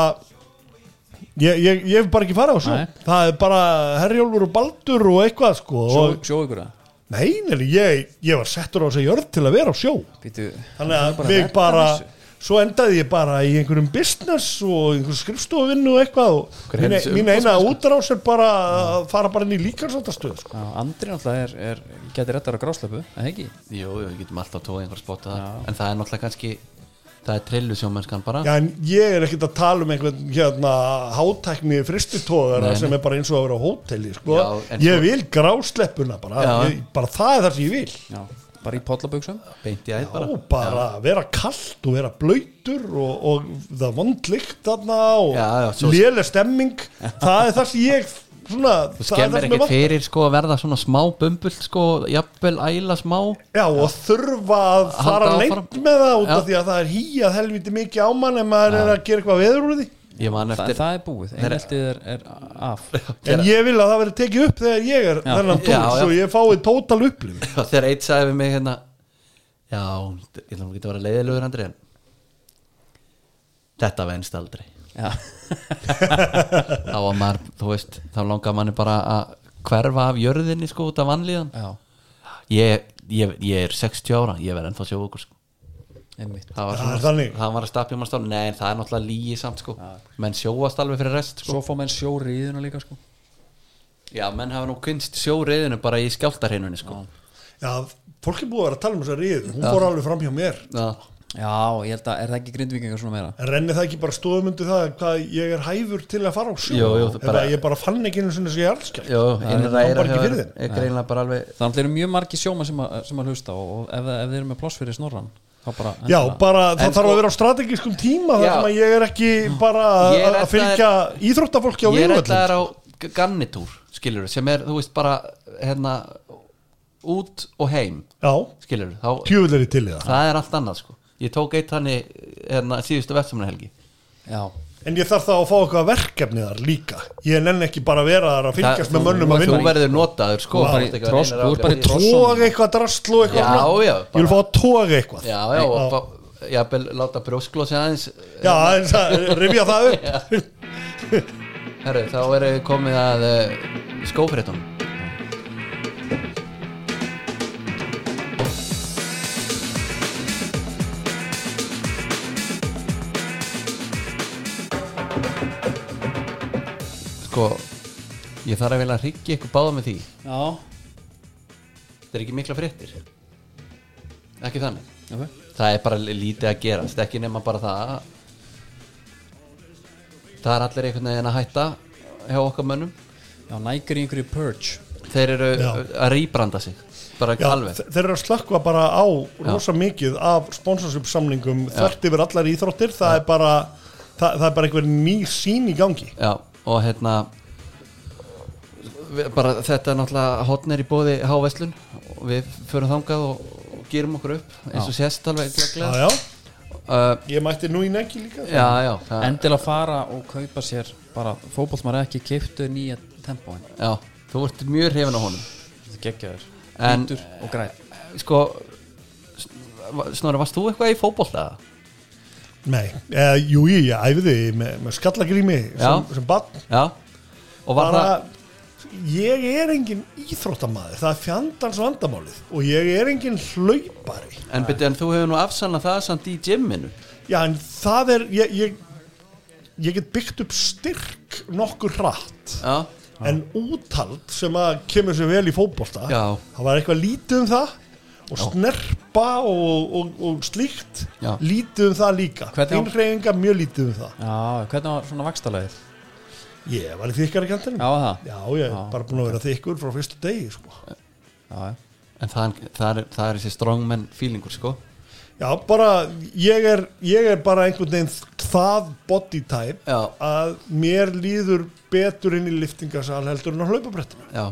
[SPEAKER 4] ég, ég, ég hef bara ekki farið á sjó
[SPEAKER 2] Nei.
[SPEAKER 4] það er bara herjólfur og baldur og eitthvað sko
[SPEAKER 2] sjó,
[SPEAKER 4] og
[SPEAKER 2] sjó ykkur það
[SPEAKER 4] nei, nei, ég, ég var settur á þess að jörð til að vera á sjó
[SPEAKER 2] Býtu,
[SPEAKER 4] þannig að mig bara svo endaði ég bara í einhverjum business og einhverjum skrifstofinnu og eitthvað og
[SPEAKER 3] Hver
[SPEAKER 4] mín, e-
[SPEAKER 3] heldur þessu
[SPEAKER 4] mín eina útrás er bara að fara bara inn í líkansáttastöð sko.
[SPEAKER 2] já, Andri náttúrulega er, er getur réttar á gráslöpu, eða ekki?
[SPEAKER 3] Jú, jú, við getum alltaf tóið einhver spotta það En það er náttúrulega kannski Það er trillu sjómennskan bara
[SPEAKER 4] Já, en ég er ekkert að tala um einhvern hérna, hátækni fristutóðara sem er bara eins og að vera á hóteli sko.
[SPEAKER 3] Já, en
[SPEAKER 4] ég
[SPEAKER 3] svo-
[SPEAKER 4] vil grásleppuna bara.
[SPEAKER 3] Já.
[SPEAKER 4] Ég, bara það er það sem ég vil
[SPEAKER 2] Já, bara í pollaböksum
[SPEAKER 3] Beint í æð bara
[SPEAKER 4] og bara vera kallt og vera blöytur og, og það vondlikt þarna og
[SPEAKER 3] Já, já, svo-
[SPEAKER 4] léleg stemming það er það sem ég svona,
[SPEAKER 3] Þú
[SPEAKER 4] það er það
[SPEAKER 3] skemmir
[SPEAKER 4] sem ég
[SPEAKER 3] ekki
[SPEAKER 4] vantar.
[SPEAKER 3] fyrir sko að verða svona smá bumbul sko Jafnvel æla smá
[SPEAKER 4] Já, og þurfa að
[SPEAKER 3] Halda
[SPEAKER 4] fara
[SPEAKER 3] áfram.
[SPEAKER 4] lengt með það út af
[SPEAKER 3] Já.
[SPEAKER 4] því að það er hýjað helviti mikið á mann ef maður er að gera eitthvað veður úr því
[SPEAKER 3] Ég man
[SPEAKER 2] Þa,
[SPEAKER 3] eftir
[SPEAKER 2] Það er búið, einheltið er, er af
[SPEAKER 4] En ég vil að það veri tekið upp þegar ég er þennan
[SPEAKER 3] Já,
[SPEAKER 4] túr
[SPEAKER 3] já.
[SPEAKER 4] svo ég fái tótal upplif
[SPEAKER 3] Þegar eitt sagði við mig hérna Já, ég ætlum ekki að vera leiðilegur Andri en Þetta venst aldrei
[SPEAKER 2] Já,
[SPEAKER 3] þá var maður, þú veist, þá langar manni bara að hverfa af jörðinni sko út af vanlíðan
[SPEAKER 2] já,
[SPEAKER 3] ég, ég, ég er 60 ára, ég verð ennþá sjóðugur sko.
[SPEAKER 2] einmitt
[SPEAKER 3] það var,
[SPEAKER 4] Það er þannig.
[SPEAKER 3] það var að stapja mann stáð nei, það er náttúrulega líi samt sko menn sjóast alveg fyrir rest sko.
[SPEAKER 2] Svo fá menn sjóri í þuna líka sko
[SPEAKER 3] já, menn hafa nú kynst sjóriðinu bara í skjáltarheiminni sko.
[SPEAKER 4] Já, fólk er búið að vera að tala um þessa ríð Hún fór alveg fram hjá mér
[SPEAKER 3] já.
[SPEAKER 2] Já, ég held að, er það ekki grindvíkingar svona meira?
[SPEAKER 4] En renni það ekki bara stóðum undir það hvað ég er hæfur til að fara á sjó
[SPEAKER 3] Jú, jú, það
[SPEAKER 4] Eða
[SPEAKER 3] bara-
[SPEAKER 4] ég bara fann ekki einu sinni sem ég elskar
[SPEAKER 3] Jó, innra
[SPEAKER 4] er
[SPEAKER 3] eira
[SPEAKER 4] bara ekki
[SPEAKER 3] hefur-
[SPEAKER 4] fyrir þeim.
[SPEAKER 3] er greinlega bara alveg
[SPEAKER 2] Þannig eru mjög margi sjóma sem, að- sem að hlusta og, og ef, ef þeir eru með pláss fyrir snorran þá bara
[SPEAKER 4] Já, bara það
[SPEAKER 3] En
[SPEAKER 4] þarf
[SPEAKER 3] sko-
[SPEAKER 4] að vera á strategískum tíma þar
[SPEAKER 3] Já.
[SPEAKER 4] sem að ég er ekki bara
[SPEAKER 3] Ég er
[SPEAKER 4] að
[SPEAKER 3] ætlaður-
[SPEAKER 4] fylgja íþróttafólki á
[SPEAKER 3] ég er
[SPEAKER 4] viðvöldum
[SPEAKER 3] ætlaðar á g- gannitúr skilur sem er, þú veist, bara hérna, út og heim
[SPEAKER 4] Já,
[SPEAKER 3] skilur, þá,
[SPEAKER 4] tjöfull er ég til í það
[SPEAKER 3] það er allt annað sko. ég tók eitt þannig hérna, síðustu vestfamanahelgi
[SPEAKER 2] Já,
[SPEAKER 4] En ég þarf þá að fá eitthvað verkefni þar líka Ég nenn ekki bara að vera þar að fylgjast með mönnum að
[SPEAKER 3] þú
[SPEAKER 4] vinna
[SPEAKER 3] verður notaður sko,
[SPEAKER 2] Þú ert bara í
[SPEAKER 3] þú ert ekki að
[SPEAKER 2] tross-
[SPEAKER 3] reyna
[SPEAKER 2] þú ert bara í
[SPEAKER 3] ráðgjafir.
[SPEAKER 2] tross-
[SPEAKER 4] Tóga eitthvað drastl og eitthvað
[SPEAKER 3] Já,
[SPEAKER 4] svona.
[SPEAKER 3] já,
[SPEAKER 4] Ég vil
[SPEAKER 3] bara-
[SPEAKER 4] fá að tóga eitthvað
[SPEAKER 3] já, já, og fá- jafnvel láta brjósklósi aðeins
[SPEAKER 4] Já, eins að rifja það upp
[SPEAKER 3] herru, þá erum við komið að uh, skófréttunum sko ég þarf að vilja að hryggja ykkur báða með því
[SPEAKER 2] já,
[SPEAKER 3] þetta er ekki mikla fréttir ekki þannig
[SPEAKER 2] ok
[SPEAKER 3] það er bara lítið að gerast ekki nema bara það að- það er allir einhvern veginn að hætta hjá okkar mönnum
[SPEAKER 2] Já, nægur í einhverju purge
[SPEAKER 3] þeir eru
[SPEAKER 4] Já.
[SPEAKER 3] að rýbranda sig bara
[SPEAKER 4] Já,
[SPEAKER 3] alveg
[SPEAKER 4] þe- þeir eru að slökkva bara á rosa mikið af sponsorship samningum þvert yfir allar íþróttir það er bara það, það er bara einhver ný sín í gangi
[SPEAKER 3] já, og hérna við- bara þetta er náttúrulega hotnir í bóði háveslun og við förum þangað og, og gerum okkur upp eins og sést alveg
[SPEAKER 4] Já,
[SPEAKER 3] glögglega
[SPEAKER 4] já,
[SPEAKER 3] uh,
[SPEAKER 4] ég mætti nú í neggi líka
[SPEAKER 3] já, já, það,
[SPEAKER 2] Endilega fara og kaupa sér bara fótbollmar ekki keiptu nýja tempóin
[SPEAKER 3] já þú ert mjög hrifin á honum
[SPEAKER 2] Þetta geggjaður,
[SPEAKER 3] En-
[SPEAKER 2] hvítur og græn
[SPEAKER 3] sko Snorri, varst þú eitthvað í fótbolta?
[SPEAKER 4] Nei, eða, jú, jú, ég æfiði með, með skallagrými sem,
[SPEAKER 3] Já.
[SPEAKER 4] sem barn
[SPEAKER 3] Já Og var
[SPEAKER 4] bara,
[SPEAKER 3] það
[SPEAKER 4] ég er engin íþróttamaður, það er fjandans vandamálið og ég er engin hlaupari
[SPEAKER 3] En, byrju, en þú hefur nú afsannað það samt í gymminu
[SPEAKER 4] Já, en það er ég, ég, ég get byggt upp styrk nokkur hratt
[SPEAKER 3] Já
[SPEAKER 4] en úthald sem að kemur sér vel í fótbolta
[SPEAKER 3] Já.
[SPEAKER 4] það var eitthvað lítið um það og snerpa og, og, og slíkt
[SPEAKER 3] Já.
[SPEAKER 4] lítið um það líka
[SPEAKER 2] Hvernig á-
[SPEAKER 4] innreyinga mjög lítið um það
[SPEAKER 2] Já, hvernig var svona vakstalagið?
[SPEAKER 4] ég var í þykkari kantinum
[SPEAKER 2] Já, það
[SPEAKER 4] já ég er bara búin að vera þykkur frá fyrstu degi sko.
[SPEAKER 2] Já,
[SPEAKER 3] En það, það, er, það er þessi strongman feelingur sko
[SPEAKER 4] já bara ég er, ég er bara einhvern veginn það body type
[SPEAKER 3] Já.
[SPEAKER 4] að mér líður betur inn í liftingasal heldur en á hlaupabrettinu
[SPEAKER 3] Já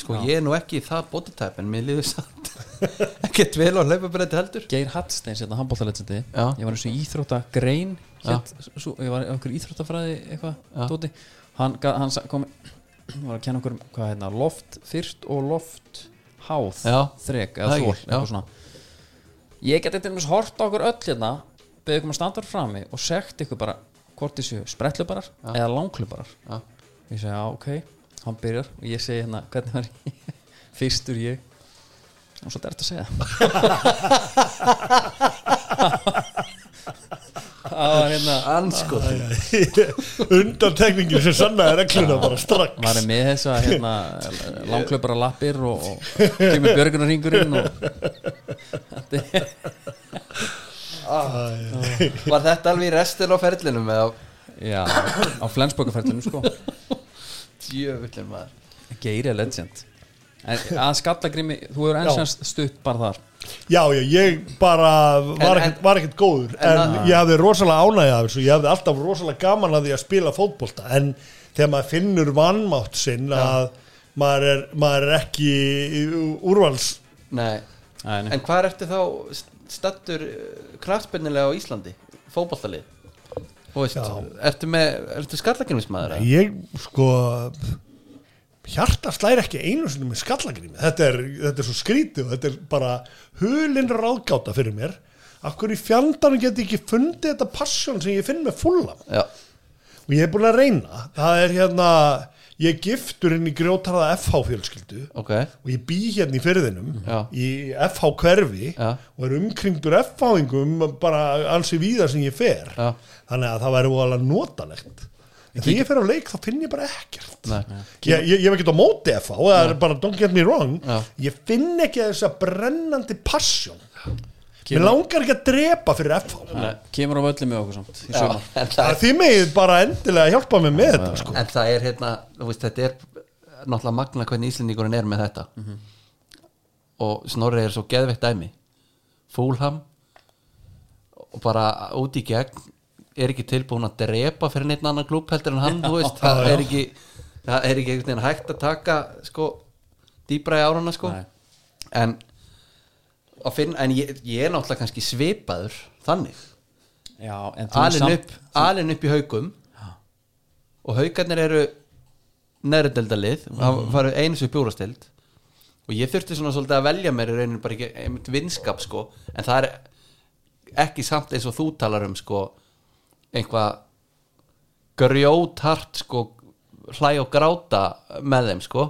[SPEAKER 3] Sko ég er nú ekki í það bodytype En mér liður samt Ekkert vel á hlaupabretti heldur
[SPEAKER 2] Geir Hallsteins, hérna handbóltalegsandi
[SPEAKER 3] Já.
[SPEAKER 2] ég var eins og íþrótta grein
[SPEAKER 3] Já.
[SPEAKER 2] hétt, svo, ég var einhver íþróttafræði
[SPEAKER 3] Já.
[SPEAKER 2] eitthvað dóti hann, ga- hann sa- kom hann var að kenna okkur um, hvað hérna loft þyrst og loft háð
[SPEAKER 3] Já.
[SPEAKER 2] þrek
[SPEAKER 3] Það
[SPEAKER 2] eða
[SPEAKER 3] ekki,
[SPEAKER 2] þól
[SPEAKER 3] já.
[SPEAKER 2] eitthvað svona ég geti til dæmis hort á okkur öll hérna beðið ykkur um að standa þar frammi og sagt ykkur bara hvort þessu sprettlubarar eða langlubarar
[SPEAKER 3] Já.
[SPEAKER 2] ég segi já ok hann byrjar og ég segi hérna hvernig var ég fyrstur ég og svo dært að segja það var hérna
[SPEAKER 3] Anskotin
[SPEAKER 4] undan tekningin sem sannaði regluna bara strax
[SPEAKER 2] maður er með þess að hérna langklöpara lappir og, og kemur björgunarringurinn og
[SPEAKER 3] Var þetta alveg í restin á ferlinum Eða
[SPEAKER 2] já, á flensbókaferðinu sko
[SPEAKER 3] djöfullin maður
[SPEAKER 2] Geiri er legend en að skallagrimi, þú hefur einsans stutt bara þar
[SPEAKER 4] Já, já, ég bara var
[SPEAKER 3] En-
[SPEAKER 4] ekkert,
[SPEAKER 3] en-
[SPEAKER 4] var ekkert góður en, ég hafði rosalega ánægja af þessu ég hafði alltaf rosalega gaman að því að spila fótbolta en þegar maður finnur vannmátt sinn að maður er, maður er ekki úrvals
[SPEAKER 3] Nei
[SPEAKER 2] Æ, nei.
[SPEAKER 3] En hvað ertu þá st- Stattur kraftbennilega á Íslandi Fótboltalið Þú veist, Ertu, með- ertu skallakirmismæður
[SPEAKER 4] ég sko hjarta slæri ekki einu sinni með skallagrými þetta er, þetta er svo skrítið og þetta er bara hulinn ráðgáta fyrir mér Akkur í fjandanum geti ég ekki fundið þetta passjón sem ég finn með fullam
[SPEAKER 3] Já
[SPEAKER 4] og ég er búin að reyna það er hérna ég er giftur inn í grjótarða FH fjölskyldu
[SPEAKER 3] ok,
[SPEAKER 4] og ég bý hérna í fyrðinum
[SPEAKER 3] Já.
[SPEAKER 4] í FH hverfi
[SPEAKER 3] Já.
[SPEAKER 4] og er umkringdur FH-ingum bara alls í víða sem ég fer
[SPEAKER 3] Já.
[SPEAKER 4] þannig að það væri voðalega notalegt en þegar ég fer á leik þá finn ég bara ekkert
[SPEAKER 3] Nei.
[SPEAKER 4] ég, ég, ég hef ekkert á móti FH það er bara don't get me wrong
[SPEAKER 3] Já.
[SPEAKER 4] ég finn ekki þessa brennandi passion mér
[SPEAKER 2] Kemur-
[SPEAKER 4] langar ekki að drepa fyrir FH
[SPEAKER 2] kemur á völlum með okkur samt í
[SPEAKER 3] já,
[SPEAKER 2] sumar.
[SPEAKER 3] en það
[SPEAKER 4] Það
[SPEAKER 3] er
[SPEAKER 4] þið megið bara endilega hjálpa mig með þetta sko.
[SPEAKER 3] en það er hérna, þú veist, þetta er náttúrulega magna hvernig Íslendingurinn er með þetta og Snorri er svo geðveitt dæmi Fúlham og bara út í gegn er ekki tilbúin að drepa fyrir neitt annan klúb heldur en hann, þú veist það er ekki, það er ekki einhvern veginn hægt að taka sko, dýbra í árana sko
[SPEAKER 2] Nei.
[SPEAKER 3] en að finna, en ég, ég er náttúrulega kannski svipaður þannig
[SPEAKER 2] já, en þú
[SPEAKER 3] alin
[SPEAKER 2] samt-
[SPEAKER 3] upp, alin upp í haukum og haukarnir eru neðrundeldalið
[SPEAKER 2] Mm.
[SPEAKER 3] og það faru eins upp í úrasteld og ég þurfti svona svolítið að velja mér í rauninu bara ekki einmitt vinskap sko en það er ekki samt eins og þú talar um sko einhvað grjótart sko hlæ og gráta með þeim sko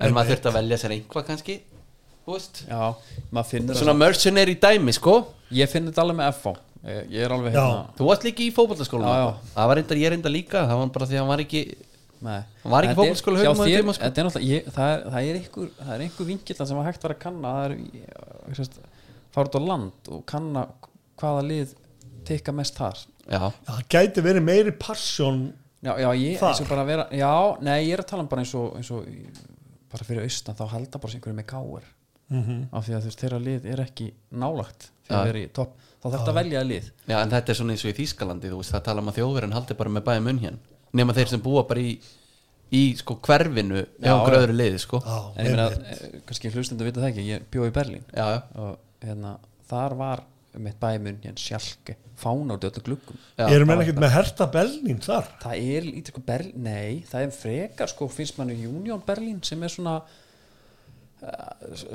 [SPEAKER 3] en maður þurfti að velja sér einhvað kannski þú veist
[SPEAKER 2] já, maður finnur
[SPEAKER 3] svona
[SPEAKER 2] það
[SPEAKER 3] mercenary dæmi sko
[SPEAKER 2] samt. ég finn þetta alveg með FH ég, ég er alveg
[SPEAKER 4] Já.
[SPEAKER 2] hérna
[SPEAKER 3] Þú varst líka í fótballaskólanum
[SPEAKER 2] Já, já.
[SPEAKER 3] eitthvað? Það var reyndar, ég reyndar líka Það var bara því að hann var ekki
[SPEAKER 2] Nei.
[SPEAKER 3] Hann var
[SPEAKER 2] Þetta
[SPEAKER 3] ekki
[SPEAKER 2] er-
[SPEAKER 3] fótboltaskóla
[SPEAKER 2] hjá
[SPEAKER 3] hugum á
[SPEAKER 2] þér-
[SPEAKER 3] þeim tíma, sko.
[SPEAKER 2] þetta er náttúrulega- ég- það er- það er einhver það er einhver vingill sem var hægt var að kanna það er ég- sérst, fara út á land og kanna hvaða lið tikka mest þar
[SPEAKER 3] Já,
[SPEAKER 4] Það gæti verið meiri passion
[SPEAKER 2] já, já, ég,
[SPEAKER 4] Þar?
[SPEAKER 2] eins og bara vera, já, nei, ég er að tala um bara eins og, eins og í- bara fyrir austan þá halda bara sem einhverjum með káir af því að þú veist, þeirra lið er ekki nálagt því að
[SPEAKER 3] Já.
[SPEAKER 2] vera í topp þá þarf þetta að velja lið
[SPEAKER 3] já, en þetta er svona eins og í Þýskalandi Þú veist, það tala um að þjóðverðin haldi bara með bæði munn hér Nefna þeir sem búa bara í Í sko hverfinu
[SPEAKER 2] Já,
[SPEAKER 3] Já,
[SPEAKER 2] já.
[SPEAKER 3] gröðru liði, sko Já,
[SPEAKER 4] á,
[SPEAKER 2] en ég meina, eh, kannski hlustundu vita það ekki ég bjóði í Berlín
[SPEAKER 3] já,
[SPEAKER 2] og hérna, þar var mitt bæmun, hérna, sjálke fána út í öllu gluggum
[SPEAKER 3] já,
[SPEAKER 4] Ég er meina ekkert með herta Berlín þar
[SPEAKER 2] það er lítið sko Berlín, nei það er frekar sko, finnst manni Union Berlín sem er svona uh,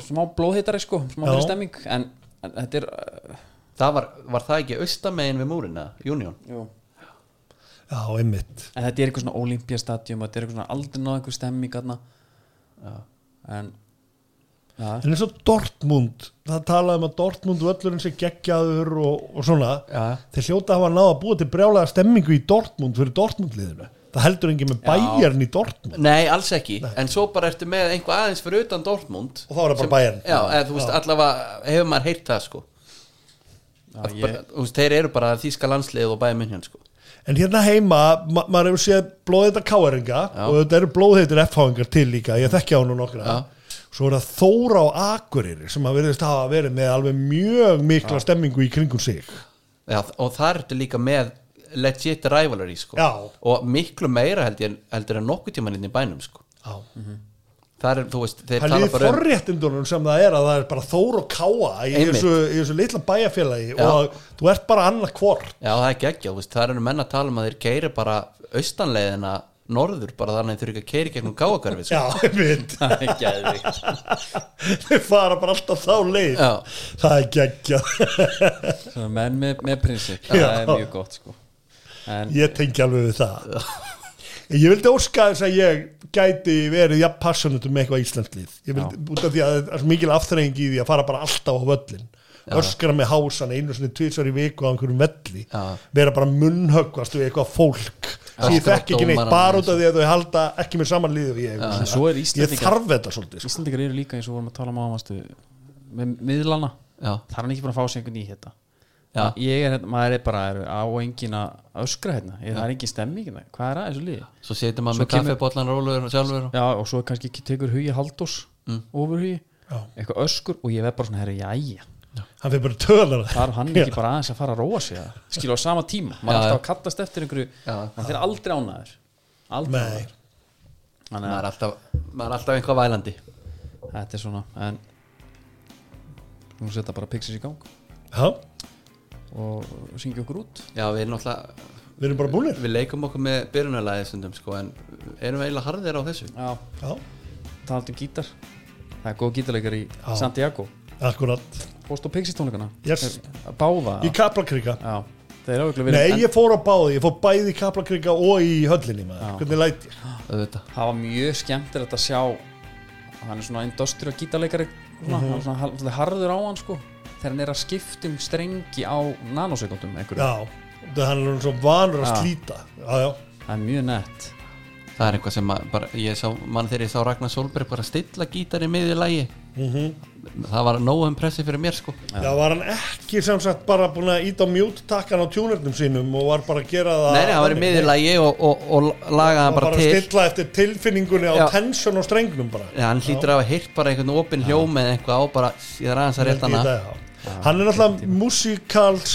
[SPEAKER 2] smá blóðhittari sko smá
[SPEAKER 4] Já.
[SPEAKER 2] fyrir stemming en, en þetta er uh,
[SPEAKER 3] Það var, var það ekki austamegin við múrina, Union
[SPEAKER 2] en
[SPEAKER 4] Já, einmitt
[SPEAKER 2] þetta er eitthvað svona Olympiastadium þetta er eitthvað svona aldrei náða einhver stemming þarna en ja,
[SPEAKER 4] En eins og Dortmund, það talaði um að Dortmund völlurinn sé geggjaður og, og svona
[SPEAKER 3] Já.
[SPEAKER 4] Þeir hljóta hafa náða að búa til brjálega stemmingu í Dortmund fyrir Dortmund liðinu Það heldur engin með bæjarn í Dortmund
[SPEAKER 3] Nei, alls ekki, en svo bara ertu með einhver aðeins fyrir utan Dortmund
[SPEAKER 4] Og þá er það bara
[SPEAKER 3] Sem-
[SPEAKER 4] Bayern.
[SPEAKER 3] Já, eða þú veist, allavega hefur maður heyrt það, sko
[SPEAKER 2] já,
[SPEAKER 3] Að
[SPEAKER 2] ég,
[SPEAKER 3] bara- Þú veist, Þeir eru bara þýska landslið og bæði munn hér, sko
[SPEAKER 4] En hérna heima, ma maður hefur séð blóðheita káeringa
[SPEAKER 3] Já.
[SPEAKER 4] og þetta eru blóðheitir FH-ingar til líka, ég þekki á nú nokkra Svo er það Þóra og Akureyri sem að verðist hafa verið með alveg mjög mikla stemmingu í kringum sig
[SPEAKER 3] Já, og það ertu líka með legit rivalry sko.
[SPEAKER 4] Já.
[SPEAKER 3] og miklu meira heldur en, heldur en nokkuð tíman inn í bænum sko.
[SPEAKER 4] Já
[SPEAKER 3] það er, þú veist, þeir
[SPEAKER 4] Það
[SPEAKER 3] tala
[SPEAKER 4] líði
[SPEAKER 3] bara um
[SPEAKER 4] forréttindunum sem það er að það er bara þór og káa í
[SPEAKER 3] Einmitt.
[SPEAKER 4] þessu, í þessu litla bæjarfélagi
[SPEAKER 3] Já.
[SPEAKER 4] og að, þú ert bara annað hvort
[SPEAKER 3] já, það er ekki ekki, þú veist, það eru menn að tala um að þeir keiri bara austanleiðina norður, bara þannig að þeir eru ekki að keiri gegnum gáakörfi
[SPEAKER 4] Já,
[SPEAKER 3] sko.
[SPEAKER 4] ég veit
[SPEAKER 3] Það er geðveikt.
[SPEAKER 4] Þau fara bara alltaf þá leið
[SPEAKER 3] Já.
[SPEAKER 4] Það er geggja
[SPEAKER 2] svona menn með, með prinsip það
[SPEAKER 4] Já.
[SPEAKER 2] er mjög gott sko en
[SPEAKER 4] Ég tengi alveg við það En Ég vildi óska þess að ég gæti verið jafn passionate um eitthvað íslensk lið Ég vildi, út af því að það er svo mikil aftreying í því að fara bara alltaf á völlin öskra með hásan einu sinni tvisar í viku á einhverjum velli,
[SPEAKER 3] Já.
[SPEAKER 4] vera bara munnhöggvast við eitthvað fólk því ég
[SPEAKER 3] Öskra
[SPEAKER 4] þekk ekki neitt,
[SPEAKER 3] dómarana
[SPEAKER 4] bara út
[SPEAKER 3] eins og-
[SPEAKER 4] af því að þau halda ekki með saman liðu ég,
[SPEAKER 2] en svo er
[SPEAKER 4] ég
[SPEAKER 2] Íslandingar
[SPEAKER 4] þarf þetta svolítið sko.
[SPEAKER 2] Íslandingar eru líka eins og vorum að tala um ámastu með miðlana
[SPEAKER 3] Já.
[SPEAKER 2] það er hann ekki búin að fá sig einhvern í þetta
[SPEAKER 3] Já.
[SPEAKER 2] ég er, hérna- maður er bara er, á engin að öskra hérna, ég, það er engin stemming hérna. hvað er að þessu liði?
[SPEAKER 3] svo setur
[SPEAKER 2] Svo
[SPEAKER 3] maður með
[SPEAKER 2] kemur-
[SPEAKER 3] kaffibotlan róluður og sjálfur og-
[SPEAKER 2] Já, og svo kannski ekki tekur hugi haldós ofur hugi, eitthvað öskur og ég verð bara svona, herri, jæja
[SPEAKER 4] hann fyrir bara töðan
[SPEAKER 2] þarf hann ekki bara aðeins að fara að róa sig eða? skilu á sama tíma, maður er
[SPEAKER 3] Já,
[SPEAKER 2] alltaf að kattast eftir einhverju, maður er aldrei ánæður aldrei
[SPEAKER 4] Nei.
[SPEAKER 2] ánæður þannig
[SPEAKER 3] maður er alltaf, maður er alltaf einhvað vælandi
[SPEAKER 2] að þetta er svona en nú setja bara pixis í gang
[SPEAKER 4] við
[SPEAKER 2] og syngja okkur út
[SPEAKER 3] já, við erum náttúrulega
[SPEAKER 4] erum bara búinir
[SPEAKER 3] við leikum okkur með byrjunarlæði stundum sko, en erum við eiginlega harðir á þessu
[SPEAKER 2] Já,
[SPEAKER 4] Já,
[SPEAKER 2] talað um gítar Það er góð gítarleikar í
[SPEAKER 4] Já.
[SPEAKER 2] Santiago
[SPEAKER 4] akkurat
[SPEAKER 2] Post og Pixies tónleikana
[SPEAKER 4] Yes.
[SPEAKER 2] Báða
[SPEAKER 4] í kaplakrika
[SPEAKER 2] Já, Þeir eru örugglega verið-
[SPEAKER 4] Nei, ég fór á báði, ég fór bæði í Kaplakrika og í höllinni maður, hvernig læt ég
[SPEAKER 3] auðvitað
[SPEAKER 2] það var mjög skemmtilegt að sjá hann er svona industrial gítarleikari
[SPEAKER 4] Mhm.
[SPEAKER 2] svona, hann er svona hal- svolítið harður á hann sko þegar hann er að skipta um strengi á nanosekundum einhverju,
[SPEAKER 4] Já, það hann er svo vanur að
[SPEAKER 2] Já.
[SPEAKER 4] slíta Já, já,
[SPEAKER 2] það er mjög nett
[SPEAKER 3] Það er eitthvað sem maður, bara, ég sá, mann þegar ég sá Ragnar Solberg bara stilla gítar í miðju lægi Mhm. Það var nógu impressið fyrir mér sko
[SPEAKER 4] já var hann ekki sem sagt bara búin að íta á mjút takkan á tjúnernum sínum og var bara að gera það
[SPEAKER 3] Nei, nei, það var í miðju lægi og, og, og lagaði Ah, hann bara,
[SPEAKER 4] bara, bara
[SPEAKER 3] til
[SPEAKER 4] að stilla eftir tilfinningunni á
[SPEAKER 3] Já.
[SPEAKER 4] tension og strengnum bara
[SPEAKER 3] ja, Hann hlýtur að hafa heyrt bara einhvern opin hljóm eða eitthvað á bara, ég er aðeins að rétt
[SPEAKER 4] Held ég
[SPEAKER 3] hana
[SPEAKER 4] það, já. hann er alltaf musikalt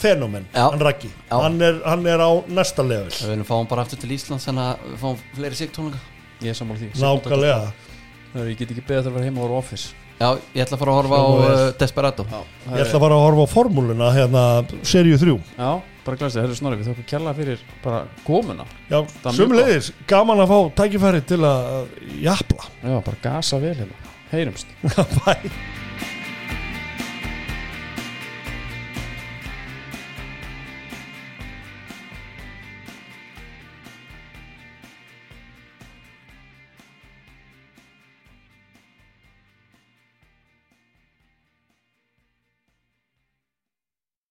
[SPEAKER 4] fenomen,
[SPEAKER 3] Já.
[SPEAKER 4] hann Raggi
[SPEAKER 3] Já.
[SPEAKER 4] hann er, hann er á næsta level
[SPEAKER 3] Við viljum fá hann bara aftur til Íslands þannig að við fáum fleiri sigtónleika
[SPEAKER 2] ég er sammála því
[SPEAKER 4] nákvæmlega
[SPEAKER 2] Heyrðu, ég get ekki beðið að vera heima og voru office
[SPEAKER 3] Já, ég ætla að fara að horfa á
[SPEAKER 4] Hljómar
[SPEAKER 3] uh,
[SPEAKER 4] vel.
[SPEAKER 3] Desperado
[SPEAKER 4] ég ætla bara að horfa á formúluna hérna, seríu 3
[SPEAKER 2] já, bara glæsið, það er snorri við þókum kjalla fyrir bara komuna
[SPEAKER 4] já,
[SPEAKER 2] var mjög
[SPEAKER 4] sumleiðis, gaman að fá tækifæri til að jafla
[SPEAKER 2] já, bara gasa vel hérna, heyrumst
[SPEAKER 4] bye